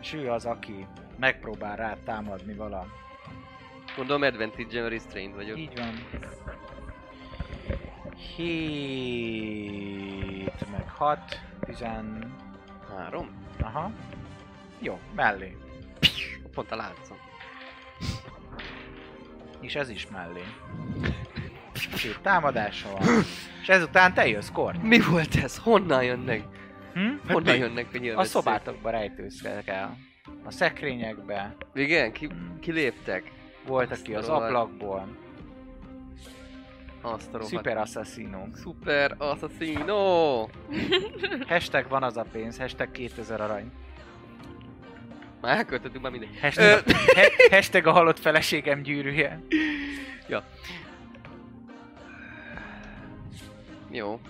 Speaker 1: És ő az, aki megpróbál rá támadni vala.
Speaker 4: Gondolom advantage restrained vagyok.
Speaker 1: Így van. 7 meg 6, 10,
Speaker 4: Három?
Speaker 1: Aha. Jó, mellé.
Speaker 4: Pont a látszom.
Speaker 1: És ez is mellé. Két támadása van. És ezután te jössz, Kort.
Speaker 4: Mi volt ez? Honnan jönnek?
Speaker 1: Hm?
Speaker 4: Honnan
Speaker 3: mi?
Speaker 4: jönnek a nyilván?
Speaker 1: A szobátokba rejtőzkedek A szekrényekbe.
Speaker 4: Igen, ki, kiléptek.
Speaker 1: Volt, aki az ablakból.
Speaker 4: Azt a rohadt.
Speaker 1: Szuper asszaszinunk.
Speaker 4: Super Assassino!
Speaker 1: Hashtag van az a pénz, hashtag 2000 arany.
Speaker 4: Már elköltöttük már mindegy.
Speaker 1: Hashtag, he, hashtag a halott feleségem gyűrűje.
Speaker 4: Jó.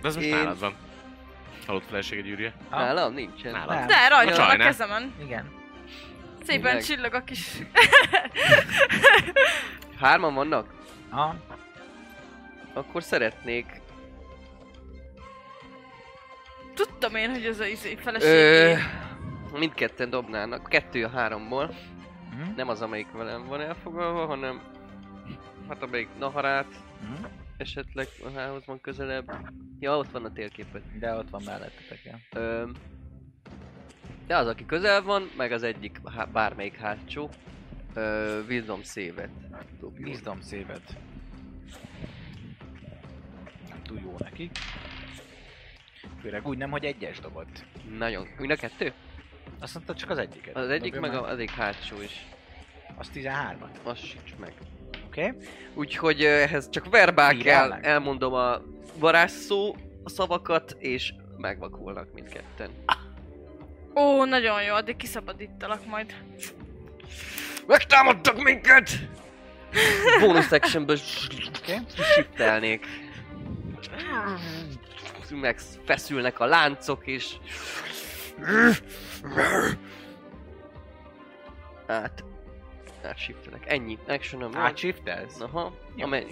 Speaker 3: De ez most
Speaker 4: Én-
Speaker 3: nálad van. Halott feleség egy űrje?
Speaker 1: Ah.
Speaker 4: Nálam nincsen.
Speaker 3: Nálam.
Speaker 1: Nem.
Speaker 2: De rajta van a
Speaker 3: Sajnál.
Speaker 2: kezemen.
Speaker 1: Igen.
Speaker 2: Szépen
Speaker 4: Tényleg.
Speaker 2: csillag a kis...
Speaker 4: Hárman vannak?
Speaker 1: Aha.
Speaker 4: Akkor szeretnék...
Speaker 2: Tudtam én, hogy ez a izé
Speaker 4: Ö,
Speaker 2: feleségé.
Speaker 4: mindketten dobnának. Kettő a háromból.
Speaker 1: Hm?
Speaker 4: Nem az, amelyik velem van elfogalva, hanem... Hát amelyik Naharát
Speaker 1: Hm?
Speaker 4: esetleg a hához van közelebb. Ja, ott van a térképet.
Speaker 1: De ott van mellettetek, ja.
Speaker 4: Ö, de az, aki közel van, meg az egyik, há- bármelyik hátsó, ö, Wisdom szévet dobjon.
Speaker 1: Wisdom szévet. Nem túl jó neki. Főleg úgy nem, hogy egyes dobott.
Speaker 4: Nagyon. Mind a kettő?
Speaker 1: Azt mondta, csak az egyiket.
Speaker 4: Az egyik,
Speaker 1: Dobja
Speaker 4: meg a- az egyik hátsó is.
Speaker 1: Az 13-at,
Speaker 4: Az sincs meg.
Speaker 1: oké? Okay?
Speaker 4: Úgyhogy ö, ehhez csak verbál
Speaker 1: Írjál
Speaker 4: kell,
Speaker 1: meg.
Speaker 4: elmondom a varázsszó a szavakat, és megvakulnak mindketten.
Speaker 2: Ó, nagyon jó, addig kiszabadítalak majd.
Speaker 4: Megtámadtak minket! Bonus actionből
Speaker 1: Oké.
Speaker 4: süttelnék. Megfeszülnek a láncok és... Át... Átsiftelek. Ennyi. Actionom. volt.
Speaker 1: Átshiftelsz?
Speaker 4: Aha.
Speaker 1: Jó.
Speaker 4: Jó. Amely...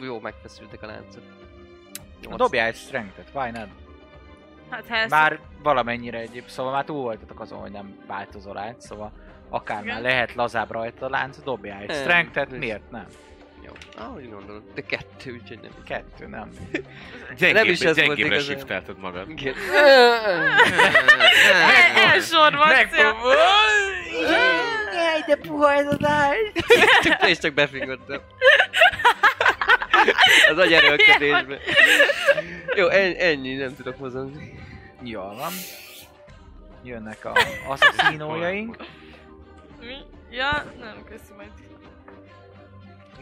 Speaker 4: Jó, megfeszültek a láncok.
Speaker 1: Na,
Speaker 4: Nyolc.
Speaker 1: Dobjál egy strength-et, why not?
Speaker 2: Hát ha ezt...
Speaker 1: Már valamennyire egyéb, szóval már túl voltatok azon, hogy nem változó lánc, szóval akár már
Speaker 2: Igen.
Speaker 1: lehet lazább rajta a lánc, dobjál egy
Speaker 4: Nem,
Speaker 1: strength-et,
Speaker 4: biztos.
Speaker 1: miért nem?
Speaker 4: Jó. Ahogy gondolod. De kettő, úgyhogy nem.
Speaker 1: Kettő, nem.
Speaker 3: Gyengébb,
Speaker 4: is ez volt
Speaker 3: gyengébre
Speaker 4: igazán.
Speaker 3: shiftelted magad.
Speaker 4: Igen.
Speaker 2: E- Elsorvadsz, ja.
Speaker 1: Jaj, de puha ez az ágy!
Speaker 4: Csak te is csak befingottam. Az agyerőlködésbe. Jó, en- ennyi, nem tudok mozogni.
Speaker 1: Jól van. Jönnek a asszaszinójaink.
Speaker 2: Mi? Ja, nem, köszi majd.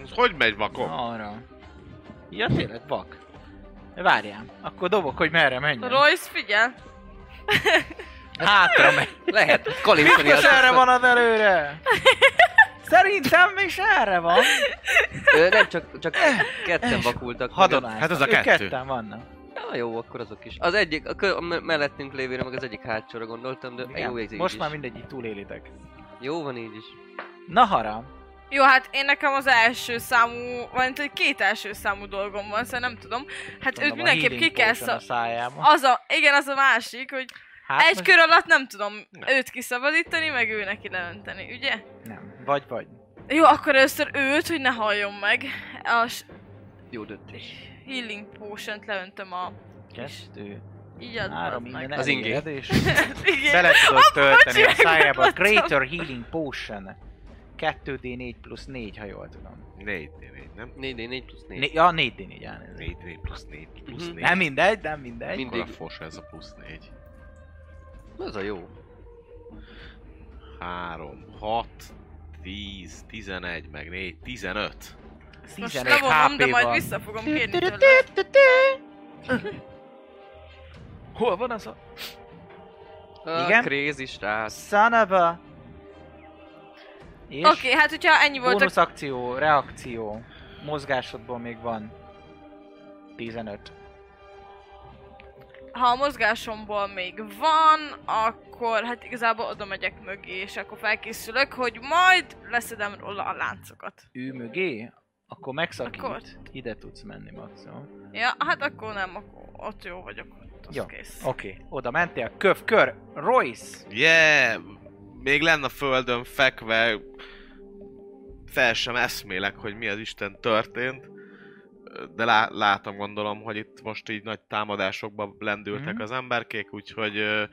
Speaker 3: Ez Hogy megy vakon?
Speaker 1: Arra. Ja, tényleg vak. Várjál, akkor dobok, hogy merre menjen.
Speaker 2: Royce, figyel!
Speaker 1: Hátra megy.
Speaker 4: Lehet, kalimpani
Speaker 1: Biztos erre van az előre! Szerintem is erre
Speaker 3: Hát
Speaker 1: van.
Speaker 4: Nem, csak, csak ketten vakultak. meg.
Speaker 1: Hadonász.
Speaker 3: Hát az a
Speaker 1: Ők
Speaker 3: kettő.
Speaker 1: Ketten vannak.
Speaker 4: Ja, jó, akkor azok is. Az egyik, a, kö- a me- mellettünk lévőre, meg az egyik hátsóra gondoltam, de
Speaker 1: Igen,
Speaker 4: jó, ez így
Speaker 1: Most
Speaker 4: is.
Speaker 1: már mindegyik túlélitek.
Speaker 4: Jó van így is.
Speaker 1: Na haram.
Speaker 2: Jó, hát én nekem az első számú, vagy hogy két első számú dolgom van, szóval nem tudom. Hát őt
Speaker 1: Mondom, a
Speaker 2: mindenképp ki
Speaker 1: healing
Speaker 2: kell
Speaker 1: potion a
Speaker 2: szab...
Speaker 1: szájában.
Speaker 2: Az a, igen, az a másik, hogy
Speaker 1: Hát
Speaker 2: hát egy
Speaker 1: most-
Speaker 2: kör alatt nem tudom őt kiszabadítani, meg ő neki leönteni, ugye?
Speaker 1: Nem, vagy vagy.
Speaker 2: Jó, akkor először őt, hogy ne halljon meg. A s-
Speaker 4: Jó döntés.
Speaker 2: healing potion leöntöm a...
Speaker 1: Kettő,
Speaker 2: Így ad,
Speaker 1: három,
Speaker 2: az
Speaker 1: innen
Speaker 2: meg.
Speaker 4: Az ingé.
Speaker 1: eléged, és
Speaker 2: Igen.
Speaker 1: bele tudod tölteni a
Speaker 2: bocsi,
Speaker 1: szájába a
Speaker 2: megakadtam.
Speaker 1: Greater Healing Potion. 2D4 plusz 4, ha jól tudom.
Speaker 3: 4 4 nem?
Speaker 4: 4 4 4 plusz 4.
Speaker 1: Né- ja, 4D4, elnézést.
Speaker 3: 4 4 plusz 4 plusz
Speaker 4: Mhm.
Speaker 3: 4.
Speaker 1: Nem mindegy, nem mindegy.
Speaker 4: Mind-
Speaker 3: Akkor a
Speaker 4: mindig.
Speaker 3: fos ez a plusz 4.
Speaker 4: Az a jó.
Speaker 3: 3, 6, 10, 11, meg 4, 15.
Speaker 2: Ezt most
Speaker 1: 11
Speaker 2: levonom, de
Speaker 1: HP
Speaker 2: majd
Speaker 1: van.
Speaker 2: vissza fogom kérni tőle.
Speaker 1: Hol van az a...
Speaker 4: A
Speaker 1: Igen?
Speaker 4: Crazy srác.
Speaker 1: Son of a... És
Speaker 2: Oké, hát hogyha ennyi volt,
Speaker 1: bónusz akció, reakció, mozgásodból még van 15.
Speaker 2: ha a mozgásomból még van, akkor hát igazából oda megyek mögé, és akkor felkészülök, hogy majd leszedem róla a láncokat.
Speaker 1: Ő mögé? Akkor megszakít.
Speaker 2: Akkor.
Speaker 1: Ide tudsz menni maximum.
Speaker 2: Ja, hát akkor nem, akkor ott jó vagyok, ott az
Speaker 1: Jó.
Speaker 2: kész.
Speaker 1: Oké, okay. oda mentél, köv, kör, Royce!
Speaker 3: Yeah! Még lenne a földön fekve, fel sem eszmélek, hogy mi az Isten történt. De lá- látom, gondolom, hogy itt most így nagy támadásokba lendültek
Speaker 1: Mhm.
Speaker 3: az emberkék, úgyhogy ö,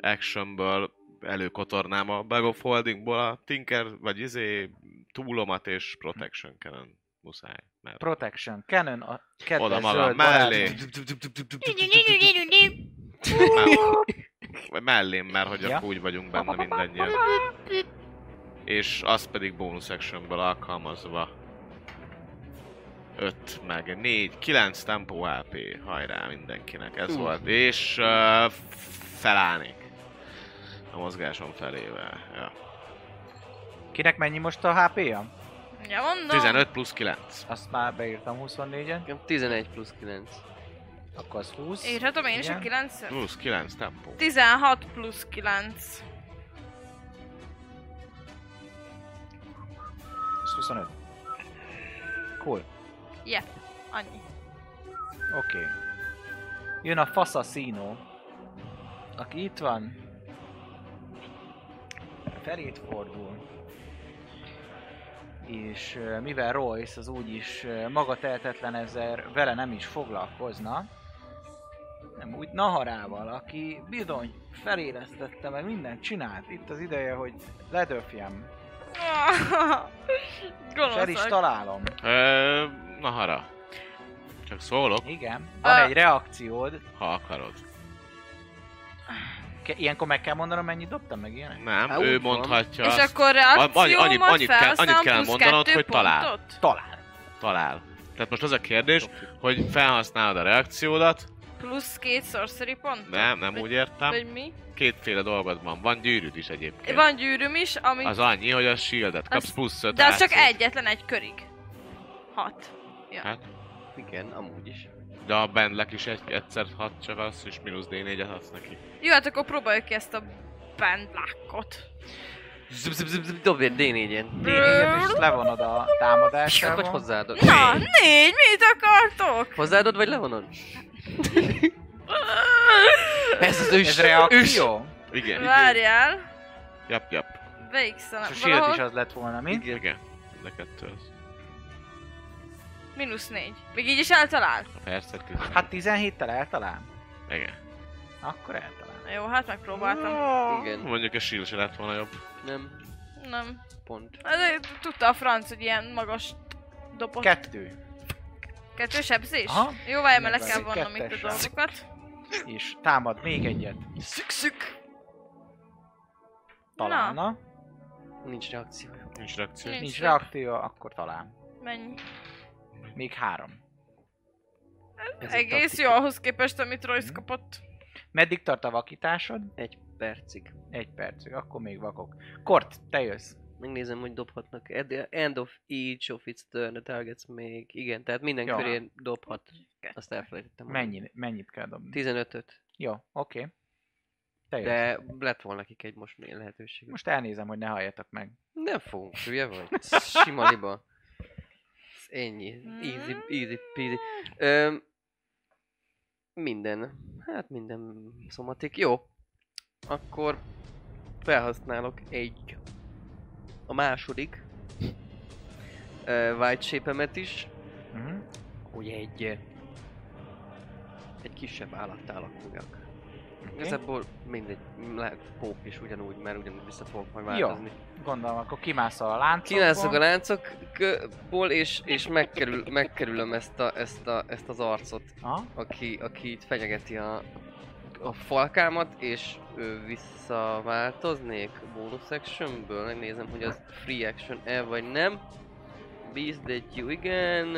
Speaker 3: actionből előkotornám a Bag of Holdingból a Tinker, vagy izé, túlomat és Protection Cannon. Muszáj, mert
Speaker 1: Protection, Canon, a kedves
Speaker 3: oda magam
Speaker 1: zöld
Speaker 3: mellé.
Speaker 1: barátnőm.
Speaker 3: Vagy mellém, mert hogy
Speaker 1: Ja.
Speaker 3: akkor úgy vagyunk benne mindannyian. És azt pedig bonus actionből alkalmazva. 5, meg 4, 9 tempó HP. Hajrá mindenkinek, ez
Speaker 4: Hú.
Speaker 3: volt. És uh, felállnék. A mozgásom felével. Ja.
Speaker 1: Kinek mennyi most a HP-ja?
Speaker 2: Ja, mondom.
Speaker 3: 15 plusz 9.
Speaker 1: Azt már beírtam 24-en,
Speaker 4: Nekem 11 plusz 9.
Speaker 1: akkor az 20.
Speaker 2: Írhatom én is a
Speaker 1: Igen.
Speaker 2: 9
Speaker 3: Plusz 9 tempó.
Speaker 2: 16 plusz 9.
Speaker 1: Az 25. Cool,
Speaker 2: Yeah,
Speaker 1: oké.
Speaker 2: annyi.
Speaker 1: Okay. Jön a Fasasino, aki itt van. Felét fordul. És ö, mivel Royce az úgyis ö, maga tehetetlen ezzel vele nem is foglalkozna, nem úgy Naharával, aki bizony felélesztette, meg mindent csinált. Itt az ideje, hogy ledöfjem. És el is
Speaker 2: Gonoszak.
Speaker 1: találom.
Speaker 3: Ö, na hara. Csak szólok,
Speaker 1: Igen. Van
Speaker 2: Ö.
Speaker 1: egy reakciód.
Speaker 3: ha akarod.
Speaker 1: Ke- ilyenkor meg kell mondanom, mennyit dobtam meg ilyenek?
Speaker 3: Nem,
Speaker 4: Hát
Speaker 3: ő
Speaker 4: úgy van.
Speaker 3: mondhatja
Speaker 2: És
Speaker 3: azt,
Speaker 2: akkor
Speaker 3: annyit-
Speaker 2: reakciómat
Speaker 3: annyit- annyit kell-
Speaker 2: felhasználom,
Speaker 3: annyit kell
Speaker 2: plusz
Speaker 3: mondanod,
Speaker 2: kettő
Speaker 3: hogy talál.
Speaker 2: pontot?
Speaker 1: Talál.
Speaker 3: talál. Tehát most az a kérdés, hogy felhasználod a reakciódat,
Speaker 2: Plusz két sorcery pont?
Speaker 3: nem, nem
Speaker 2: Vagy-
Speaker 3: úgy értem,
Speaker 2: Vagy mi?
Speaker 3: kétféle dolgod van. Van gyűrűd is egyébként.
Speaker 2: Van gyűrűm is, ami...
Speaker 3: Az annyi, hogy a shieldet kapsz
Speaker 2: Az-
Speaker 3: plusz 5
Speaker 2: de az csak egyetlen egy körig. Hat.
Speaker 3: Hát,
Speaker 4: Igen, amúgy is.
Speaker 3: de a bendlek is egy, egyszer 6 csak az, és mínusz D4-et adsz neki.
Speaker 2: Jó, hát akkor próbáljuk ki ezt a bandlákot.
Speaker 4: Zip, zip, zip, zip, dobj egy D4-en.
Speaker 2: Mm.
Speaker 1: D4-et és levonod a támadásával.
Speaker 4: Vagy hozzáadod.
Speaker 2: Na, négy, mit akartok?
Speaker 4: Hozzáadod vagy levonod? Ez az
Speaker 1: Ez
Speaker 4: üs.
Speaker 1: reakció?
Speaker 3: Igen.
Speaker 2: Várjál,
Speaker 3: Jap, jap.
Speaker 1: És
Speaker 2: beigszanak
Speaker 1: a shield is
Speaker 2: valahol.
Speaker 1: az lett volna, mi?
Speaker 3: Igen. Igen. De kettő az.
Speaker 2: Minusz négy. Még így is eltalált.
Speaker 3: A percet tizenegy.
Speaker 1: Hát 17-tel eltalál?
Speaker 3: Igen.
Speaker 1: Akkor eltalál.
Speaker 2: Jó, hát megpróbáltam.
Speaker 4: Igen,
Speaker 3: Mondjuk a shield se lett volna jobb.
Speaker 4: nem.
Speaker 2: Nem.
Speaker 4: Pont.
Speaker 2: Hát, de tudta a franc, hogy ilyen magas dobott.
Speaker 1: Kettő.
Speaker 2: Kettő sebzés?
Speaker 1: Aha.
Speaker 2: Jó, várj, mert le kell
Speaker 1: Megvárjuk.
Speaker 2: vonnom itt a
Speaker 1: Kettessel.
Speaker 2: dolgokat.
Speaker 1: És támad még egyet.
Speaker 4: Szükszük!
Speaker 1: Találna. Na.
Speaker 4: Nincs reakciója.
Speaker 3: Nincs reakció.
Speaker 2: Nincs.
Speaker 1: Nincs
Speaker 2: szép.
Speaker 1: reaktíva, akkor talán.
Speaker 2: Mennyi?
Speaker 1: Még három.
Speaker 4: Ez egy
Speaker 2: Egész
Speaker 4: taktika.
Speaker 2: jó ahhoz képest, amit Royce
Speaker 1: Mhm.
Speaker 2: kapott.
Speaker 1: Meddig tart a vakításod?
Speaker 4: Egy percig.
Speaker 1: Egy percig, akkor még vakok. Kort, te jössz.
Speaker 4: Megnézem, hogy dobhatnak. At the end of each of its turn, the targets még. Igen, tehát minden
Speaker 1: Jó.
Speaker 4: körén dobhat. Azt elfelejtettem. mondani.
Speaker 1: Mennyi, mennyit kell dobni?
Speaker 4: 15-öt.
Speaker 1: Jó, oké. Te jössz.
Speaker 4: De lett volna nekik egy most még lehetőség.
Speaker 1: Most elnézem, hogy ne halljatok meg.
Speaker 4: Nem fogunk, hülye vagy? Sima liba. Ez Ennyi. Easy, easy peasy. Öm, minden. Hát minden szomatik. Jó. Akkor felhasználok egy a második ö, white shape-emet is,
Speaker 1: Uh-huh.
Speaker 4: hogy egy ö, egy kisebb állattá alakuljak.
Speaker 1: Okay.
Speaker 4: Igazából mindegy, lehet pók is ugyanúgy, mert ugyanúgy vissza fogok majd változni.
Speaker 1: Gondolom, akkor kimászol a láncokból.
Speaker 4: Kilászok a láncokból, és, és megkerül, megkerülöm ezt, a, ezt, a, ezt az arcot,
Speaker 1: Aha.
Speaker 4: aki, aki itt fenyegeti a, a falkámat, és ő visszaváltoznék bonus actionből. Megnézem, hogy az free action-e vagy nem. Beast that you, igen.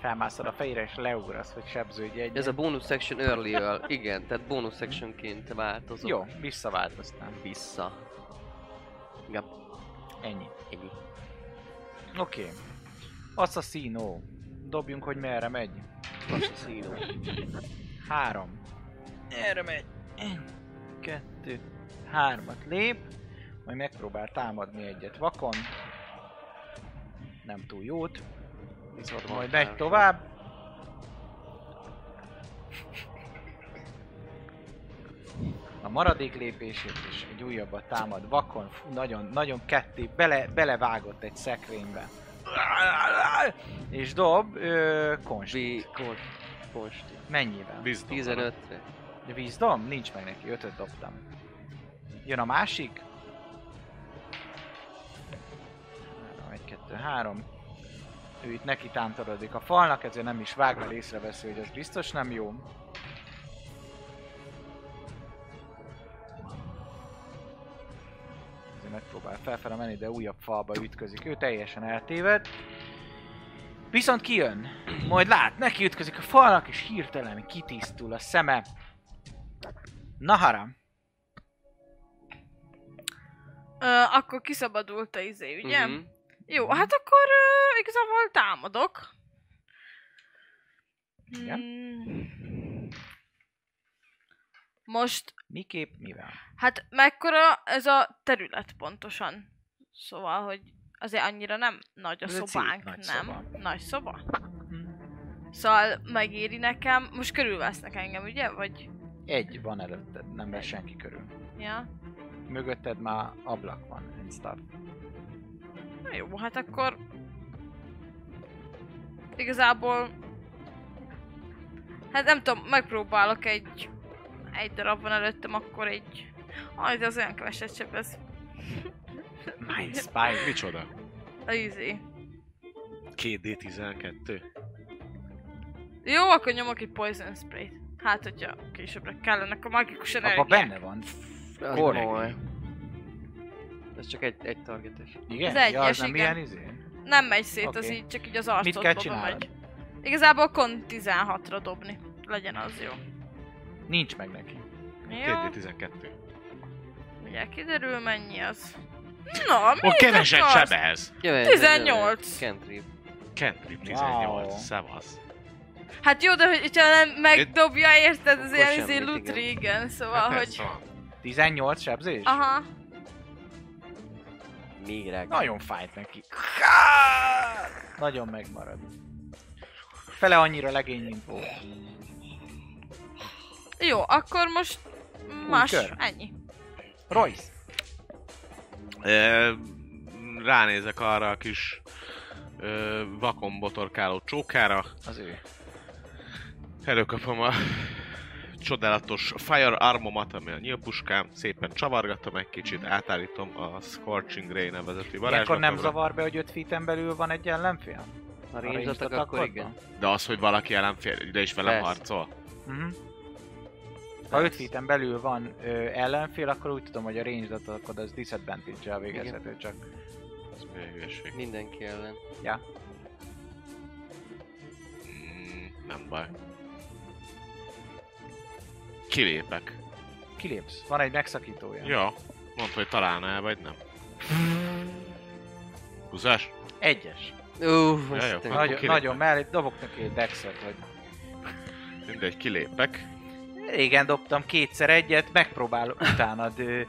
Speaker 1: Felmászod a fejére és leugrasz, hogy sebződj egy.
Speaker 4: Ez a bonus action early igen, tehát bonus actionként változom.
Speaker 1: Jó, visszaváltoztam.
Speaker 4: Vissza. Gap,
Speaker 1: Ennyi.
Speaker 4: ennyi.
Speaker 1: Oké. Okay. Assassino. Dobjunk, hogy merre megy.
Speaker 4: Assassino.
Speaker 1: Három. Erre megy. Egy, Kettő. Hármat lép. Majd megpróbál támadni egyet vakon. Nem túl jót.
Speaker 3: Viszont
Speaker 1: Majd megy tovább. A maradék lépését is egy újabbat támad vakon. Fú, nagyon, nagyon ketté. Bele, belevágott egy szekrénybe. És dob, ö, konst.
Speaker 4: Vi, kon, konsti.
Speaker 1: Mennyivel?
Speaker 3: Víz
Speaker 4: 15-re.
Speaker 1: Wisdom? Nincs meg neki, ötöt dobtam. Jön a másik. 3, 1, 2, 3. Ő itt neki tántorodik a falnak, ezért nem is vág, mert észreveszi, hogy az biztos nem jó. Ezért megpróbál felfele menni, de újabb falba ütközik. Ő teljesen eltéved. Viszont kijön. Majd lát, neki ütközik a falnak, és hirtelen kitisztul a szeme. Nahara.
Speaker 2: Ö, akkor kiszabadult a izé, ugye?
Speaker 4: Mhm.
Speaker 2: Jó, hát akkor ö, igazából támadok.
Speaker 1: Igen.
Speaker 2: Mm. Most,
Speaker 1: Miképp, mivel?
Speaker 2: hát mekkora ez a terület pontosan? Szóval, hogy azért annyira nem nagy a
Speaker 1: Ez egy
Speaker 2: szobánk,
Speaker 1: szép nagy
Speaker 2: nem?
Speaker 1: szoba. Mhm.
Speaker 2: Nagy szoba? Szóval megéri nekem, most körülvesznek engem, ugye? Vagy,
Speaker 1: Egy van előtted, nem lesz senki körül.
Speaker 2: ja?
Speaker 1: Mögötted már ablak van, and stuff.
Speaker 2: Na jó, hát akkor... Igazából... Hát nem tudom, megpróbálok egy... Egy darab van előttem, akkor egy... Aj, de az olyan keveset sem ez.
Speaker 1: My spy.
Speaker 3: Micsoda?
Speaker 2: A izé.
Speaker 3: 2D12?
Speaker 2: Jó, akkor nyomok egy poison spray-t. Hát, hogyha későbbre kellenek a magikus
Speaker 1: Abba
Speaker 2: energiák.
Speaker 1: benne van.
Speaker 4: Az
Speaker 1: Korrekt.
Speaker 4: komoly. Ez csak egy, egy targetes.
Speaker 1: Igen?
Speaker 2: Az
Speaker 1: ja, az
Speaker 2: egyes,
Speaker 1: nem
Speaker 2: igen.
Speaker 1: ilyen izé?
Speaker 2: Nem megy szét, okay. az
Speaker 1: Oké.
Speaker 2: így csak így az arcodba
Speaker 1: kell
Speaker 2: bemegy.
Speaker 1: csinálnod?
Speaker 2: Igazából kon 16-ra dobni. Legyen az jó.
Speaker 1: Nincs meg neki.
Speaker 2: Jó,
Speaker 3: 2D12.
Speaker 2: ugye kiderül mennyi az. Na, mi
Speaker 3: Ó, keveset
Speaker 2: akarsz?
Speaker 3: sebez!
Speaker 4: Jöjjön,
Speaker 2: 18.
Speaker 4: Kentrip.
Speaker 3: Kentrip 18,
Speaker 1: Wow.
Speaker 3: wow. szevasz.
Speaker 2: Hát jó, de hogyha nem megdobja, érted, az
Speaker 4: Akkor
Speaker 2: ilyen
Speaker 4: semmit,
Speaker 2: izé
Speaker 4: igen. Hát
Speaker 2: loot régen, szóval,
Speaker 3: ez
Speaker 2: hogy...
Speaker 3: van.
Speaker 1: 18 sebzés?
Speaker 2: Aha.
Speaker 4: Még rág.
Speaker 1: Nagyon fájt neki. Nagyon megmarad. Fele annyira legény, mint volt.
Speaker 2: Jó, akkor most más,
Speaker 1: kör.
Speaker 2: ennyi.
Speaker 1: Royce.
Speaker 3: Ö, Ránézek arra a kis ö, vakon botorkáló csókára,
Speaker 1: Az ő.
Speaker 3: előkapom a csodálatos Fire Armomat, ami a nyílpuskám, szépen csavargatom egy kicsit, átállítom a Scorching Ray nevezetű
Speaker 1: Ilyenkor nem
Speaker 3: varázslatomra.
Speaker 1: zavar be, hogy 5 feeten belül van egy ellenfél?
Speaker 4: Ha
Speaker 1: A
Speaker 4: range attack, akkor igen.
Speaker 3: De az, hogy valaki ellenfél, ide is velem
Speaker 4: Persze.
Speaker 3: harcol.
Speaker 1: Uh-huh. Ha 5 feeten belül van ö, ellenfél, akkor úgy tudom, hogy a range attackod az disadvantage-el végezhető csak.
Speaker 3: Ez mi a hülyeség?
Speaker 4: Mindenki ellen.
Speaker 3: Mm, nem baj. Kilépek.
Speaker 1: Kilépsz, van egy megszakítója.
Speaker 3: Ja, mondta, hogy találnál, vagy nem. Húzás?
Speaker 1: Egyes.
Speaker 4: Uff,
Speaker 3: Jaj,
Speaker 4: azt
Speaker 3: akkor-
Speaker 4: tényleg.
Speaker 1: Nagyon,
Speaker 3: kilépek.
Speaker 1: nagyon mellé, dobok neki egy dexet, vagy...
Speaker 3: Mindegy, kilépek.
Speaker 1: Régen dobtam kétszer egyet, megpróbál utánad ö,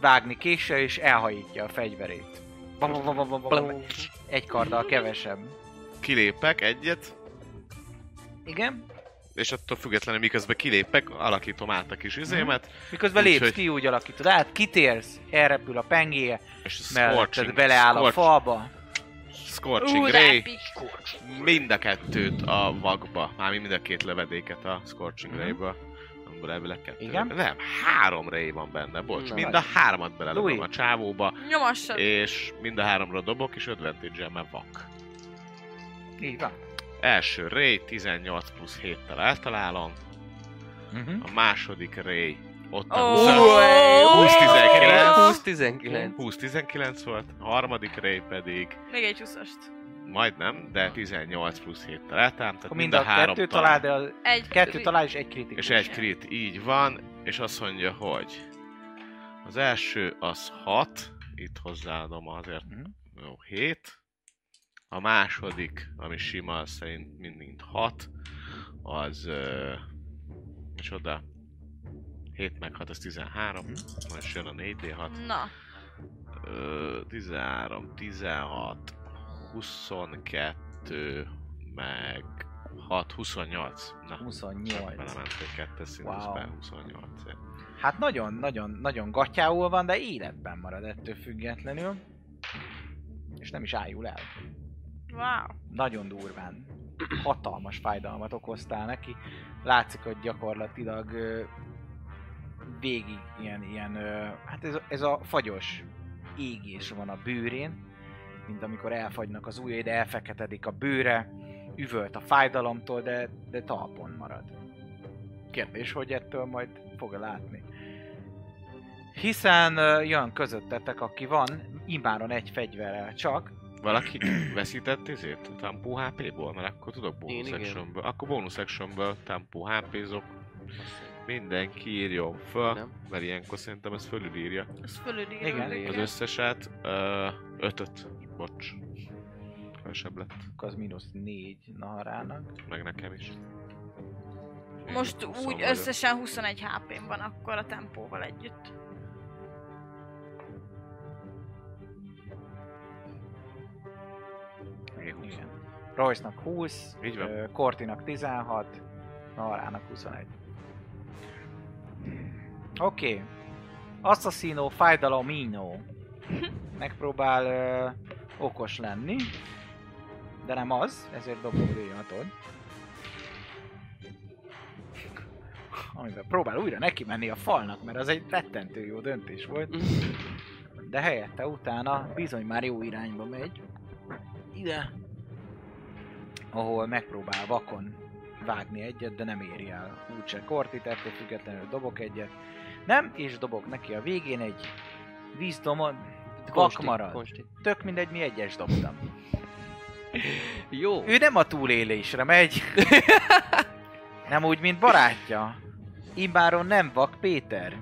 Speaker 1: vágni késsel, és elhajítja a fegyverét. Bam, bam, bam, bam, bam, bam. Egy karddal kevesebb.
Speaker 3: Kilépek egyet,
Speaker 1: Igen?
Speaker 3: és attól függetlenül miközben kilépek, alakítom át a kis izémet,
Speaker 1: Miközben
Speaker 3: Úgy,
Speaker 1: lépsz
Speaker 3: hogy-
Speaker 1: ki, úgy alakítod át, kitérsz, elrepül a pengéje,
Speaker 3: és a
Speaker 1: melletted
Speaker 3: Scorching,
Speaker 1: beleáll a
Speaker 3: Scorch-
Speaker 1: falba.
Speaker 3: Scorching
Speaker 2: Ú,
Speaker 3: Ray,
Speaker 2: rápik.
Speaker 3: mind a kettőt a vakba, mármint mind a két lövedéket a Scorching
Speaker 1: Mhm.
Speaker 3: Ray-ből. Abból elvileg kettő.
Speaker 1: Igen?
Speaker 3: Nem, három Ray van benne, bocs.
Speaker 4: Na.
Speaker 3: mind a hármat belelököm
Speaker 1: Louis.
Speaker 3: a csávóba,
Speaker 2: Nyomassad.
Speaker 3: és mind a háromra dobok, és advantage mert vak.
Speaker 1: Így van.
Speaker 3: Első Ray 18 plusz 7-tel eltalálom,
Speaker 1: Uh-huh.
Speaker 3: a második Ray ott
Speaker 2: Ó,
Speaker 3: a 20
Speaker 2: ó,
Speaker 4: 20-19.
Speaker 3: 20-19 volt, a harmadik Ray pedig
Speaker 2: Még egy 20
Speaker 3: majdnem, de 18 plusz 7-tel eltám, tehát
Speaker 1: Akkor mind a kettő talál, de a
Speaker 2: Egy.
Speaker 1: kettő talál és egy kritikus.
Speaker 3: És egy crit így van, és azt mondja, hogy az első az 6, itt hozzáadom azért
Speaker 1: Mhm.
Speaker 3: jó, 7, a második, ami sima, az szerint mind- mind 6, az, ö, és oda 7 meg 6, az 13,
Speaker 1: Mhm.
Speaker 3: majd is jön a 4D6,
Speaker 2: Na.
Speaker 3: ö, 13, 16, 22, meg 6, 28, na.
Speaker 1: 28.
Speaker 3: Belement egy kettes
Speaker 1: Wow.
Speaker 3: színűzben, 28 ért.
Speaker 1: Hát nagyon, nagyon, nagyon gatyául van, de életben marad ettől függetlenül. És nem is ájul el.
Speaker 2: Wow.
Speaker 1: Nagyon durván. Hatalmas fájdalmat okoztál neki. Látszik, hogy gyakorlatilag ö, végig ilyen, ilyen ö, hát ez, ez a fagyos égés van a bőrén, mint amikor elfagynak az ujjai, de elfeketedik a bőre, üvölt a fájdalomtól, de, de talpon marad. Kérdés, hogy ettől majd fog -e látni. Hiszen ö, jön közöttetek, aki van, imáron egy fegyverrel csak,
Speaker 3: Valaki veszített izét? Tampó HP-ból? Mert akkor tudok bonus
Speaker 4: Én igen.
Speaker 3: actionből. Akkor bonus actionből tampó HP-zok. Mindenki írjon föl,
Speaker 4: Nem.
Speaker 3: mert ilyenkor szerintem ez fölülírja
Speaker 2: Ez fölülír.
Speaker 1: Igen,
Speaker 2: igen.
Speaker 3: az összeset. Ö, ötöt. Bocs. Kevesebb lett.
Speaker 1: akkor az mínusz négy Naharának.
Speaker 3: Meg nekem is. Én
Speaker 2: Most
Speaker 4: Szóval
Speaker 3: huszon
Speaker 2: úgy
Speaker 3: vagyok.
Speaker 2: összesen 21 hp van akkor a tempóval együtt.
Speaker 3: Én huszon.
Speaker 1: Igen. Royce-nak 20,
Speaker 3: Így van.
Speaker 1: ö, Cortinak 16, Naharának 21. Oké. Okay. Assassino, fájdalomino. Megpróbál ö, okos lenni, de nem az, ezért dobom hatod. Amivel próbál újra neki menni a falnak, mert az egy rettentő jó döntés volt. De helyette utána bizony már jó irányba megy. Ide. Ahol megpróbál vakon vágni egyet, de nem éri el úgyse kortit, ettől függetlenül dobok egyet. Nem, és dobok neki a végén egy vízdomon, vak
Speaker 4: Konsti,
Speaker 1: marad.
Speaker 4: konsti.
Speaker 1: Tök mindegy, mi egyes dobtam.
Speaker 4: Jó.
Speaker 1: Ő nem a túlélésre megy. nem úgy, mint barátja. Imbáron nem vak Péter.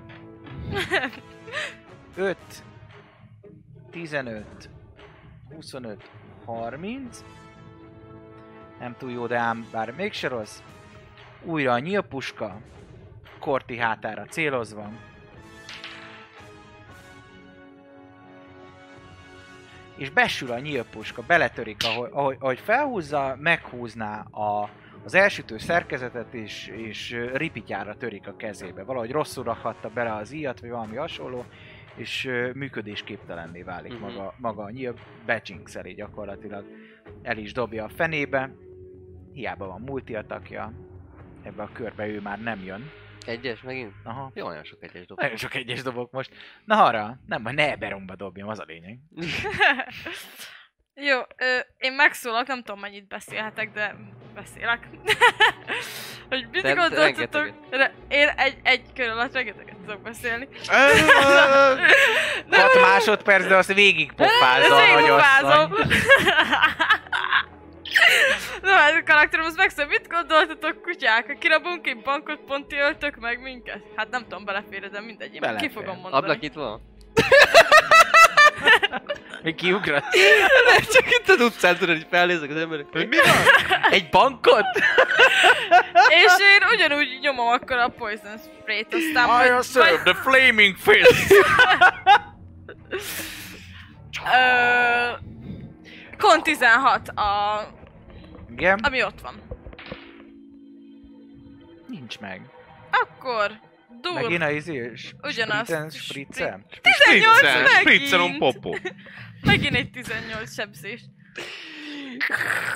Speaker 1: 5, 15, 25, 30. Nem túl jó, de ám bár mégse rossz. Újra a nyílpuska. Korti hátára célozva. és besül a nyílpuska, beletörik, ahogy, ahogy, ahogy felhúzza, meghúzná a, az elsütő szerkezetet, és, és ö, ripityára törik a kezébe. Valahogy rosszul rakhatta bele az íjat, vagy valami hasonló, és ö, működésképtelenné válik
Speaker 4: Mhm.
Speaker 1: maga, maga a nyíl, becsinkszeli gyakorlatilag. El is dobja a fenébe, hiába van multiatakja, ebbe a körbe ő már nem jön.
Speaker 4: Egyes megint?
Speaker 1: Aha.
Speaker 4: Jó, olyan sok egyes dob.
Speaker 1: Nagyon sok egyes dobok most. Na arra, nem baj, ne beromba dobjam, az a lényeg.
Speaker 2: Jó, ö, én megszólok, nem tudom mennyit beszélhetek, de beszélek. hogy mit
Speaker 4: Te- te
Speaker 2: gondoltatok?
Speaker 4: rengeteget.
Speaker 2: Re- én egy, egy kör alatt rengeteget tudok beszélni.
Speaker 1: Hat másodperc, de azt végig pofázza
Speaker 2: Ez
Speaker 1: a
Speaker 2: én
Speaker 1: nagyasszony.
Speaker 2: hibázom. Na, ez a karakterem az megszól. Mit gondoltatok, kutyák? Kirabunk egy bankot, pont ti öltök meg minket? Hát nem tudom, belefér, de mindegy, én majd ki
Speaker 1: Belefér.
Speaker 2: fogom mondani.
Speaker 4: Ablak itt van?
Speaker 1: Még kiugrott.
Speaker 4: Csak itt az utcán tudod, hogy felnézek az emberek. Hogy mi van?
Speaker 1: Egy bankot?
Speaker 2: És én ugyanúgy nyomom akkor a poison sprayt, aztán
Speaker 1: I serve the flaming fist.
Speaker 2: Ö, Kon 16, a,
Speaker 1: Igen?
Speaker 2: ami ott van.
Speaker 1: Nincs meg.
Speaker 2: Akkor
Speaker 1: Megint
Speaker 2: dur.
Speaker 1: a izé, s-
Speaker 2: Ugyanaz.
Speaker 1: spritzen, spritzen.
Speaker 2: 18
Speaker 3: Spriccel, Spriccelom
Speaker 2: megint.
Speaker 3: popó.
Speaker 2: Megint egy 18 sebzés.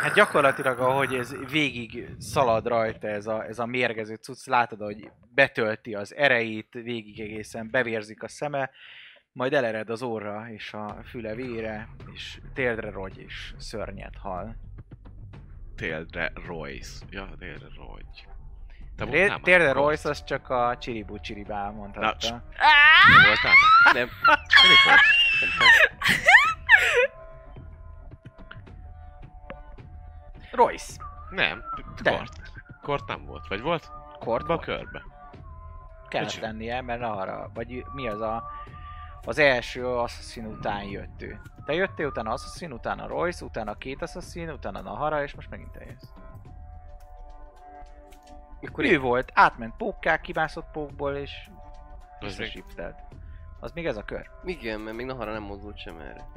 Speaker 1: Hát gyakorlatilag, ahogy ez végig szalad rajta ez a, ez a mérgező cucc, látod, hogy betölti az erejét, végig egészen bevérzik a szeme, majd elered az orra és a füle vére, és térdre rogy, és szörnyet hal.
Speaker 3: Téldre Royce. Ja, téldre Royce. Te
Speaker 1: Ré-
Speaker 3: voltál már?
Speaker 1: Térdre Royce az csak a Csiribú Csiribá
Speaker 3: Na,
Speaker 1: mondhatta.
Speaker 2: Á,
Speaker 3: Te voltál már?
Speaker 4: Nem.
Speaker 3: Mikor?
Speaker 1: Royce!
Speaker 3: Nem.
Speaker 1: De.
Speaker 3: Kort. Kort nem volt. Vagy volt? Kortba a körbe.
Speaker 1: Kellett
Speaker 3: Micsoda?
Speaker 1: lennie, mert arra, vagy mi az a... Az első Assassin után jött ő. Te jöttél, utána Assassin, utána Royce, utána két Assassin, utána Nahara, és most megint te jössz.
Speaker 4: Mikor
Speaker 1: Akkor ő volt, átment pókká, kibászott pókból, és
Speaker 3: Az még
Speaker 1: visszashiftelt. Az még ez a kör.
Speaker 4: Igen, mert még Nahara nem mozdult sem erre.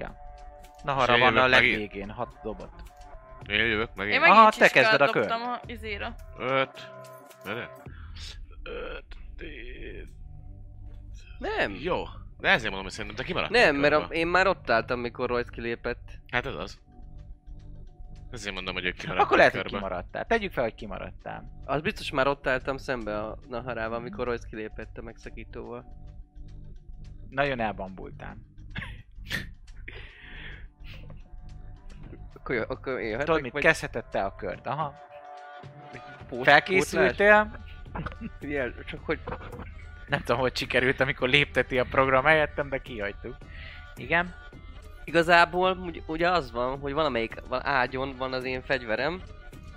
Speaker 1: Nahara
Speaker 3: És
Speaker 1: van a
Speaker 3: jövök megint?
Speaker 1: legvégén, hat dobott.
Speaker 3: Én jövök
Speaker 2: én
Speaker 3: megint.
Speaker 1: meg-
Speaker 2: megint
Speaker 1: Aha,
Speaker 2: Aha,
Speaker 1: te kezded a kört.
Speaker 2: dobtam a izéra.
Speaker 3: Öt. Vele? Öt. tíz.
Speaker 4: Nem.
Speaker 3: Jó. De ezért mondom, hogy szerintem te kimaradtál
Speaker 4: Nem, mert
Speaker 3: körbe.
Speaker 4: a, én már ott álltam, mikor Royce kilépett.
Speaker 3: Hát ez az. Ezért mondom, hogy ők kimaradtak
Speaker 1: Akkor lehet, hogy
Speaker 3: körbe.
Speaker 1: kimaradtál. Tegyük fel, hogy kimaradtál.
Speaker 4: Az biztos már ott álltam szembe a Naharával, amikor Royce kilépett a megszakítóval.
Speaker 1: Nagyon elbambultál.
Speaker 3: Hát
Speaker 4: Akkor, jö- akkor én jöhetek,
Speaker 1: Tudod, mit
Speaker 4: vagy
Speaker 1: kezdhetett te a kört. Aha.
Speaker 4: pót- pótlás?
Speaker 1: Felkészültél,
Speaker 4: Ilyen, csak hogy
Speaker 1: Nem tudom, hogy sikerült, amikor lépteti a program helyettem, de kihagytuk. Igen.
Speaker 4: igazából ugy- ugye az van, hogy valamelyik val- ágyon van az én fegyverem,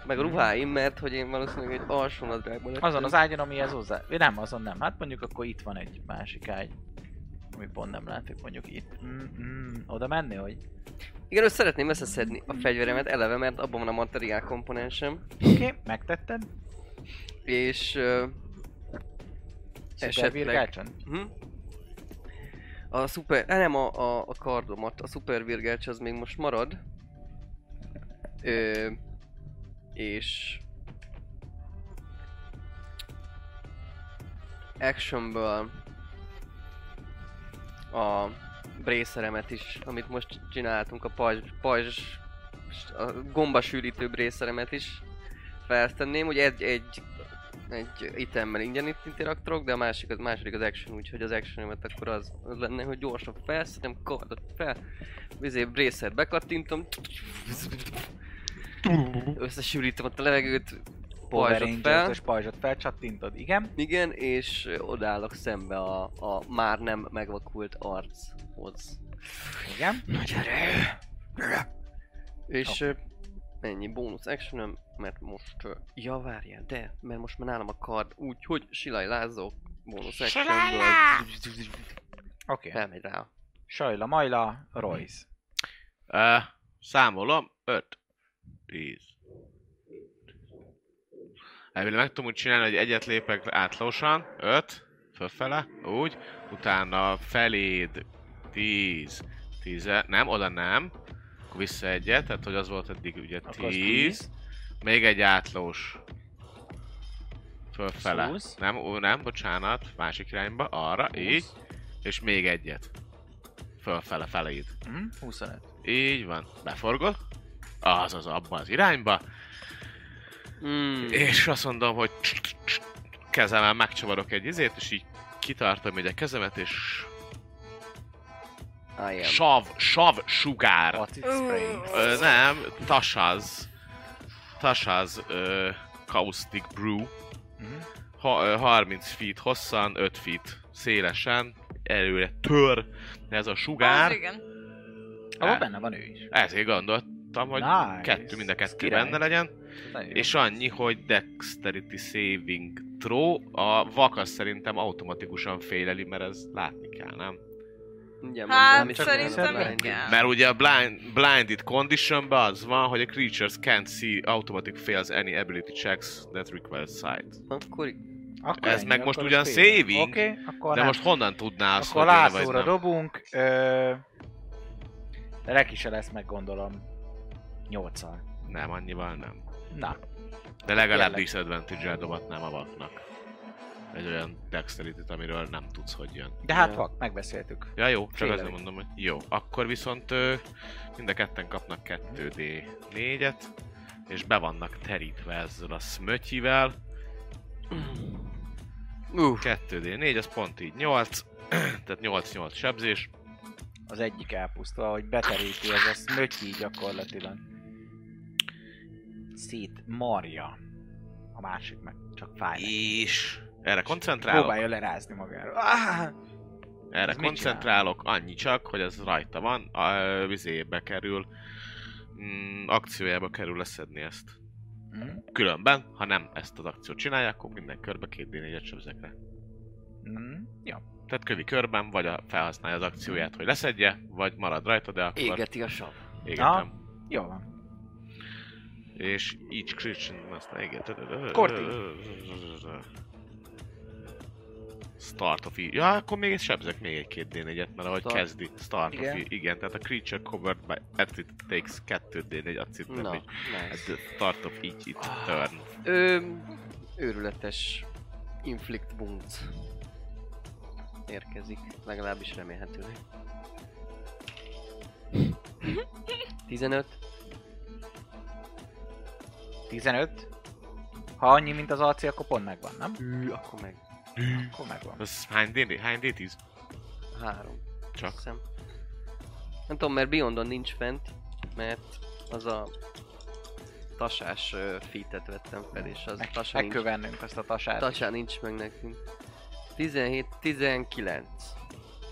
Speaker 4: meg a ruháim, mert hogy én valószínűleg egy alsó nadrágban lettem.
Speaker 1: Mhm. Azon az ágyon, amihez hozzá... vagy Nem, azon nem. Hát mondjuk akkor itt van egy másik ágy. Ami pont nem látszik, mondjuk itt. Mm-mm. Oda menni, hogy...
Speaker 4: Igen, ő szeretném összeszedni a fegyveremet eleve, mert abban van a materiál komponensem.
Speaker 1: Oké, okay, megtetted.
Speaker 4: És... ö,
Speaker 1: Szupervirgácson.
Speaker 4: Hm? A szuper... á, Nem, a, a, a kardomat. A szuper virgács az még most marad. Ö, és... Actionből a brészeremet is, amit most csináltunk, a pajzs, pajzs a gombasűrítő brészeremet is feltenném, hogy egy, egy egy itemmel ingyen itt interaktorok, de a másik, az második az action, úgyhogy az action akkor az, az lenne, hogy gyorsan felszedem, kardot fel, vizé brészert bekattintom, összesűrítem ott a levegőt,
Speaker 1: Power
Speaker 4: pajzsot fel,
Speaker 1: Rangers-ös pajzsot felcsattintod. Igen.
Speaker 4: igen, és ö, odállok szembe a, a már nem megvakult archoz.
Speaker 1: Igen.
Speaker 4: Nagy erő! És ö, ennyi bónusz action mert most... ö, Ja, várjál, de, mert most már nálam a kard, úgyhogy silaj lázok bónusz actionből.
Speaker 1: Oké. Okay.
Speaker 4: Elmegy rá.
Speaker 1: Sajla, Majla, Royce.
Speaker 3: Ö, számolom. 5. 10. Elvileg meg tudom úgy csinálni, hogy egyet lépek átlósan. 5. Fölfele. Úgy. Utána feléd. 10. 10. Nem, oda nem. Akkor vissza egyet, tehát hogy az volt eddig ugye
Speaker 1: Akkor az
Speaker 3: 10.
Speaker 1: tíz.
Speaker 3: Még egy átlós. Fölfele.
Speaker 1: Húsz.
Speaker 3: Nem, ó, nem, bocsánat. Másik irányba. Arra, így. És még egyet. Fölfele, feléd.
Speaker 1: Hm? 25.
Speaker 3: Így van. Beforgol. Az az abba az irányba.
Speaker 1: Hmm.
Speaker 4: Mm.
Speaker 3: És azt mondom, hogy kezemmel megcsavarok egy izért, és így kitartom így a kezemet, és
Speaker 4: I am.
Speaker 3: sav, sav sugár.
Speaker 1: Acid spray.
Speaker 3: Ö, nem, Tasha's, Tasha's ö, Caustic Brew,
Speaker 1: Mhm.
Speaker 3: ha, ö, 30 feet hosszan, 5 feet szélesen, előre tör ez a
Speaker 2: Az
Speaker 3: sugár.
Speaker 2: igen.
Speaker 1: Abban benne van ő is.
Speaker 3: Ezért gondoltam, hogy
Speaker 1: Nice.
Speaker 3: kettő, mind a kettő
Speaker 1: Király.
Speaker 3: benne legyen.
Speaker 1: Nagyon
Speaker 3: És annyi, hogy Dexterity Saving Throw, a vakas szerintem automatikusan féleli, mert ez látni kell, nem?
Speaker 4: Ugye,
Speaker 2: Hát,
Speaker 4: mondtam, csak
Speaker 1: szerintem
Speaker 4: nem
Speaker 1: igen.
Speaker 4: blinded.
Speaker 3: Mert ugye a blind, blinded condition az van, hogy a creatures can't see automatic fails any ability checks that require sight.
Speaker 4: Akkor
Speaker 1: jó. Akkor
Speaker 3: Ez
Speaker 1: ennyi,
Speaker 3: meg most
Speaker 1: akkor
Speaker 3: ugyan
Speaker 1: ez fél.
Speaker 3: saving,
Speaker 1: Oké, akkor
Speaker 3: de
Speaker 1: nem.
Speaker 3: most honnan tudná azt,
Speaker 1: Akkor
Speaker 3: hogy él vagy
Speaker 1: Lászlóra
Speaker 3: nem?
Speaker 1: dobunk. Ö... De neki se lesz meg gondolom. Nyolccal.
Speaker 3: Nem, annyival nem.
Speaker 1: Na,
Speaker 3: De legalább
Speaker 1: Kérlek.
Speaker 3: disadvantage-el dobatnám a vaknak. Egy olyan dexterity amiről nem tudsz, hogy jön.
Speaker 1: de hát
Speaker 4: Ja.
Speaker 1: vak, megbeszéltük.
Speaker 3: Ja jó, csak
Speaker 1: Félelik.
Speaker 3: azért mondom, hogy jó. Akkor viszont ö, mind a ketten kapnak 2D4-et, és be vannak terítve ezzel a smötyivel.
Speaker 4: Uff,
Speaker 3: 2D4, az pont így 8, tehát 8-8 sebzés.
Speaker 1: Az egyik elpusztul, hogy beteríti ez a smötyi gyakorlatilag. Szét marja. A másik meg csak fáj. neki.
Speaker 3: És erre koncentrálok,
Speaker 1: Próbálja lerázni magáról. Ah!
Speaker 3: erre
Speaker 1: Ez mit
Speaker 3: koncentrálok, annyi csak, hogy ez rajta van, a vizébe kerül, mm, akciójába kerül leszedni ezt.
Speaker 1: Hm?
Speaker 3: Különben, ha nem ezt az akciót csinálja, akkor minden körbe 2D4-et sebzek rá.
Speaker 1: Hm? Jó.
Speaker 3: Tehát kövi körben, vagy a, felhasználja az akcióját, hogy leszedje, vagy marad rajta, de akkor
Speaker 4: égeti a sav.
Speaker 3: égetem.
Speaker 1: Jó van.
Speaker 3: És each creature aztán égetem.
Speaker 1: Kortig.
Speaker 3: Start of e- Ja, akkor még egy sebzek még egy két D4-et, mert ahogy
Speaker 4: Start.
Speaker 3: kezdi. Start igen.
Speaker 1: Igen.
Speaker 3: of e- Igen, tehát a creature covered by acid takes 2 D4 acid
Speaker 4: Na,
Speaker 3: damage. At
Speaker 4: nice.
Speaker 3: the start of each it turn.
Speaker 4: Ö, őrületes inflict wounds érkezik, legalábbis remélhetőleg. 15,
Speaker 1: 15. Ha annyi, mint az AC, akkor pont megvan, nem?
Speaker 4: ű, akkor meg
Speaker 1: Akkor megvan.
Speaker 3: Ez hány D4? Hány D10?
Speaker 4: 3.
Speaker 3: Csak.
Speaker 4: Hiszem. Nem tudom, mert Beyondon nincs fent, mert az a tasás ö, fitet vettem fel, és az
Speaker 1: Meg,
Speaker 4: tasa nincs.
Speaker 1: megkövennünk azt a tasát.
Speaker 4: Tasá nincs meg nekünk. 17, 19.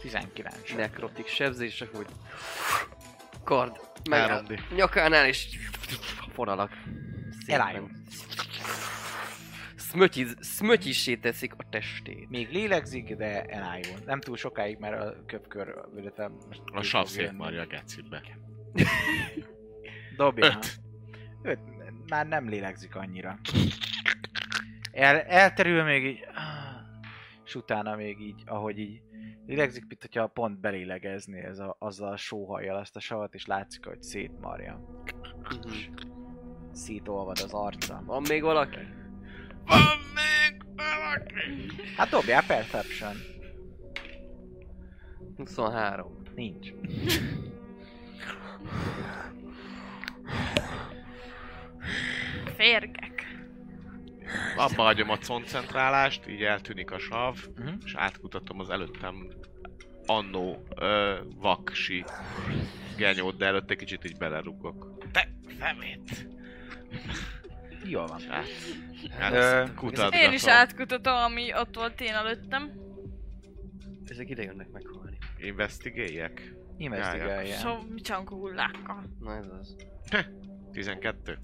Speaker 1: 19.
Speaker 4: nekrotik sebzése, hogy kard
Speaker 3: Három
Speaker 4: megáll
Speaker 3: D.
Speaker 4: nyakánál és fonalak. Szépen.
Speaker 1: Elájul.
Speaker 4: Smötyiz, smötyissé teszik a testét.
Speaker 1: Még lélegzik, de elájul. Nem túl sokáig, mert a köpkör, illetve most ki
Speaker 3: A
Speaker 1: fog
Speaker 3: sav szét
Speaker 1: jönni.
Speaker 3: marja a gecibe.
Speaker 1: Dobja.
Speaker 3: Öt.
Speaker 1: Öt. Már nem lélegzik annyira. El, elterül még így, ah, és utána még így, ahogy így lélegzik, mint hogyha pont belélegezni ez a, azzal a sóhajjal ezt a savat, és látszik, hogy szétmarja.
Speaker 4: Mhm.
Speaker 1: Szétolvad az arca.
Speaker 4: Van még valaki?
Speaker 3: Van még valaki!
Speaker 1: Hát dobjál Perception.
Speaker 4: 23.
Speaker 1: Nincs.
Speaker 2: Férgek.
Speaker 3: Abba hagyom a koncentrálást, így eltűnik a sav,
Speaker 1: Mhm.
Speaker 3: és átkutatom az előttem annó ö, vaksi genyót, de előtte kicsit így belerugok. Te szemét!
Speaker 1: Jól van.
Speaker 3: Hát,
Speaker 1: Ö,
Speaker 3: hát kutatgatom.
Speaker 2: Én is átkutatom, ami ott volt én előttem.
Speaker 4: Ezek ide jönnek meghalni.
Speaker 3: Investigáljek.
Speaker 1: Investigálja.
Speaker 2: So, csankó hullákkal.
Speaker 4: Na ez az.
Speaker 3: 12.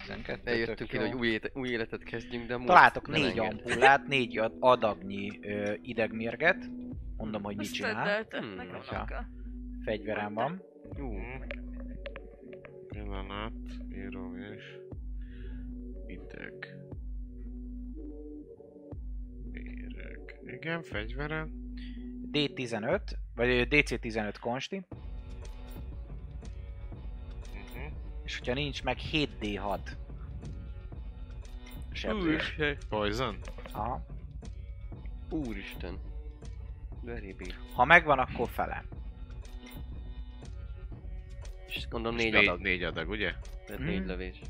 Speaker 1: 12
Speaker 4: Eljöttünk
Speaker 1: tök
Speaker 4: ide,
Speaker 1: jó.
Speaker 4: hogy új, éte, új életet kezdjünk, de most
Speaker 1: Találtok
Speaker 4: nem
Speaker 1: négy
Speaker 4: enged.
Speaker 1: ampullát, négy ad- adagnyi ö, idegmérget. Mondom, hogy mit
Speaker 2: Azt
Speaker 1: csinál.
Speaker 2: tedd el,
Speaker 4: Hmm,
Speaker 2: nekem
Speaker 1: hogyha.
Speaker 2: nem kell.
Speaker 1: Fegyverem van.
Speaker 4: Ú,
Speaker 3: Mm. Pillanat, írom és... Ideg. Méreg. Igen, fegyverem.
Speaker 1: D15, vagy ö, DC15 konsti.
Speaker 3: Mhm.
Speaker 1: És hogyha nincs meg 7D6. Sebzés.
Speaker 3: Új, Poison?
Speaker 1: Aha.
Speaker 4: Úristen. Very big.
Speaker 1: Ha megvan, akkor fele.
Speaker 4: És gondolom
Speaker 3: Most
Speaker 4: négy adag.
Speaker 3: Négy adag, ugye?
Speaker 4: Tehát
Speaker 1: Mhm.
Speaker 4: négy lövés.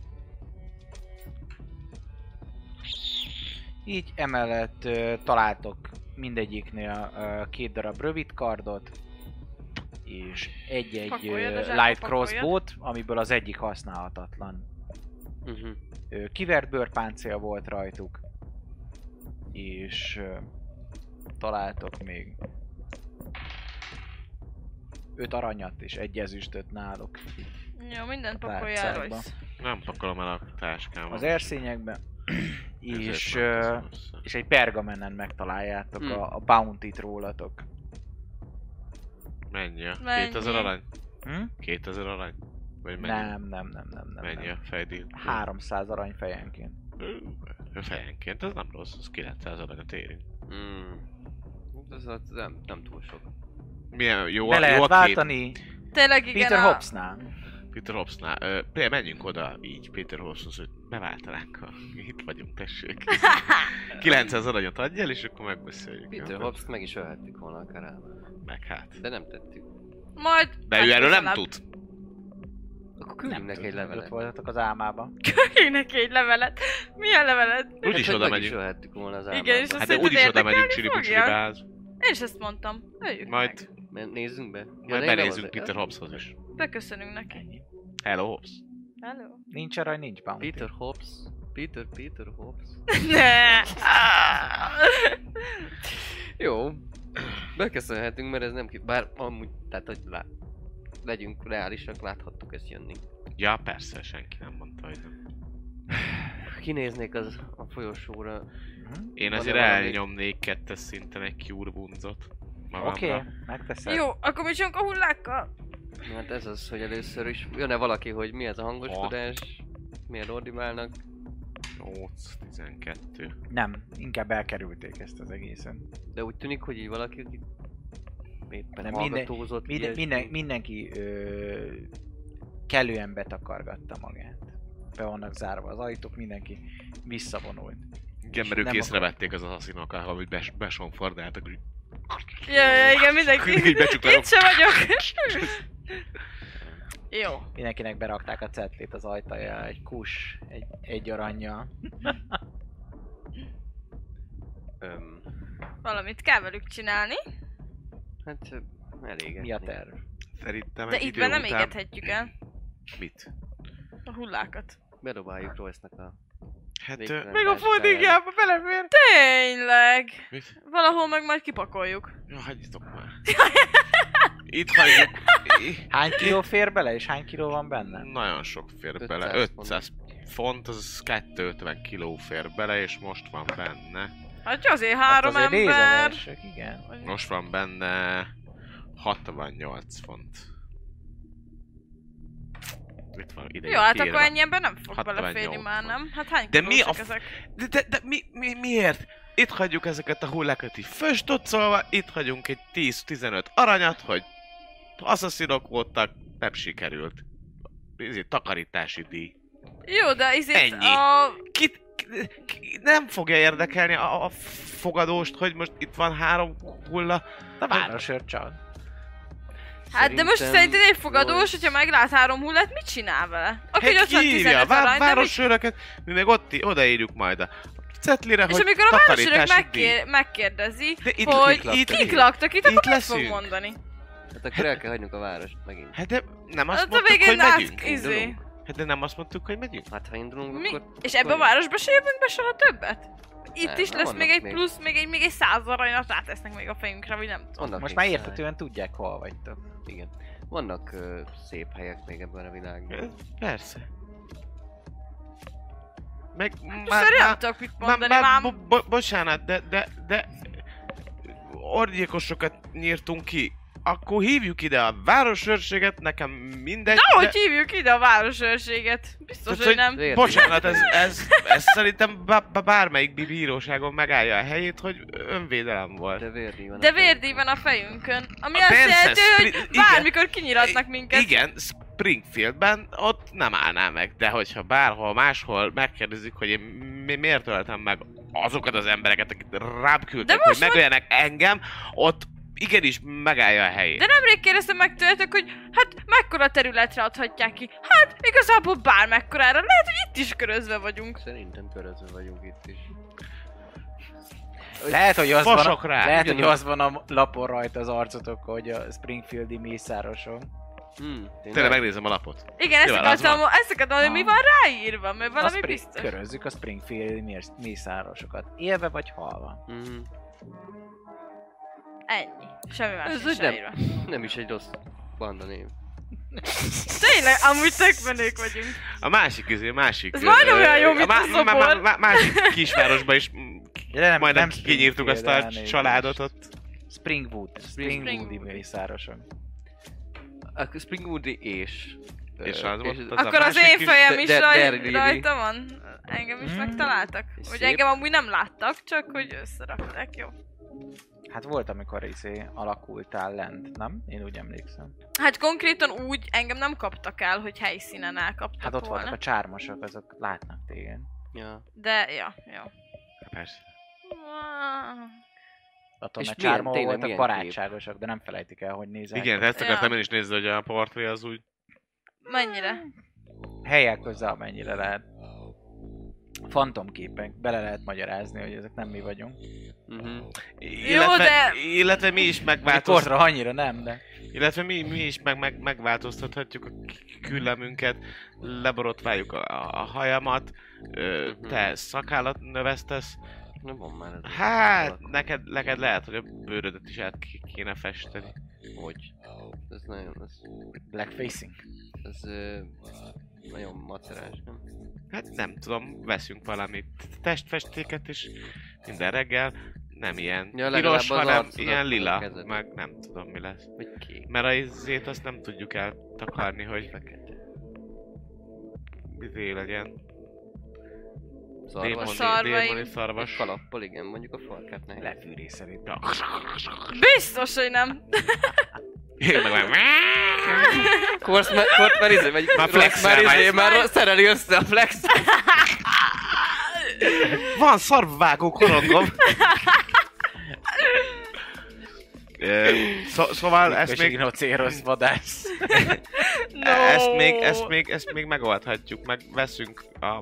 Speaker 1: Így emellett ö, találtok mindegyiknél ö, két darab rövid kardot, és egy-egy ö,
Speaker 2: Pakoljad a zsákba,
Speaker 1: light
Speaker 2: pakoljad.
Speaker 1: crossbow-t, amiből az egyik használhatatlan.
Speaker 4: Uh-huh.
Speaker 1: Ö, kivert bőrpáncél volt rajtuk, és ö, találtok még öt aranyat és egy ezüstöt náluk.
Speaker 2: Jó, minden
Speaker 1: A
Speaker 2: pakolja
Speaker 1: tárcákba.
Speaker 2: Royce.
Speaker 3: Nem pakolom el a táskámat.
Speaker 1: Az erszényekben,
Speaker 3: Ezért
Speaker 1: és,
Speaker 3: nem
Speaker 1: ö,
Speaker 3: teszem össze.
Speaker 1: és egy pergamenen megtaláljátok
Speaker 2: Hm.
Speaker 4: Hmm.
Speaker 1: a, a bounty-t rólatok.
Speaker 3: Mennyi a?
Speaker 2: Mennyi?
Speaker 3: 2000 arany?
Speaker 1: Hm?
Speaker 3: 2000 arany? Vagy mennyi?
Speaker 1: Nem, nem, nem, nem, nem.
Speaker 3: mennyi
Speaker 1: nem.
Speaker 3: a fejdíj?
Speaker 1: 300 arany fejenként.
Speaker 3: Ö, Fejenként, ez nem rossz, az 900 aranyat érint.
Speaker 4: Mm. Ez az nem, nem túl sok.
Speaker 3: Milyen jó,
Speaker 1: Be
Speaker 3: a, jó
Speaker 1: lehet
Speaker 3: a kép.
Speaker 1: váltani
Speaker 2: Tényleg igen,
Speaker 1: Peter
Speaker 2: a...
Speaker 1: Hobbsnál.
Speaker 3: Peter Hobbsnál. Ö, Pé, menjünk oda így Peter Hobbshoz, hogy beváltanánk, ha itt vagyunk, tessék. 900 aranyat adj el, és akkor megbeszéljük.
Speaker 4: Peter
Speaker 3: Akkor
Speaker 4: Hobbs meg is ölhettük volna akár el.
Speaker 3: Meg hát.
Speaker 4: De nem tettük.
Speaker 2: Majd...
Speaker 3: De ő erről nem
Speaker 2: legközelebb
Speaker 3: tud.
Speaker 4: Akkor küldjünk neki egy
Speaker 1: tudom, hogy Ott
Speaker 3: Hát,
Speaker 4: levelet.
Speaker 1: voltatok az álmába.
Speaker 2: Küldjünk neki egy levelet. Milyen levelet?
Speaker 3: Úgyis
Speaker 4: Hát, hogy
Speaker 3: oda
Speaker 4: Meg is
Speaker 3: megyünk.
Speaker 4: ölhettük volna az
Speaker 2: Igen,
Speaker 4: álmába.
Speaker 2: és azt
Speaker 3: Hát
Speaker 4: Hát
Speaker 3: de
Speaker 2: szerinted
Speaker 3: úgyis oda
Speaker 2: érdekelni
Speaker 3: megyünk csiribu
Speaker 2: fogja?
Speaker 3: csiribáz.
Speaker 2: Én is ezt mondtam. Öljük
Speaker 3: Majd,
Speaker 2: meg.
Speaker 4: de- Nézzünk be. Ja,
Speaker 3: majd
Speaker 4: de én
Speaker 3: benézzünk
Speaker 4: nem az-
Speaker 3: Peter Hobbshoz is.
Speaker 2: Beköszönünk neki.
Speaker 3: Hello Hobbs.
Speaker 2: Hello.
Speaker 1: Nincs arany, nincs bounty.
Speaker 4: Peter Hobbs. Peter, Peter Hobbs.
Speaker 2: Ne!
Speaker 4: Jó. Beköszönhetünk, mert ez nem ki... Bár amúgy, tehát hogy lát... legyünk reálisak, láthattuk ezt jönni.
Speaker 3: Ja, persze, senki nem mondta, hogy nem.
Speaker 4: Kinéznék az a folyosóra.
Speaker 1: Hm?
Speaker 3: Én
Speaker 4: Van-e
Speaker 3: azért
Speaker 4: valami?
Speaker 3: elnyomnék kettes szinten egy cure bunzot.
Speaker 1: Oké,
Speaker 3: magamra.
Speaker 1: okay, megteszed.
Speaker 2: Jó, akkor mit csinálunk a hullákkal?
Speaker 4: Hát ez az, hogy először is jön-e valaki, hogy mi ez a hangoskodás, milyen ordibálnak.
Speaker 3: 8, 12.
Speaker 1: Nem, inkább elkerülték ezt az egészen.
Speaker 4: De úgy tűnik, hogy így valaki, aki éppen
Speaker 1: Nem,
Speaker 4: nem,
Speaker 1: minden-
Speaker 4: hallgatózott.
Speaker 1: Minden,
Speaker 4: ilyesmi.
Speaker 1: minden, mindenki ö, kellően betakargatta magát. Be vannak zárva az ajtók, mindenki visszavonult.
Speaker 3: Igen,
Speaker 1: És
Speaker 3: mert ők
Speaker 1: nem
Speaker 3: észrevették az asszinokkal, amit bes, besonfordáltak, hogy
Speaker 2: Ja, ja, igen, mindenki.
Speaker 3: Így becsuklanak.
Speaker 2: Itt sem vagyok. Jó.
Speaker 1: Mindenkinek berakták a cetlét az ajtaja, egy kus, egy, egy aranya.
Speaker 4: Öm,
Speaker 2: Valamit kell velük csinálni,
Speaker 4: hát ö, elég.
Speaker 1: Mi a terv?
Speaker 3: szerintem
Speaker 2: de
Speaker 3: egy
Speaker 2: itt
Speaker 3: idő
Speaker 2: nem
Speaker 3: után...
Speaker 2: égethetjük el
Speaker 3: Mit?
Speaker 2: a hullákat.
Speaker 4: Bedobáljuk Royce-nak a
Speaker 3: Hát, ö,
Speaker 4: végtelen
Speaker 1: Meg a
Speaker 4: táskáját.
Speaker 1: fódingába belefér!
Speaker 2: Tényleg!
Speaker 3: mit?
Speaker 2: Valahol meg majd kipakoljuk.
Speaker 3: Jó, hagyjatok már. Itt hagyjuk. I-
Speaker 1: Hány kiló fér bele, és hány kiló van benne? Hát
Speaker 3: Nagyon sok fér
Speaker 4: 500
Speaker 3: bele.
Speaker 4: font.
Speaker 3: 500 font, az 250 kiló fér bele, és most van benne.
Speaker 2: Hát azért három
Speaker 1: hát azért
Speaker 2: ember.
Speaker 1: nézelgessük, igen.
Speaker 3: Most van benne 68 font. Itt van ide.
Speaker 2: Jó, hát
Speaker 3: kiírva.
Speaker 2: akkor ennyi ember nem fog
Speaker 3: 68
Speaker 2: beleférni már,
Speaker 3: van.
Speaker 2: nem? Hát hány
Speaker 3: De mi
Speaker 2: kilósak
Speaker 3: a f-
Speaker 2: ezek?
Speaker 3: De, de, de mi, mi, miért? Itt hagyjuk ezeket a hullákat így föstoccolva, itt hagyunk egy 10-15 aranyat, hogy asszaszinok voltak, nem sikerült. Ezért takarítási díj.
Speaker 2: Jó, de izé
Speaker 3: Ennyi.
Speaker 2: a...
Speaker 3: Kit, ki- ki, nem fogja érdekelni a, a fogadóst, hogy most itt van három hulla.
Speaker 1: A városőr csak.
Speaker 2: Hát de most szerinted egy fogadós,
Speaker 4: Royce-
Speaker 2: hogyha meglát három hullát, mit csinál vele? Aki
Speaker 3: Hát
Speaker 2: hogy ott van
Speaker 3: kívja,
Speaker 2: 15
Speaker 3: vá-
Speaker 2: arány, de mit
Speaker 3: városőröket, mi meg ott í- odaírjuk majd a cetlire,
Speaker 2: És
Speaker 3: hogy
Speaker 2: amikor a városőrök
Speaker 3: takarítási díj.
Speaker 2: megkér, megkérdezi,
Speaker 3: De itt,
Speaker 2: hogy
Speaker 3: itt, laktak.
Speaker 2: kik laktak itt, akkor
Speaker 3: Itt
Speaker 2: mit fog
Speaker 3: leszünk.
Speaker 2: mondani?
Speaker 4: Hát akkor el kell hagynunk a várost megint.
Speaker 3: Hát de nem azt
Speaker 2: Hát a
Speaker 3: mondtuk, hogy
Speaker 2: végén
Speaker 3: megyünk.
Speaker 2: át izé.
Speaker 4: Indulunk?
Speaker 3: Hát de nem azt mondtuk, hogy megyünk.
Speaker 4: Hát ha indulunk,
Speaker 2: Mi?
Speaker 4: akkor...
Speaker 2: És ebbe a
Speaker 4: akkor-
Speaker 2: városba se jövünk be soha többet? Itt
Speaker 4: Nem,
Speaker 2: is
Speaker 4: nem
Speaker 2: lesz
Speaker 4: vannak
Speaker 2: még egy
Speaker 4: még.
Speaker 2: plusz, még egy, még egy száz aranyat rátesznek még a fejünkre, vagy nem tudom.
Speaker 4: Vannak
Speaker 1: Most
Speaker 4: még
Speaker 1: már
Speaker 4: száj.
Speaker 1: értetően tudják, hol vagytok.
Speaker 4: Igen. Vannak ö, szép helyek még ebben a világban.
Speaker 3: Persze. Meg már,
Speaker 2: Szóval nem tudok mit
Speaker 3: már,
Speaker 2: mondani,
Speaker 3: már,
Speaker 2: mám.
Speaker 3: bo- bo- bocsánat, de, de, de orgyilkosokat nyírtunk ki. Akkor hívjuk ide a városőrséget, nekem mindegy.
Speaker 2: De hogy hívjuk ide a városőrséget? Biztos,
Speaker 3: Tehát,
Speaker 2: hogy
Speaker 3: hogy-
Speaker 2: nem.
Speaker 4: Érted?
Speaker 3: Bocsánat, ez, ez, ez szerintem bá- bá- bármelyik bí- bíróságon megállja a helyét, hogy önvédelem volt.
Speaker 4: De Verdi van.
Speaker 2: De
Speaker 4: a fejünkön.
Speaker 2: vérdíj van a fejünkön, ami
Speaker 3: A
Speaker 2: azt
Speaker 3: persze,
Speaker 2: jelenti, hogy
Speaker 3: spri- igen.
Speaker 2: bármikor kinyilatnak minket.
Speaker 3: Igen, Springfieldben ott nem állná meg, de hogyha bárhol máshol megkérdezik, hogy én mi- miért öltem meg azokat az embereket, akik rám küldtek,
Speaker 2: De
Speaker 3: hogy
Speaker 2: most már-
Speaker 3: megöljenek engem, ott igenis megállja a helyét.
Speaker 2: De nemrég kérdeztem meg tőletek, hogy hát mekkora területre adhatják ki. Hát igazából bármekkorára, lehet, hogy itt is körözve vagyunk.
Speaker 4: Szerintem körözve vagyunk itt is.
Speaker 1: Lehet, hogy az van,
Speaker 5: Vasok rá.
Speaker 1: lehet, hogy
Speaker 4: Ugyanaz.
Speaker 1: az van a lapon rajta az arcotokon, hogy a Springfieldi mészároson.
Speaker 4: Hmm,
Speaker 3: Tényleg megnézem a lapot.
Speaker 2: Igen, ezt
Speaker 3: Nyilván az
Speaker 2: akartam, ezt akartam, hogy mi
Speaker 1: Ah.
Speaker 2: van ráírva, mert
Speaker 1: A
Speaker 2: valami
Speaker 1: Spring-
Speaker 2: biztos.
Speaker 1: Körözzük a Springfieldi mész- mészárosokat. Élve vagy halva?
Speaker 4: Mhm.
Speaker 2: Ennyi. Semmi más
Speaker 4: Ez
Speaker 2: nincs
Speaker 4: úgy nem.
Speaker 2: ráírva.
Speaker 4: Nem is egy rossz banda név.
Speaker 2: Tényleg, amúgy tök menők vagyunk.
Speaker 3: A másik izé, a másik...
Speaker 2: Ez majdnem
Speaker 3: ö,
Speaker 2: olyan jó, mint
Speaker 3: a má-
Speaker 2: a szobor.
Speaker 3: má- má- má- Másik kisvárosban is mm,
Speaker 1: De nem,
Speaker 3: majdnem
Speaker 1: Springfield,
Speaker 3: kinyírtuk azt a
Speaker 1: elnézést.
Speaker 3: családot ott.
Speaker 1: Springwood. Springwoodi mészároson.
Speaker 4: A Springwoodi és...
Speaker 3: És
Speaker 4: ö,
Speaker 3: az volt az a
Speaker 2: Akkor az
Speaker 3: másik
Speaker 2: én
Speaker 3: kis-
Speaker 2: fejem
Speaker 4: de-
Speaker 2: is
Speaker 4: de-
Speaker 2: raj,
Speaker 4: Derry.
Speaker 2: rajta van. Engem is
Speaker 1: Mm.
Speaker 2: megtaláltak.
Speaker 4: És
Speaker 2: Hogy
Speaker 4: szép.
Speaker 2: engem amúgy nem láttak, csak hogy összerakták, jó.
Speaker 1: Hát volt, amikor izé alakultál lent, nem? Én úgy emlékszem.
Speaker 2: Hát konkrétan úgy engem nem kaptak el, hogy helyszínen elkaptak
Speaker 1: Hát ott
Speaker 2: volna.
Speaker 1: voltak a csármosok, azok látnak téged.
Speaker 4: Ja.
Speaker 2: De, ja, jó.
Speaker 3: Persze.
Speaker 1: Attól
Speaker 4: És
Speaker 1: a
Speaker 4: milyen-
Speaker 1: csárma
Speaker 4: tényleg
Speaker 1: voltak
Speaker 4: milyen
Speaker 1: barátságosak, de nem felejtik el, hogy nézel.
Speaker 3: Igen, hát- ezt
Speaker 2: Ja.
Speaker 3: akartam én is nézni, hogy a portré az úgy...
Speaker 2: Mennyire?
Speaker 1: Helyek hozzá, amennyire lehet. Fantomképek, bele lehet magyarázni, hogy ezek nem mi vagyunk.
Speaker 4: Mhm.
Speaker 3: Illetve,
Speaker 2: de-
Speaker 3: illetve mi is megváltoz...
Speaker 1: Mikorra annyira nem, de...
Speaker 3: Illetve mi, mi is meg, meg, megváltoztathatjuk a k- küllemünket, leborotváljuk a, a hajamat, ö,
Speaker 4: Mhm.
Speaker 3: te szakállat növesztesz.
Speaker 4: Nem van már ez.
Speaker 3: Hát,
Speaker 4: Alak-
Speaker 3: neked, neked lehet, hogy a bőrödet is át ki- kéne festeni.
Speaker 4: Hogy? Ez nagyon... Ez,
Speaker 1: Blackfacing.
Speaker 4: ez ö, nagyon macerás, nem?
Speaker 3: Hát nem tudom, veszünk valami t- testfestéket is minden reggel. Nem ilyen
Speaker 4: Ja,
Speaker 3: ja,
Speaker 4: legalább
Speaker 3: piros,
Speaker 4: az
Speaker 3: hanem
Speaker 4: arcodat
Speaker 3: ilyen lila.
Speaker 4: kezded.
Speaker 3: Meg nem tudom mi lesz.
Speaker 4: Vagy kék.
Speaker 3: Mert a izzét azt nem tudjuk eltakarni, hogy
Speaker 4: Fekete.
Speaker 3: izé legyen.
Speaker 4: Szarvas.
Speaker 2: A szar- szarvaim.
Speaker 3: démoni szarvas.
Speaker 4: Egy kalappal, igen, mondjuk a farkát nehéz.
Speaker 1: Lefűrészelít.
Speaker 3: Ja.
Speaker 2: Biztos, hogy nem.
Speaker 3: E- Én meg már-
Speaker 4: Korsz már, korsz már izé, vagy
Speaker 3: Már
Speaker 4: már
Speaker 3: flexel
Speaker 4: flex, már
Speaker 3: vagy.
Speaker 4: izé, már szereli össze a flex.
Speaker 3: Van szarvvágó korongom. Szó, szóval ezt még,
Speaker 1: Rinocérosz vadász.
Speaker 2: No.
Speaker 3: ezt, még, ezt, még, ezt még megoldhatjuk, meg veszünk a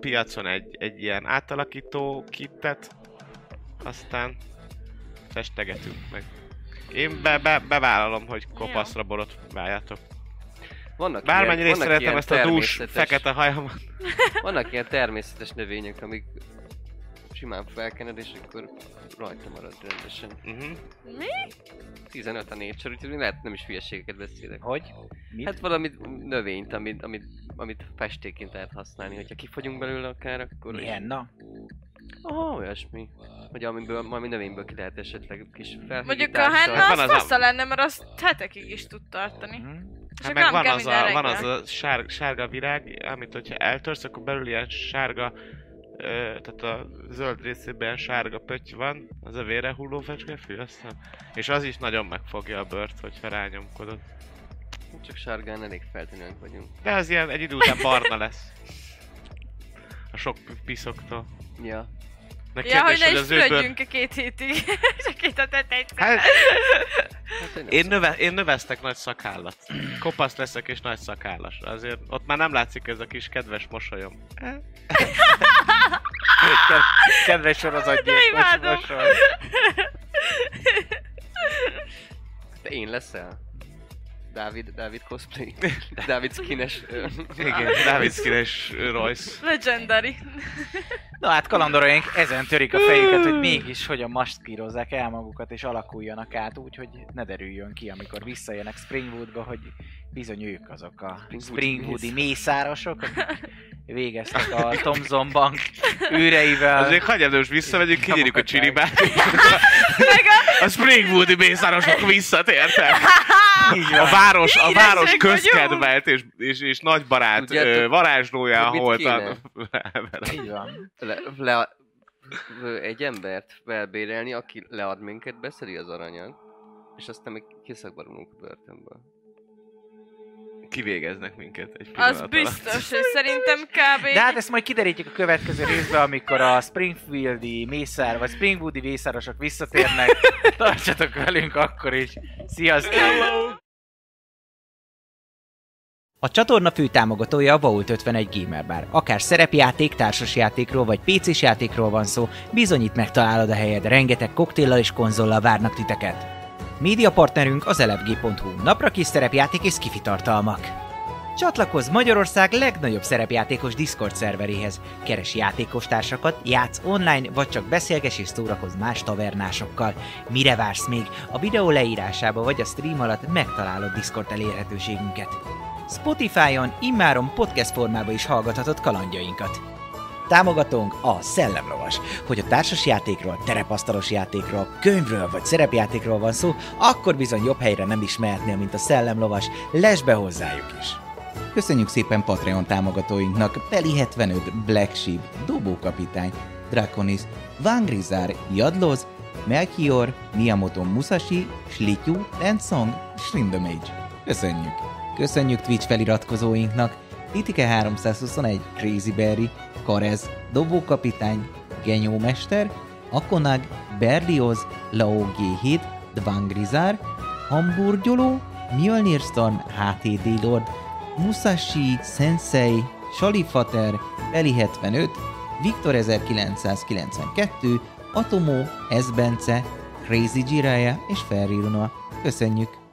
Speaker 3: piacon egy, egy ilyen átalakító kittet, aztán festegetünk meg. Én be, be, bevállalom, hogy kopaszra borot váljatok.
Speaker 4: Vannak
Speaker 3: Bármennyire
Speaker 4: Hát
Speaker 3: is
Speaker 4: vannak
Speaker 3: szeretem
Speaker 4: ilyen
Speaker 3: ezt a dús
Speaker 4: természetes-
Speaker 3: fekete hajamat.
Speaker 4: Vannak ilyen természetes növények, amik simán felkened, és akkor rajta marad rendesen.
Speaker 3: Uh-huh.
Speaker 4: 15 a népsor, úgyhogy még lehet nem is hülyeségeket beszélek.
Speaker 1: Hogy? Mit?
Speaker 4: Hát valami növényt, amit, amit, amit festékként lehet használni, hogyha kifogyunk belőle akár, akkor... is-
Speaker 1: Milyen, na?
Speaker 4: Aha, olyasmi. Hogy amiből, valami növényből ki lehet esetleg kis felhígítással.
Speaker 2: Mondjuk a henna
Speaker 3: Hát Van
Speaker 2: az
Speaker 3: az a-
Speaker 2: fassa lenne, mert azt hetekig is tud tartani.
Speaker 1: Hm?
Speaker 2: Csak
Speaker 3: Hát
Speaker 2: nem
Speaker 3: meg van
Speaker 2: kell
Speaker 3: az,
Speaker 2: minden
Speaker 3: a, van az
Speaker 2: reggel.
Speaker 3: a sár, sárga virág, amit hogyha eltörsz, akkor belül ilyen sárga, ö, tehát a zöld részében ilyen sárga pötty van, az a vére hulló fecskefű, azt hiszem. És az is nagyon megfogja a bört, hogyha rányomkodod.
Speaker 4: Csak sárgán elég feltűnőnk vagyunk.
Speaker 3: De az ilyen egy idő után barna lesz. A sok pi- piszoktól.
Speaker 4: Ja.
Speaker 3: Meg
Speaker 2: Ja, hogy
Speaker 3: kérdés,
Speaker 2: ne
Speaker 3: hogy
Speaker 2: is
Speaker 3: az ő bőr...
Speaker 2: fürödjünk a két hétig. Csak itt a tett egyszer.
Speaker 3: Hát,
Speaker 4: Hát, hogy nem
Speaker 3: én, növe, én növesztek nagy szakállat. Kopasz leszek és nagy szakállas. Azért ott már nem látszik ez a kis kedves mosolyom.
Speaker 1: Ked- Kedves sorozatgyilkos
Speaker 2: imádom.
Speaker 1: mosoly.
Speaker 4: Te én leszel? Dávid, Dávid cosplay. Dávid skines. ö,
Speaker 3: Igen, Dávid Szkines Royce.
Speaker 2: Legendary.
Speaker 1: Na hát kalandoraink ezen törik a fejüket, hogy mégis hogyan maszkírozzák el magukat és alakuljanak át úgy, hogy ne derüljön ki, amikor visszajönnek Springwoodba, hogy bizony ők azok a
Speaker 4: Springwoodi
Speaker 1: Springwoodi mészárosok, akik végeztek a Thomson Bank űreivel.
Speaker 3: Azért hagyjad, most visszamegyünk, kinyírjuk a csinibát.
Speaker 2: Meg a...
Speaker 3: A Springwoodi mészárosok visszatértek.
Speaker 1: Így
Speaker 3: A
Speaker 1: van.
Speaker 3: város, a
Speaker 2: Híresek
Speaker 3: város
Speaker 2: vagyunk.
Speaker 3: közkedvelt és, és, és nagybarát
Speaker 4: Ugye,
Speaker 3: ö,
Speaker 4: tök-
Speaker 3: varázslója,
Speaker 4: tök mit
Speaker 3: ahol
Speaker 4: kéne?
Speaker 1: Így van.
Speaker 4: Le, le, ö, egy embert felbérelni, aki lead minket, beszedi az aranyat. És aztán még kiszakbarulunk a börtönből.
Speaker 3: kivégeznek minket egy pillanat
Speaker 2: Az
Speaker 3: alatt.
Speaker 2: biztos, hogy szerintem kb.
Speaker 1: De hát ezt majd kiderítjük a következő részben, amikor a Springfieldi mészár, vagy Springwoodi mészárosok visszatérnek. Tartsatok velünk akkor is. Sziasztok!
Speaker 5: Hello! A csatorna fő támogatója a Vault 51 Gamer Bar. Akár szerepjáték, társasjátékról vagy pc játékról van szó, bizonyít megtalálod a helyed, rengeteg koktéllal és konzollal várnak titeket. Média partnerünk az elefg.hu, napra kis szerepjáték és skifi tartalmak. Csatlakozz Magyarország legnagyobb szerepjátékos Discord szerveréhez. Keres játékostársakat, játsz online, vagy csak beszélges és szórakozz más tavernásokkal. Mire vársz még? A videó leírásába vagy a stream alatt megtalálod Discord elérhetőségünket. Spotify-on immáron podcast formában is hallgathatod kalandjainkat. Támogatónk a Szellemlovas. Hogy a társas játékról, terepasztalos játékról, könyvről vagy szerepjátékról van szó, akkor bizony jobb helyre nem is mehetnél, mint a Szellemlovas. Lesz be hozzájuk is! Köszönjük szépen Patreon támogatóinknak Peli75, Black Sheep, Dobókapitány, Draconis, Vangrizár, Jadloz, Melchior, Miyamoto Musashi, Slityu, Lensong, Slimdomage. Köszönjük! Köszönjük Twitch feliratkozóinknak Titike321, Crazy Berry, Karez, Dobókapitány, Genyó Mester, Akonag, Berlioz, Lao G7, Dvangrizár, Hamburgyoló, Mjölnir Storm, HTD Lord, Musashi, Sensei, Salifater, Eli75, Viktor 1992, Atomó, Ezbence, Crazy Jiraya és Ferriruna. Köszönjük!